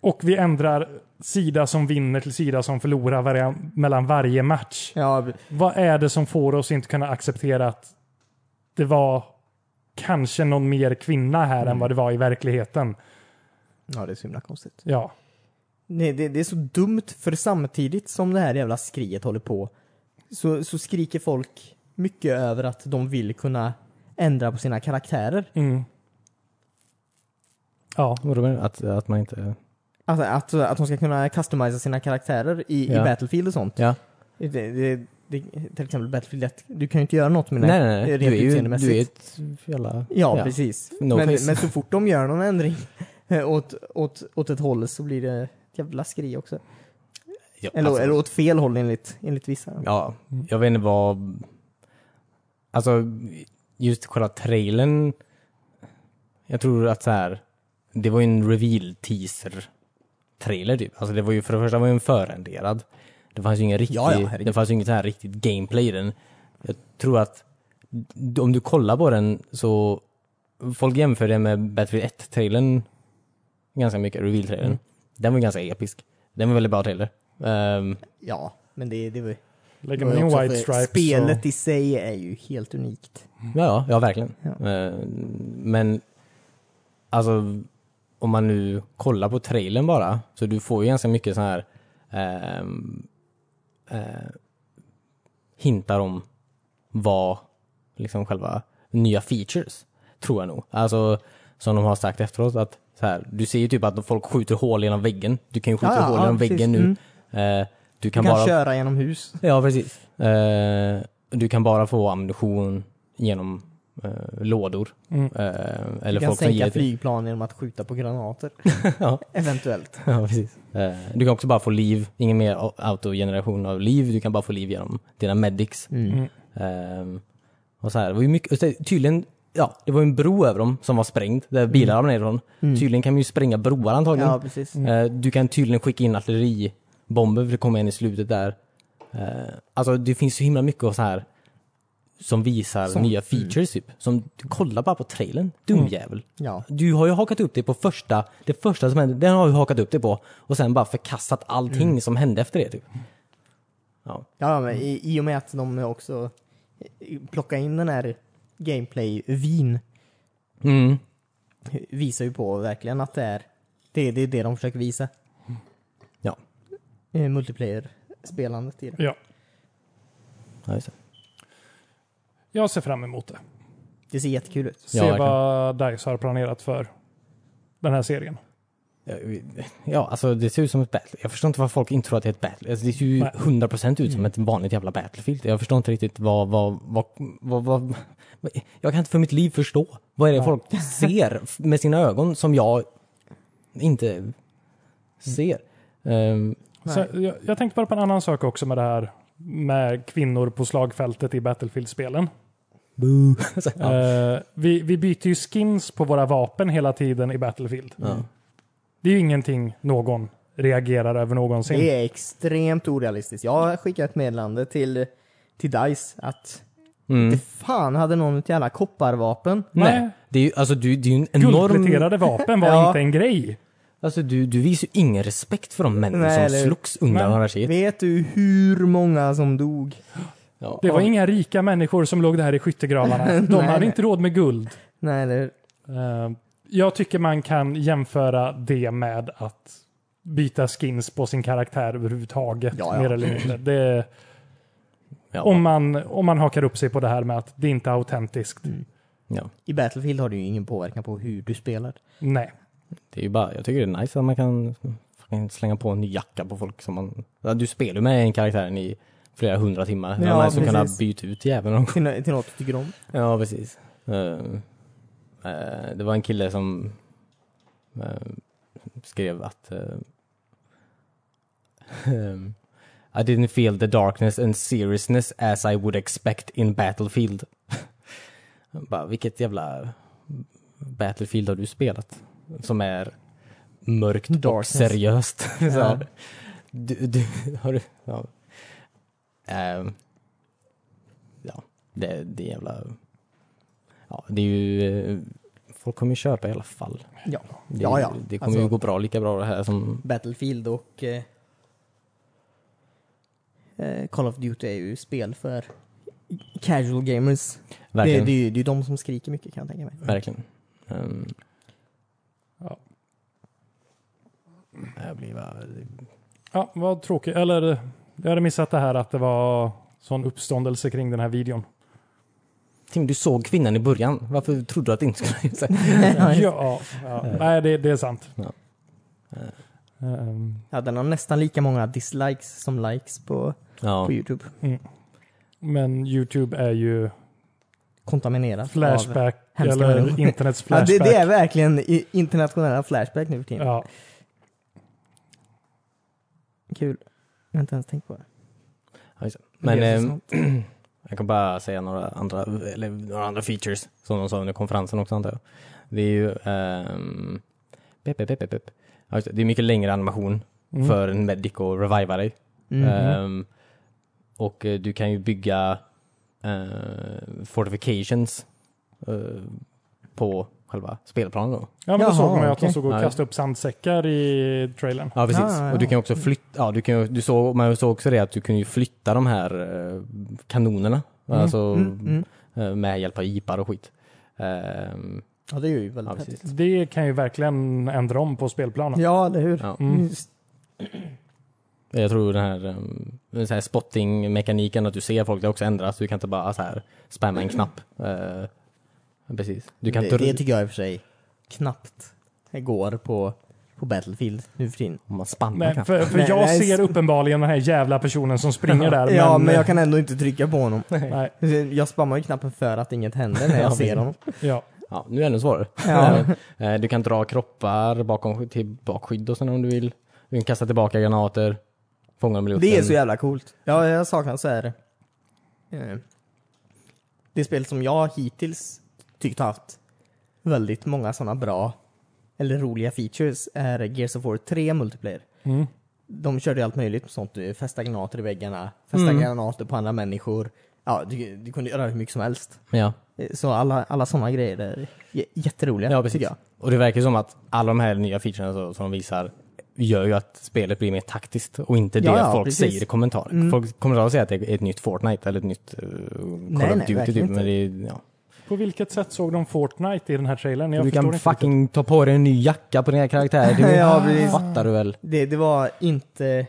S3: Och vi ändrar sida som vinner till sida som förlorar varje, mellan varje match.
S2: ja,
S3: Vad är det som får oss inte kunna acceptera att det var kanske någon mer kvinna här
S1: Mm.
S3: än vad det var i verkligheten?
S2: ja, det är så himla konstigt.
S3: Ja.
S2: Nej, det, det är så dumt för samtidigt som det här jävla skriet håller på så, så skriker folk mycket över att de vill kunna ändra på sina karaktärer.
S3: Mm. Ja.
S1: Vadå menar du? Att, att man inte...
S2: Alltså att, att de ska kunna customisa sina karaktärer i, i
S1: Ja.
S2: Battlefield och sånt.
S1: Ja.
S2: Det, det, det, till exempel Battlefield 1, du kan ju inte göra något med det
S1: Nej, nej, nej.
S2: rent
S1: Du är ju
S2: utseendemässigt.
S1: du är ett jävla...
S2: Ja, precis.
S1: No
S2: men,
S1: face.
S2: men så fort de gör någon ändring (laughs) eh, åt, åt, åt ett håll så blir det ett jävla skri också.
S1: Ja,
S2: Eller,
S1: alltså,
S2: eller åt fel håll enligt, enligt vissa.
S1: ja, jag vet inte vad... Alltså, just själva trailern. Jag tror att så här, det var ju en reveal teaser trailer typ. Alltså det var ju, för det första var ju en förrenderad. Det fanns ju ingen riktig,
S2: Ja, ja, herregud.
S1: det fanns ju inget så här riktigt gameplay i den. Jag tror att d- om du kollar på den så, folk jämför den med Battlefield 1-trailern ganska mycket, reveal-trailern.
S2: Mm.
S1: Den var ganska episk. Den var en väldigt bra trailer. Ehm,
S2: Ja, men det, det var ju... det
S3: Lägger man
S2: var ju
S3: in
S2: också
S3: White
S2: för
S3: Stripes
S2: Spelet i sig är ju helt unikt.
S1: Ja, ja, ja verkligen.
S2: Ja.
S1: Eh, Men alltså om man nu kollar på trailern bara, så du får ju ganska mycket så här ehm, eh, hintar om vad liksom själva nya features, tror jag nog. Alltså som de har sagt efteråt, att så här, du ser ju typ att folk skjuter hål genom väggen. Du kan ju skjuta
S2: Ja, ja,
S1: hål
S2: ja,
S1: genom
S2: precis.
S1: väggen nu.
S2: Mm.
S1: Eh, du
S2: Du
S1: kan,
S2: kan
S1: bara
S2: köra genom hus.
S1: Ja, precis. Eh, du kan bara få ammunition genom eh, lådor.
S3: och, mm.
S1: Eh,
S2: Du
S1: eller
S2: kan
S1: folk som
S2: sänka
S1: ger
S2: flygplan genom att skjuta på granater.
S1: (laughs) ja,
S2: Eventuellt.
S1: (laughs) ja, precis. Eh, du kan också bara få liv. Ingen mer au- autogeneration av liv. Du kan bara få liv genom dina medics.
S3: Mm.
S1: Eh, och så här. Det var ju mycket, och så- tydligen, ja, det var ju en bro över dem som var sprängd, där bilar
S2: Mm.
S1: ramlade ner från. Tydligen kan man ju spränga broar antagligen.
S2: Ja, mm. precis.
S1: Eh, Du kan tydligen skicka in artilleribomber för det kommer en i slutet där. Eh, Alltså det finns så himla mycket och så här som visar nya features typ. Som, du kollar bara på trailern, dum jävel.
S2: Ja.
S1: Du har ju hakat upp det på första, det första som hände, den har du hakat upp det på. Och sen bara förkastat allting som hände efter det typ. Ja.
S2: Ja, men i, i och med att de också eh, plockar in den här gameplay-vin (laughs)
S1: Mm.
S2: visar ju på verkligen att det är det, det, är det de försöker visa.
S1: Ja.
S2: Eh, Multiplayer-spelandet i det.
S3: ja.
S1: ja, just det.
S3: Jag ser fram emot det.
S2: Det ser jättekul ut.
S3: Se
S1: Ja, verkligen.
S3: vad DICE har planerat för den här serien.
S1: Ja, vi- Ja, alltså det ser ut som ett battle. Jag förstår inte varför folk inte tror att det är ett battle. Alltså, det ser ju
S3: Nej. Mm.
S1: 100% ut som ett vanligt jävla Battlefield. Jag förstår inte riktigt vad, vad, vad, vad, vad Jag kan inte för mitt liv förstå. Vad är det
S3: Nej.
S1: folk ser med sina ögon som jag
S3: Mm.
S1: inte ser? Ehm,
S3: Så jag, jag tänkte bara på en annan sak också med det här med kvinnor på slagfältet i Battlefield-spelen.
S1: (laughs) så, ja.
S3: Eh, vi, vi byter ju skins på våra vapen hela tiden i Battlefield.
S1: Ja.
S3: Det är ju ingenting någon reagerar över någonsin.
S2: Det är extremt orealistiskt. Jag har skickat ett meddelande till, till DICE att
S1: Mm.
S2: inte fan hade någon ett jävla kopparvapen?
S1: Nej,
S3: Nej.
S1: det är ju alltså, du, det är ju en enorm...
S3: Guldpläterade vapen
S2: (laughs)
S3: var
S2: Ja.
S3: inte en grej.
S1: Alltså, du, du visar ju ingen respekt för de männen
S2: Nej,
S1: som
S2: eller-
S1: slogs under
S3: Nej.
S1: andra världskriget.
S2: Vet du hur många som dog?
S1: Ja.
S3: Det var inga rika människor som låg där
S2: (laughs)
S3: i skyttegravarna. De
S2: Nej,
S3: hade
S2: nej.
S3: inte råd med guld.
S2: Nej, eller
S3: Eh, jag tycker man kan jämföra det med att byta skins på sin karaktär överhuvudtaget.
S2: Ja, ja.
S3: Mer eller mindre. Det,
S1: Ja.
S3: om, man, om man hakar upp sig på det här med att det inte är autentiskt.
S1: Ja.
S2: I Battlefield har det ju ingen påverkan på hur du spelar.
S3: Nej.
S1: Det är ju bara, jag tycker det är nice att man kan fucking slänga på en ny jacka på folk som man... Ja, Du spelar ju med en karaktären i flera hundra timmar. Det är
S2: Ja,
S1: nice att kunna
S2: precis.
S1: byta ut jäveln någon gång.
S2: Till, nå- till något du tycker om.
S1: Ja, precis. Ehm, eh, det var en kille som ehm, skrev att eh, ehm, (laughs) I didn't feel the darkness and seriousness as I would expect in Battlefield. (laughs) Bara, vilket jävla Battlefield har du spelat? Som är mörkt och
S2: Darkness.
S1: seriöst. (laughs) Så
S2: Ja.
S1: här. du, du, (laughs) har du, ja. Ehm, ja, det, det är jävla... Ja, det är ju... eh, Folk kommer ju köpa i alla fall.
S2: Ja,
S1: Det,
S2: ja. ja.
S1: det kommer
S2: Alltså-
S1: ju gå bra, lika bra det här som...
S2: Battlefield och eh, eh, Call of Duty är ju spel för casual gamers. Det, det,
S1: Verkligen.
S2: är ju- det är ju de som skriker mycket kan jag (laughs) tänka mig.
S1: Verkligen. Ehm,
S3: Ja.
S1: jag blir bara...
S3: Ja, vad tråkigt. Eller, jag hade missat det här att det var sån uppståndelse kring den
S2: (laughs)
S3: här videon.
S1: Tim, du såg kvinnan i början. Varför trodde du att det inte skulle... (laughs) Så här,
S3: ja, ja.
S2: Eh.
S3: Nej, det, det är sant.
S1: Ja.
S3: Ehm,
S2: Ja, den har nästan lika många dislikes som likes på,
S1: ja.
S2: på Youtube.
S3: Men YouTube är ju
S2: Kontaminerat. av-
S3: Flashback
S2: hemska
S3: eller
S2: människor.
S3: internets
S2: (laughs) Ja,
S3: flashback.
S2: det, det är verkligen i- internationella Flashback nu för tiden.
S3: Ja.
S2: Kul. Jag har inte ens tänkt på det.
S1: Men
S2: Det är så
S1: ehm,
S2: sant.
S1: Jag kan bara säga några andra, eller några andra features som de sa under konferensen också antar jag. Det är ju... ehm, pep, pep, pep, pep, pep. Ja, just det. Det är mycket längre animation
S3: Mm.
S1: för en medic att reviva dig.
S2: Mhm.
S1: Ehm, och eh, du kan ju bygga eh, fortifications eh, på själva spelplanen då.
S3: ja, men då
S2: Jaha,
S3: såg man ju att de
S2: okej.
S3: såg och
S1: Ja.
S3: kastade upp sandsäckar i trailern.
S1: Ja precis.
S2: Ah, ja.
S1: Och du kan ju också flytta, ja du kan ju, du såg, man såg också det att du kunde ju flytta de här eh, kanonerna.
S2: Mm,
S1: Alltså
S2: mm, mm.
S1: eh, med hjälp av jeepar och skit. Ehm,
S2: Ja, det är ju
S1: ja,
S2: väldigt häftigt.
S1: precis.
S3: Det kan ju verkligen ändra om på spelplanen.
S2: Ja, eller hur?
S1: Ja.
S3: Mm.
S2: Just-
S1: Jag tror den här, ehm, den här spotting-mekaniken, att du ser folk, det har också ändras. Du kan inte bara så här spamma en knapp. Eh, precis. Du kan
S2: det,
S1: inte...
S2: det tycker jag i och för sig knappt går på, på Battlefield nu för tiden.
S1: Om man spammar
S3: Nej,
S1: knappen.
S3: för för
S2: Nej,
S3: jag
S2: nej,
S3: ser
S2: s-
S3: uppenbarligen den här jävla personen som springer
S2: (laughs)
S3: där.
S2: ja,
S1: eh,
S2: men jag kan ändå inte trycka på honom.
S3: Nej,
S2: Jag spammar ju knappen för att inget händer när (laughs)
S1: Ja,
S2: jag ser
S1: men-
S2: honom.
S3: ja.
S1: Ja, nu är det ännu svårare.
S2: Ja.
S1: (laughs) Eh, du kan dra kroppar bakom, till bakskydd och sådär om du vill. Du kan kasta tillbaka granater. Fånga dem i luften.
S2: Det är så jävla coolt. Ja, jag saknar så här. eh, Det spel som jag hittills tyckt haft väldigt många sådana bra eller roliga features är Gears of War 3 multiplayer.
S3: Mm.
S2: De körde ju allt möjligt sånt. du Fästa granater i väggarna, fästa
S1: Mm.
S2: granater på andra människor. Ja, du, du kunde göra hur mycket som helst.
S1: Ja.
S2: Eh, Så alla, alla sådana grejer är j- jätteroliga
S1: ja,
S2: tycker
S1: precis.
S2: jag.
S1: Och det verkar som att alla de här nya featurerna så- som de visar gör ju att spelet blir mer taktiskt och inte det
S2: Ja, ja,
S1: att folk
S2: precis.
S1: säger i kommentarer. Folk kommentarer säger att det är ett nytt Fortnite eller ett nytt uh, Call
S2: nej,
S1: of Duty typ.
S2: verkligen
S1: Men det är, ja.
S3: På vilket sätt såg de Fortnite i den här trailern? Jag
S1: Du
S3: förstår
S1: kan
S3: inte riktigt.
S1: fucking ta på dig en ny jacka på den här karaktären. Det
S2: (laughs) Ja, precis.
S1: fattar du väl?
S2: Det, det var inte, eh,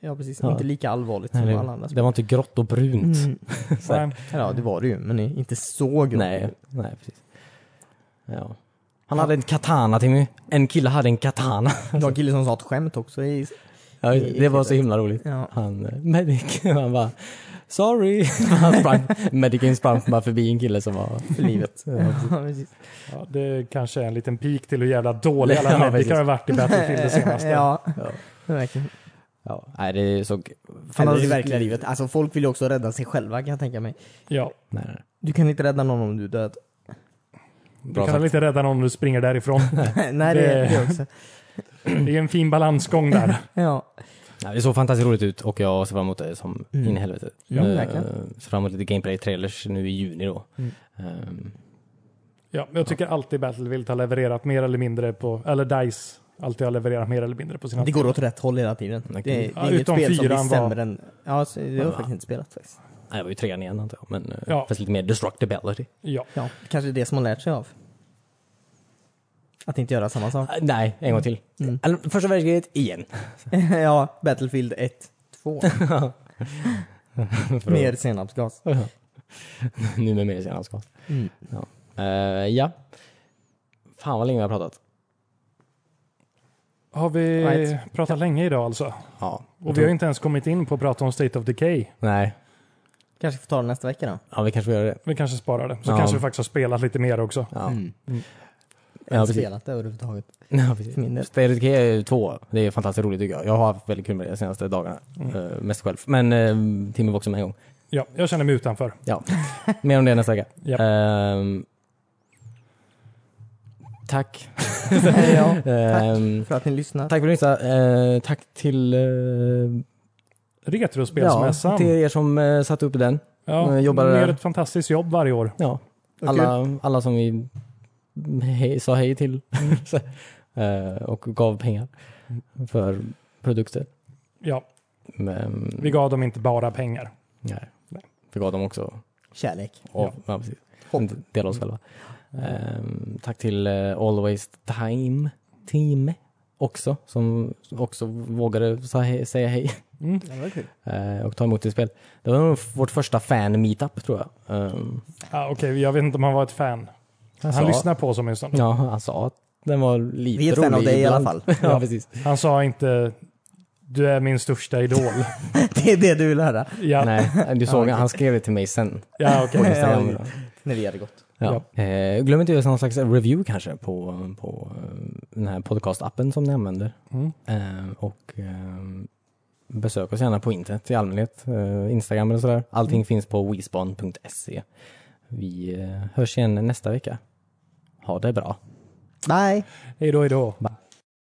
S2: ja precis,
S1: Ja.
S2: inte lika allvarligt som alla andra
S1: Det, det var inte grått och brunt.
S2: Mm.
S1: Så här.
S3: Nej.
S2: Ja det var det ju, men inte så grovt.
S1: Nej, nej precis. Ja. Han hade en katana Timmy. En kille hade en katana.
S2: Det var en kille som sa ett skämt också. I,
S1: Ja, det var så himla roligt.
S2: ja.
S1: Han, eh, medic, (laughs) han bara Sorry! (laughs) Han sprang, medicin sprang bara förbi en kille som var...
S2: För livet.
S1: Ja,
S2: (laughs) Ja, precis.
S3: Ja, det kanske är en liten pik till hur
S2: (laughs)
S3: jävla dåliga
S1: Ja,
S3: alla medicar
S1: precis.
S3: har varit i Battlefield det senaste.
S2: ja,
S1: Ja.
S2: det verkligen.
S1: Ja, nej det såg...
S2: Eller i
S1: det-
S2: verkliga livet. Alltså folk vill ju också rädda sig själva kan jag tänka mig.
S3: Ja.
S1: Nej, nej.
S2: Du kan inte rädda någon om du är död.
S3: Du
S1: Bra
S3: kan väl
S1: sagt.
S3: inte rädda någon om du
S2: (laughs)
S3: springer därifrån.
S2: Nej det,
S3: Det-
S2: det... det också.
S3: Det är en fin balansgång där.
S2: Ja.
S1: Nej, det såg fantastiskt roligt ut och jag ser fram emot det som
S2: Mm.
S1: in i helvete.
S2: Ja,
S1: Eh,
S2: verkligen.
S1: ser fram emot lite gameplay-trailers nu i juni då.
S2: Mm.
S1: Ehm,
S3: Ja, jag tycker alltid Battlefield har levererat mer eller mindre på, eller DICE alltid har levererat mer eller mindre på sina...
S2: Det går åt rätt håll hela tiden. Det, det är
S3: Ja,
S2: inget
S3: utom
S2: spel som blir
S3: fyran var-
S2: sämre än... Ja, så, det har jag
S1: Ja.
S2: faktiskt inte spelat faktiskt.
S1: nej, det var ju trean igen antar jag, men eh,
S3: Ja.
S1: fast lite mer destructibility.
S3: Ja.
S2: Ja, kanske det som man lärt sig av. Att inte göra samma (laughs) sak.
S1: Eh, nej, en gång till.
S2: Mm.
S1: Eller, första världskriget igen. (laughs)
S2: ja, Battlefield 1, (laughs) 2.
S1: För att-
S2: Mer senapsgas.
S1: nu med mer senapsgas.
S2: Mm.
S1: Eh, ja. Fan vad länge vi har pratat.
S3: Har vi
S2: Right.
S3: pratat länge idag alltså?
S1: Ja.
S3: Och vi har ju inte ens kommit in på att prata om State of Decay.
S1: Nej,
S2: Kanske får ta det nästa vecka då.
S1: ja vi kanske får göra det.
S3: Vi kanske sparar det. Så
S1: Ja.
S3: kanske vi faktiskt har spelat lite mer också.
S1: Ja,
S2: Mm. Jag har
S1: ja
S2: inte
S1: precis.
S2: spelat det överhuvudtaget.
S1: (laughs)
S2: (laughs)
S1: Ja,
S2: För min del.
S1: precis. Stated K är ju två. Det är fantastiskt roligt tycker jag. Jag har haft väldigt kul med det de senaste dagarna.
S2: Mm.
S1: Eh, mest själv. Men uh, Timmy var också
S2: (laughs)
S1: med en gång.
S3: Ja, jag känner mig utanför.
S1: Ja. Mer om det nästa vecka.
S3: Japp.
S1: Ehm, tack.
S2: ja,
S1: Ehm,
S2: för att ni lyssnar.
S1: tack för att ni lyssnade. Eh, tack till, eh,
S3: Retrospelsmässan. Ja,
S1: till er som eh, satte upp den. eh, jobbar
S3: ni
S1: där.
S3: gör ett fantastiskt jobb varje år.
S1: Ja,
S2: Och
S1: alla, alla som vi hej, sa hej till
S3: Mm.
S1: (laughs) Så, eh, och gav pengar för produkter.
S3: Ja,
S1: Men,
S3: vi gav dem inte bara pengar.
S1: nej, vi gav dem också
S2: Kärlek.
S1: av,
S3: Ja. Mm.
S1: ja. precis. En del av oss själva. Ehm, tack till eh, Always Time Team också, som också vågade sa hej, säga hej
S3: Mm.
S2: Ja, det var kul.
S1: eh, och ta emot ett spel. Det var nog vårt första fan-meetup tror jag. Ehm,
S3: Ja, Okej, jag vet inte om han var ett fan. Han
S1: sa-
S3: lyssnar på oss åtminstone.
S1: Ja, han sa att den var lite
S2: Vi är ett fan av
S1: rolig (laughs)
S2: dig i alla
S1: ibland.
S2: fall.
S1: ja, precis.
S3: Han sa inte du är min största idol.
S2: det är det du vill höra.
S3: Ja,
S1: Nej, du såg,
S2: okej.
S1: han skrev det till mig sen.
S3: ja okej.
S2: Ja,
S1: Instagram.
S2: ja. När vi hade gått.
S1: Ja. Eh, glöm inte att göra någon slags review kanske på, på eh, den här podcastappen som ni använder.
S3: Mm.
S1: Eh, och eh, besök oss gärna på internet i allmänhet, eh, Instagram eller sådär. Allting finns på wespan.se. Vi eh, hörs igen nästa vecka. Ha det bra.
S2: Nej.
S3: Hej då, hej då.
S1: Bye.